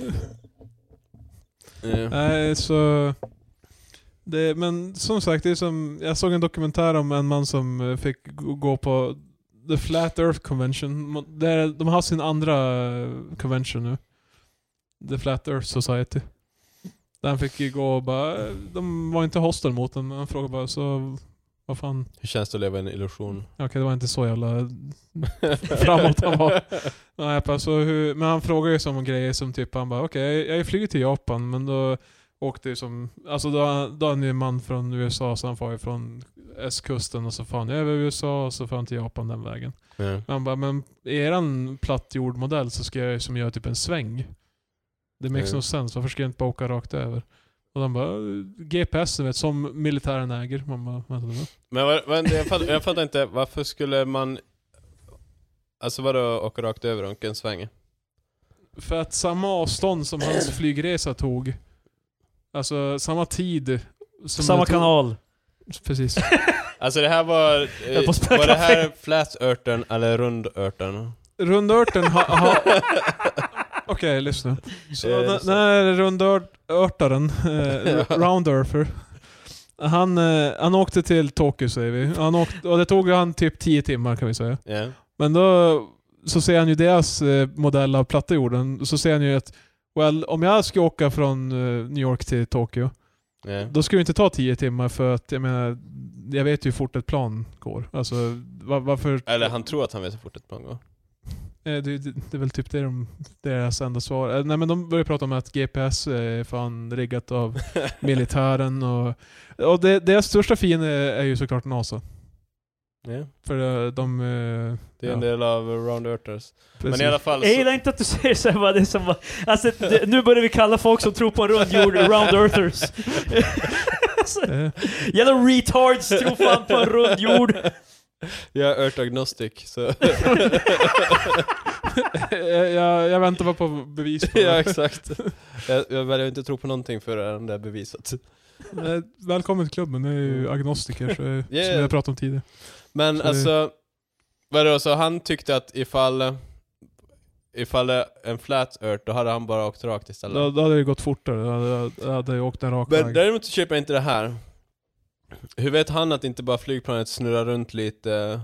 Speaker 3: Ja.
Speaker 1: Nej, så... Det, men som sagt, det är som, jag såg en dokumentär om en man som eh, fick g- gå på The Flat Earth Convention. Mo- Där de har sin andra eh, convention nu. The Flat Earth Society. Där han fick ju gå och bara... eh, De var inte hostile mot honom, men han frågade bara så... Vad fan...
Speaker 3: Hur känns det att leva i en illusion?
Speaker 1: Okej, det var inte så jävla framåt han var. Nej, alltså, hur, men han frågar ju som grejer som typ, han bara okej, jag jag flyger till Japan, men då åkte ju som, alltså då, då är han ju en man från USA, så han far ju från östkusten och så far han över USA och så far han till Japan den vägen.
Speaker 3: Ja.
Speaker 1: Men han bara, men i eran plattjordmodell så ska jag ju som göra typ en sväng. Det makes
Speaker 3: Mm.
Speaker 1: no sense, varför ska jag inte bara åka rakt över? Och de bara, GPSen vet, som militären äger. Man bara, vänta, vänta.
Speaker 3: Men vad, vad, jag, fattar, jag fattar inte, varför skulle man... Alltså vadå åka rakt över och en sväng?
Speaker 1: För att samma avstånd som hans flygresa tog, alltså samma tid. Som
Speaker 2: Samma
Speaker 1: det tog-
Speaker 2: kanal.
Speaker 1: Precis.
Speaker 3: Alltså det här var... Eh,
Speaker 2: höll på att spela
Speaker 3: var det här
Speaker 2: kaffe.
Speaker 3: flätörten eller rundörten?
Speaker 1: Rundörten har... Ha, Okej, lyssna. Så
Speaker 3: Eh,
Speaker 1: n-
Speaker 3: så-
Speaker 1: när rundörtaren, eh, Roundurfer, han, eh, han åkte till Tokyo säger vi. Han åkte, och det tog han typ 10 timmar kan vi säga.
Speaker 3: Ja.
Speaker 1: Men då så ser han ju deras eh, modell av platta jorden. Så ser han ju att, well, om jag ska åka från eh, New York till Tokyo,
Speaker 3: Ja.
Speaker 1: Då ska det inte ta 10 timmar för att jag menar, jag vet ju hur fort ett plan går. Alltså va- varför...
Speaker 3: Eller han tror att han vet hur fort ett plan går.
Speaker 1: Eh, Det, det, det är väl typ det de, deras enda svar. Eh, Nej men de börjar prata om att GPS är fan riggat av militären och... Och det, deras största fiende är ju såklart NASA.
Speaker 3: Ja.
Speaker 1: För eh, de... eh,
Speaker 3: Det är en
Speaker 1: Ja.
Speaker 3: del av roundörters. Men
Speaker 1: precis.
Speaker 3: i alla fall...
Speaker 2: Jag gillar inte att du säger såhär bara, det är som bara, alltså, det, nu börjar vi kalla folk som tror på en rund jord round earthers. alltså,
Speaker 1: Eh,
Speaker 2: jävla retards tror fan på en rund jord.
Speaker 3: Jag är örtagnostic, så...
Speaker 1: jag, Eh, jag, jag väntar bara på bevis på
Speaker 3: ja,
Speaker 1: det.
Speaker 3: exakt. Jag, jag väljer inte att tro på någonting förrän det är bevisat.
Speaker 1: Eh, Välkommen till klubben, det är ju agnostiker så, eh, som
Speaker 3: Yeah.
Speaker 1: jag pratade om tidigare.
Speaker 3: Men
Speaker 1: Så det-
Speaker 3: alltså, vadå, så han tyckte att ifall, ifall det en flat earth, då hade han bara åkt rakt istället.
Speaker 1: Då, då hade det gått fortare, då hade jag- jag hade åkt en rak
Speaker 3: Men
Speaker 1: väg.
Speaker 3: däremot så köper jag inte det här. Hur vet han att inte bara flygplanet snurrar runt lite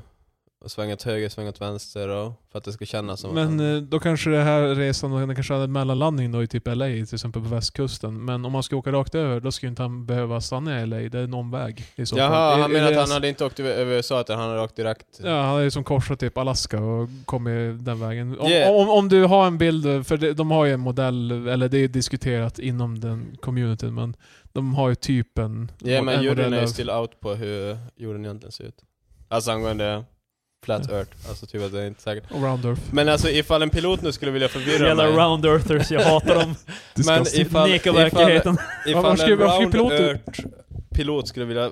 Speaker 3: och svänger åt höger, svänger åt vänster och för att det ska kännas som att
Speaker 1: Men
Speaker 3: han...
Speaker 1: eh, då kanske det här resan, den kanske hade en mellanlandning då i typ LA till exempel på västkusten. Men om man ska åka rakt över, då skulle inte han behöva stanna i LA. Det är någon väg i så
Speaker 3: Jaha,
Speaker 1: fall. I-
Speaker 3: han
Speaker 1: i
Speaker 3: menar att han
Speaker 1: deras-
Speaker 3: hade inte åkt över över USA utan han hade åkt direkt...
Speaker 1: Ja, han har ju som korsat typ Alaska och kommit den vägen. Om,
Speaker 3: Yeah.
Speaker 1: om, om du har en bild, för det- de har ju en modell, eller det är diskuterat inom den communityn, men de har ju typen...
Speaker 3: Ja men
Speaker 1: en
Speaker 3: jorden
Speaker 1: modell
Speaker 3: är ju
Speaker 1: av-
Speaker 3: still out på hur jorden egentligen ser ut. Alltså angående flat earth, alltså typ att det är inte säkert.
Speaker 1: Around Earth.
Speaker 3: Men alltså ifall en pilot nu skulle vilja förvirra
Speaker 4: Jävla
Speaker 3: mig.
Speaker 4: round earthers, jag hatar dem.
Speaker 3: Men
Speaker 2: Typ
Speaker 3: ifall,
Speaker 4: Neka
Speaker 3: ifall, ifall,
Speaker 4: verkligheten.
Speaker 1: Varför
Speaker 3: en
Speaker 1: skulle- varför skulle
Speaker 3: round
Speaker 1: piloter-
Speaker 3: earth pilot skulle vilja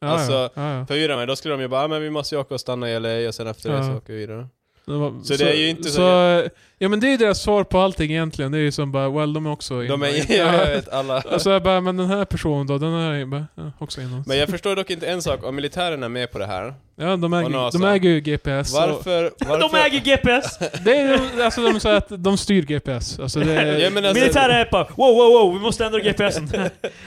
Speaker 1: ja,
Speaker 3: alltså,
Speaker 1: ja, ja.
Speaker 3: förvirra mig, då skulle de ju bara ah, men vi måste ju åka och stanna i LA och sen efter det
Speaker 1: Ja.
Speaker 3: så åker vi vidare.
Speaker 1: Det var-
Speaker 3: Så det är ju inte så-
Speaker 1: Ja men det är ju deras svar på allting egentligen. Det är ju som bara, well de är också
Speaker 3: De
Speaker 1: inom-
Speaker 3: är, jag vet alla.
Speaker 1: Alltså jag bara, men den här personen då, den här är bara, ja, också inom.
Speaker 3: Men jag förstår dock inte en sak, om militären är med på det här,
Speaker 1: Ja, de
Speaker 3: Och
Speaker 1: äger,
Speaker 3: NASA.
Speaker 1: de äger ju GPS. och-
Speaker 3: varför... varför
Speaker 4: De äger GPS!
Speaker 1: Det är ju, alltså de säger att de styr GPS. Alltså det är,
Speaker 3: Ja, men, alltså,
Speaker 4: Militära är bara wow, wow, wow, vi måste ändra GPSen.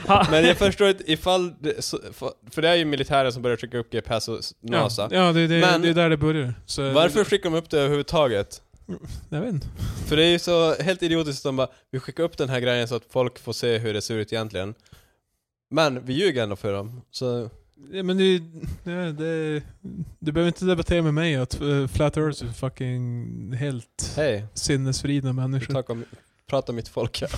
Speaker 4: Ha.
Speaker 3: men jag förstår inte ifall... Det, så, för- för det är ju militären som börjar skicka upp GPS och s- NASA.
Speaker 1: Ja, ja det, det,
Speaker 3: alltså. Men-
Speaker 1: det är där det börjar. Så,
Speaker 3: Varför skickar de upp det överhuvudtaget?
Speaker 1: Jag vet inte.
Speaker 3: För det är ju så helt idiotiskt att de bara, vi skickar upp den här grejen så att folk får se hur det ser ut egentligen. Men vi ljuger ändå för dem. Så
Speaker 1: Ja, men du, ja, det, du behöver inte debattera med mig att eh, Flat Earth är fucking helt
Speaker 3: hej,
Speaker 1: sinnesfrida människor.
Speaker 3: tack om, prata om mitt folk här.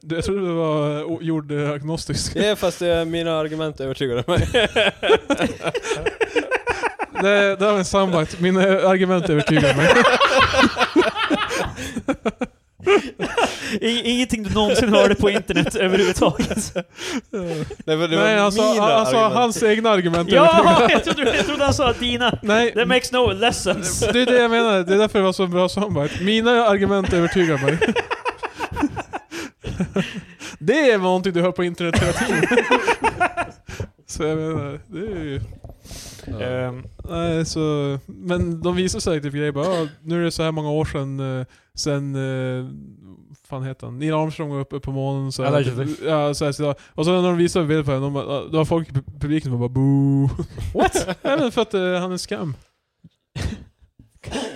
Speaker 1: Du, jag trodde du var eh, o- jordagnostisk.
Speaker 3: Ja, fast eh, mina argument övertygade mig.
Speaker 1: Det, det var en soundbite. Mina argument övertygar mig.
Speaker 4: I- Ingenting du någonsin hörde på internet överhuvudtaget.
Speaker 3: Nej, för det
Speaker 1: Nej,
Speaker 3: var
Speaker 1: alltså,
Speaker 3: mina
Speaker 1: alltså
Speaker 3: argument.
Speaker 1: hans egna argument övertygar
Speaker 4: Ja, jag trodde, jag trodde han sa att dina.
Speaker 1: Nej,
Speaker 4: That makes no lessons.
Speaker 1: det är det jag menar. Det är därför det var så bra soundbite. Mina argument övertygar mig. Det är någonting du hör på internet hela tiden. Så jag menar, det är ju...
Speaker 3: Ja.
Speaker 4: Ehm,
Speaker 1: Nej, så, men de visar sig typ grejer bara, "Ah, nu är det så här många år sedan, eh, sen, eh, fan heter han, Neil Armstrong var uppe på månen så
Speaker 2: Allegedly.
Speaker 1: ja, så här, så, och så när de visar en bild på henne, de bara, ah, då har folk i pu- publiken som bara boo. What? Nej men för att eh, han är en skam.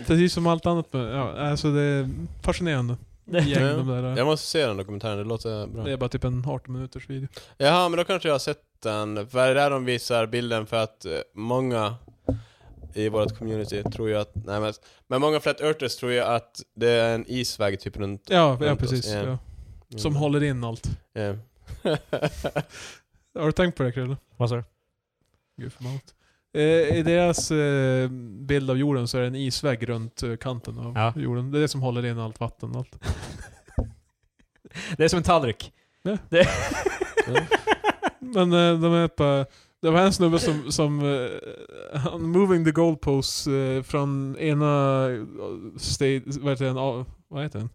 Speaker 1: Precis som allt annat med, ja, alltså det är fascinerande. Gäng,
Speaker 3: Ja.
Speaker 1: de där, eh,
Speaker 3: Jag måste se den dokumentären, det låter bra.
Speaker 1: det är bara typ en 18 minuters video.
Speaker 3: Jaha, men då kanske jag har sett den. För det är där de visar bilden för att eh, många i vårt community tror ju att, nej men, men många flat earthers tror ju att det är en isväg typ runt... Mm.
Speaker 1: Ja, ja
Speaker 3: Runt oss,
Speaker 1: precis.
Speaker 3: ja.
Speaker 1: Ja. Som håller in allt.
Speaker 3: Ja.
Speaker 1: Har du tänkt på det Krille?
Speaker 2: Vad sa du?
Speaker 1: Gud förbannat. Eh, I deras eh, bild av jorden så är det en isvägg runt eh, kanten av
Speaker 2: Ja.
Speaker 1: jorden. Det är det som håller in allt vatten. och Allt.
Speaker 2: Det är som en tallrik.
Speaker 1: Men eh, de är på, det var en snubbe som, som eh, han moving the goalposts eh, från ena eh, state, vad heter den, av- vad heter den?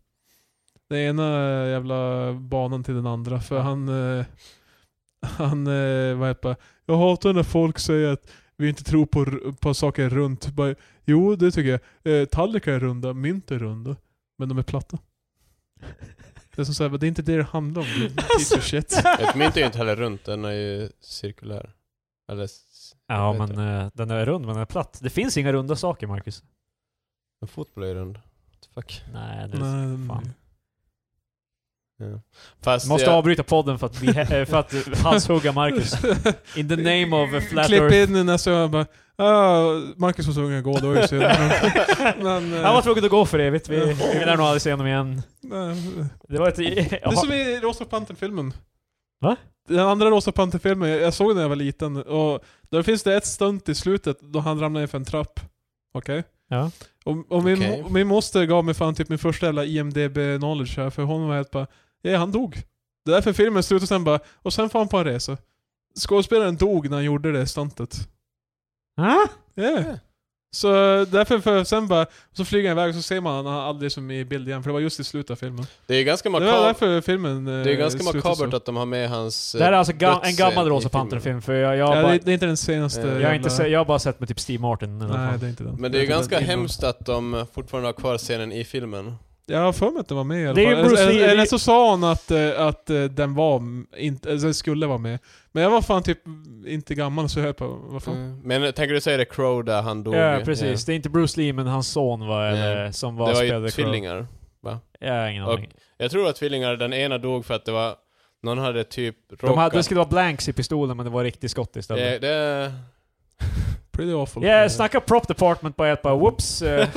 Speaker 1: Den ena jävla banan till den andra för han, eh, han eh, vad heter det? jag hatar när folk säger att vi inte tror på, r- på saker runt. Bara, jo, det tycker jag. Eh, tallrikar är runda, mynt är runda. Men de är platta. Det är som såhär, det är inte det det handlar om. du Piece of shit.
Speaker 3: Ett mynt är ju inte heller runt, den är ju cirkulär. Eller... s-
Speaker 2: Ja,
Speaker 3: Vet
Speaker 2: men eh, den är rund men den är platt. Det finns inga runda saker, Marcus.
Speaker 3: En fotboll är ju rund. Fuck.
Speaker 2: Nej, det är...
Speaker 1: Nej,
Speaker 2: fan.
Speaker 3: Fast
Speaker 2: Måste
Speaker 3: jag,
Speaker 2: avbryta podden för att, vi, eh, för att halshugga Marcus. In the name of a flat
Speaker 1: Klipp
Speaker 2: earth.
Speaker 1: in nästa gång bara ah, Marcus var tvungen att gå, det var ju synd. Men, men,
Speaker 2: Han var
Speaker 1: eh,
Speaker 2: tvungen att gå för evigt. Vi, vi lär nog aldrig se honom igen.
Speaker 1: nej.
Speaker 2: Det var ett...
Speaker 1: eh, det är som i Rosa Pantern-filmen.
Speaker 2: Va?
Speaker 1: Den andra Rosa Pantern-filmen, jag jag såg den när jag var liten och där finns det ett stunt i slutet då han ramlar ner för en trapp. Okej?
Speaker 2: Ja.
Speaker 1: Och, och min,
Speaker 3: Okej.
Speaker 1: min moster gav mig fan typ min första jävla IMDB-knowledge här, för hon var helt bara Ja, han dog. Det är därför filmen slutar sen bara, och sen får han på en resa. Skådespelaren dog när han gjorde det stuntet.
Speaker 2: Ah?
Speaker 1: Yeah.
Speaker 3: Ja.
Speaker 1: Så därför, för sen bara, så flyger han iväg och så ser man han aldrig som i bild igen, för det var just i slutet av filmen.
Speaker 3: det är ju ganska
Speaker 1: Det var
Speaker 3: makabert,
Speaker 1: därför filmen eh,
Speaker 3: det är ganska
Speaker 1: slutar
Speaker 3: makabert
Speaker 1: så.
Speaker 3: att de har med hans... eh,
Speaker 2: Det här är alltså ga en
Speaker 3: dödsscen
Speaker 2: gammal
Speaker 3: i
Speaker 2: Rosa
Speaker 3: filmen.
Speaker 2: Pantern-film, för jag, jag, har
Speaker 1: Ja,
Speaker 2: bara,
Speaker 1: det, det är inte den senaste.
Speaker 3: Eh,
Speaker 2: jag, har
Speaker 1: jävla-
Speaker 2: inte se, jag har bara sett med typ Steve Martin. Eller vad
Speaker 1: Nej,
Speaker 2: fan.
Speaker 1: det är inte den.
Speaker 3: Men det är ju
Speaker 1: inte den
Speaker 3: ganska
Speaker 1: innan.
Speaker 3: hemskt att de fortfarande har kvar scenen i filmen.
Speaker 1: Jag har för mig att den var med i alla
Speaker 4: Det är
Speaker 1: fall.
Speaker 4: ju Bruce
Speaker 1: eller,
Speaker 4: Lee,
Speaker 1: eller,
Speaker 4: det-
Speaker 1: så sa hon att, eh, att eh, den var, m- inte, alltså, den skulle vara med. Men jag var fan typ inte gammal så jag höll på, vad fan.
Speaker 3: Mm. Men eh, tänker du säga det Crow där han dog?
Speaker 2: Ja, precis. Det är inte Bruce Lee, men hans son var
Speaker 3: Ja.
Speaker 2: eller, som var
Speaker 3: Det var
Speaker 2: spelade
Speaker 3: ju
Speaker 2: Crow.
Speaker 3: tvillingar.
Speaker 2: Jag har ingen
Speaker 3: Och
Speaker 2: aning.
Speaker 3: Jag tror att tvillingar, den ena dog för att det var... Någon hade typ råkat...
Speaker 2: De hade, det skulle vara blanks i pistolen, men det var riktigt skott istället.
Speaker 3: det, det...
Speaker 1: Pretty awful. Eh,
Speaker 2: Ja, snacka prop department på ett bara whoops. eh,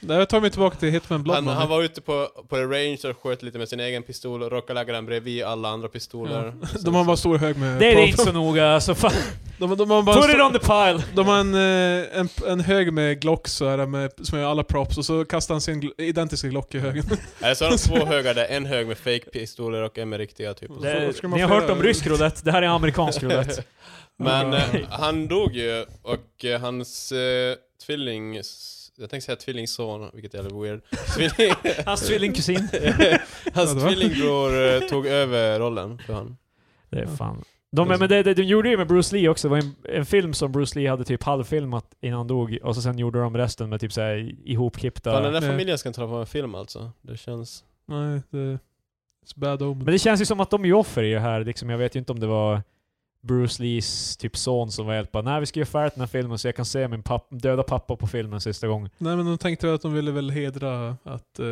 Speaker 1: Nej, jag tar mig tillbaka till Hitman Blood
Speaker 3: han,
Speaker 1: Money.
Speaker 3: han var ute på, på the range och sköt lite med sin egen pistol och råkade lägga den bredvid alla andra pistoler.
Speaker 1: Ja. De har bara stor hög med...
Speaker 2: det är
Speaker 1: prop.
Speaker 2: inte så noga, alltså fan.
Speaker 1: De, de har bara en
Speaker 2: Put
Speaker 1: stor-
Speaker 2: it on the pile!
Speaker 1: De har en, eh, en, en hög med Glock så här, med, som är alla props, och så kastar han sin gl- identiska Glock i högen.
Speaker 3: Eller så har de två högar där, en hög med fake pistoler och en med riktiga typ.
Speaker 1: Det-
Speaker 2: Det,
Speaker 1: Varför ska man
Speaker 2: ni har
Speaker 1: få
Speaker 2: hört om
Speaker 1: göra?
Speaker 2: rysk roulette, det här är amerikansk roulette.
Speaker 3: Men
Speaker 2: Ja.
Speaker 3: eh, han dog ju och eh, hans eh, tvilling... Jag tänkte säga tvillingson, vilket är jävligt weird. Tvilling,
Speaker 2: Hans tvillingkusin.
Speaker 3: hans
Speaker 1: Ja, det var-
Speaker 3: tvillingbror eh, tog över rollen för han.
Speaker 2: Det är fan. De, men det, det, de gjorde ju med Bruce Lee också, det var en, en film som Bruce Lee hade typ halvfilmat innan han dog, och så sen gjorde de resten med typ såhär
Speaker 3: Fan, den
Speaker 2: ihopklippta...
Speaker 3: där
Speaker 1: Nej.
Speaker 3: familjen ska inte hålla på med film alltså. Det känns...
Speaker 1: Nej, det... It's bad omen.
Speaker 2: Men det känns ju som att de är offer i det här, liksom, jag vet ju inte om det var Bruce Lees typ son som var helt bara Nej vi ska göra färdigt den här filmen så jag kan se min papp, döda pappa på filmen sista gången.
Speaker 1: Nej men de tänkte väl att de ville väl hedra att, eh,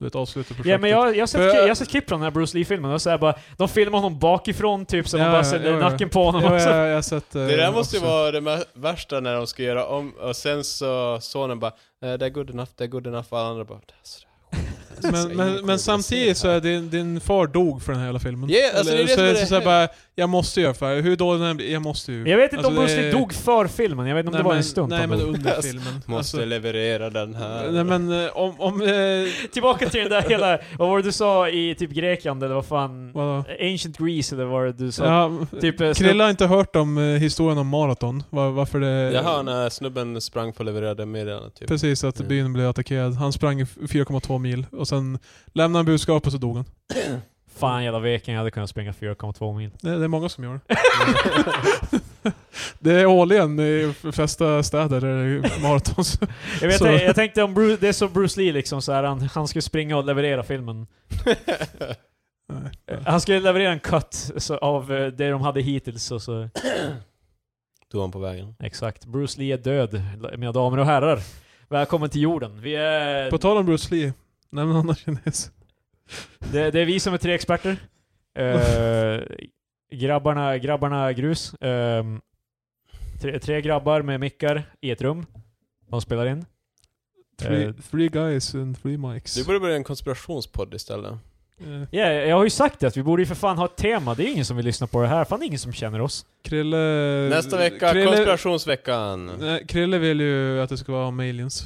Speaker 1: du vet, avsluta projektet.
Speaker 2: Ja men jag, jag har sett,
Speaker 1: För jag-
Speaker 2: jag har sett klipp från den här Bruce Lee-filmen, och så här bara, de filmar honom bakifrån typ, så man
Speaker 1: Ja,
Speaker 2: bara
Speaker 1: ja,
Speaker 2: ser
Speaker 1: ja.
Speaker 2: nacken på honom.
Speaker 1: Ja,
Speaker 2: och så-
Speaker 1: jag, jag har sett... eh,
Speaker 3: Det där måste ju
Speaker 1: också.
Speaker 3: vara det mä- värsta när de ska göra om och sen så sonen bara eh, det är good enough, det är good enough och alla andra bara det är sådär.
Speaker 1: Men,
Speaker 3: Alltså,
Speaker 1: men, men samtidigt så är din, din far dog för den här hela filmen.
Speaker 3: Ja, alltså, det är det som
Speaker 1: så,
Speaker 3: är det-
Speaker 1: så, så här bara, jag måste göra för hur dålig den än blir, jag måste ju.
Speaker 2: Jag vet inte
Speaker 1: Alltså,
Speaker 2: om Bruce
Speaker 1: det-
Speaker 2: Lee dog för filmen, jag vet inte om det var
Speaker 1: men,
Speaker 2: en stund
Speaker 1: Nej
Speaker 2: han
Speaker 1: men
Speaker 2: dog.
Speaker 1: under filmen.
Speaker 3: Måste leverera den här.
Speaker 1: alltså, nej men eh, om... om eh,
Speaker 2: Tillbaka till den där hela, vad var det du sa i typ Grekland eller vad fan?
Speaker 1: vadå?
Speaker 2: Ancient Greece eller vad var det du sa?
Speaker 1: Ja,
Speaker 2: Typ, eh,
Speaker 1: Krilla har inte hört om eh, historien om maraton. Var, varför det...
Speaker 3: Jaha, när snubben sprang på levererade meddelanden typ.
Speaker 1: Eh. Precis, att
Speaker 2: Eh.
Speaker 3: Mm.
Speaker 1: byn blev attackerad. Han sprang i f- 4,2 mil och sen lämnade han budskapet och så dog han.
Speaker 2: Fan jävla veken, jag hade kunnat springa 4,2 mil.
Speaker 1: Det, det är många som gör det. det är årligen i de flesta städer där det är maratons.
Speaker 2: Jag, vet,
Speaker 1: Så-
Speaker 2: jag, jag tänkte om Bruce, det är som Bruce Lee liksom så här, han, han skulle springa och leverera filmen.
Speaker 1: Nej,
Speaker 2: Eh, Han skulle leverera en cut så, av eh, det de hade hittills och så...
Speaker 3: Tog han på vägen.
Speaker 2: Exakt. Bruce Lee är död, l- mina damer och herrar. Välkommen till jorden. Vi är...
Speaker 1: På tal om Bruce Lee, nämn en annan kines.
Speaker 2: Det, det är vi som är tre experter. Eh, grabbarna, grabbarna grus. Ehm, tre, tre grabbar med mickar i ett rum. De spelar in.
Speaker 1: Three,
Speaker 2: Eh.
Speaker 1: three guys and three mics.
Speaker 3: Du borde börja en konspirationspodd istället.
Speaker 1: Eh,
Speaker 2: Ja, jag har ju sagt det att vi borde ju för fan ha ett tema. Det är ingen som vill lyssna på det här. Fan, det är ingen som känner oss.
Speaker 1: Krille...
Speaker 3: Nästa vecka,
Speaker 1: Krille,
Speaker 3: konspirationsveckan.
Speaker 1: nej, Krille vill ju att det ska vara om aliens.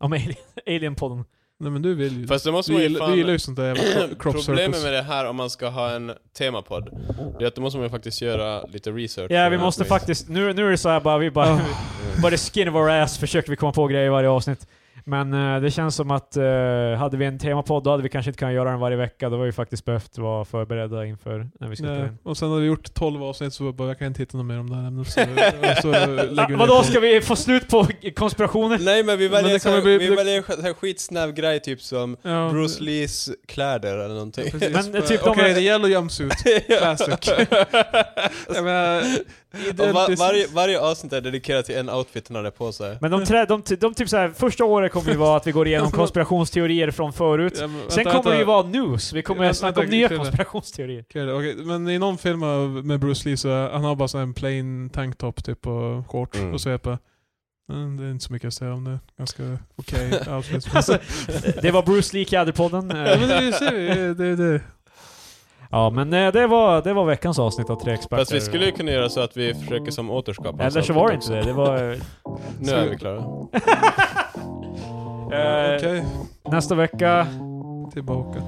Speaker 2: Om alien, Alienpodden.
Speaker 1: Nej men du vill ju...
Speaker 3: Fast det måste
Speaker 1: du,
Speaker 3: man ju
Speaker 1: gillar,
Speaker 3: fan-
Speaker 1: du gillar ju sånt där jävla cro- crop
Speaker 3: Problemet
Speaker 1: circles.
Speaker 3: med det här om man ska ha en temapodd, det är att då måste man ju faktiskt göra lite research.
Speaker 2: Ja, vi måste faktiskt... Nu, nu är det så här bara, vi bara...
Speaker 1: Ah.
Speaker 2: Bara skin of our ass försöker vi komma på grejer i varje avsnitt. Men eh, det känns som att eh, hade vi en temapodd då hade vi kanske inte kunnat göra den varje vecka. Då har vi faktiskt behövt vara förberedda inför när vi ska spela
Speaker 1: Nej,
Speaker 2: in.
Speaker 1: och sen har vi gjort 12 avsnitt så bara, jag kan inte hitta något mer om det här ämnet. Så, och så lägger
Speaker 2: Ah,
Speaker 1: vi ner
Speaker 2: vadå,
Speaker 1: på-
Speaker 2: ska vi få slut på konspirationer?
Speaker 3: Nej men vi
Speaker 1: Men
Speaker 3: väljer
Speaker 1: det
Speaker 3: en sån här-
Speaker 1: kommer bli-
Speaker 3: vi
Speaker 1: det-
Speaker 3: väljer en sån här skitsnabb grej typ som
Speaker 1: Ja,
Speaker 3: Bruce Lees kläder eller någonting.
Speaker 1: precis.
Speaker 2: Men,
Speaker 1: Bara,
Speaker 2: typ de-
Speaker 1: Okej, det gäller jumpsuit. Classic. eh, jag menar,
Speaker 3: Och va-
Speaker 1: identiskt.
Speaker 3: varje, varje avsnitt är dedikerat till en outfit han hade på sig.
Speaker 2: Men de, trä, de, de, typ så här, första året kommer ju vara att vi går igenom konspirationsteorier från förut.
Speaker 1: Ja, men,
Speaker 2: Sen
Speaker 1: vänta,
Speaker 2: kommer det ju
Speaker 1: vänta.
Speaker 2: vara news. Vi kommer
Speaker 1: Vänta,
Speaker 2: att snacka om
Speaker 1: vänta,
Speaker 2: nya
Speaker 1: Krille.
Speaker 2: konspirationsteorier.
Speaker 1: Okej, okej, men i någon film av- med Bruce Lee så är- han har bara så här en plain tanktop typ och shorts
Speaker 3: Mm.
Speaker 1: och så är jag bara, mm, det är inte så mycket att säga om det. Ganska okej outfit.
Speaker 2: Alltså, det var Bruce Lee Cadderpodden.
Speaker 1: ja, men
Speaker 2: Eh,
Speaker 1: det ser vi. Det, det, det.
Speaker 2: Ja, men eh, det var, det var veckans avsnitt av Tre Experter.
Speaker 3: Fast vi skulle ju kunna göra så att vi försöker som återskapa
Speaker 2: Eller så var det inte det. Det var... eh,
Speaker 3: Nu är vi klara.
Speaker 2: eh,
Speaker 1: Okej,
Speaker 2: Nästa eh, vecka
Speaker 1: tillbaka.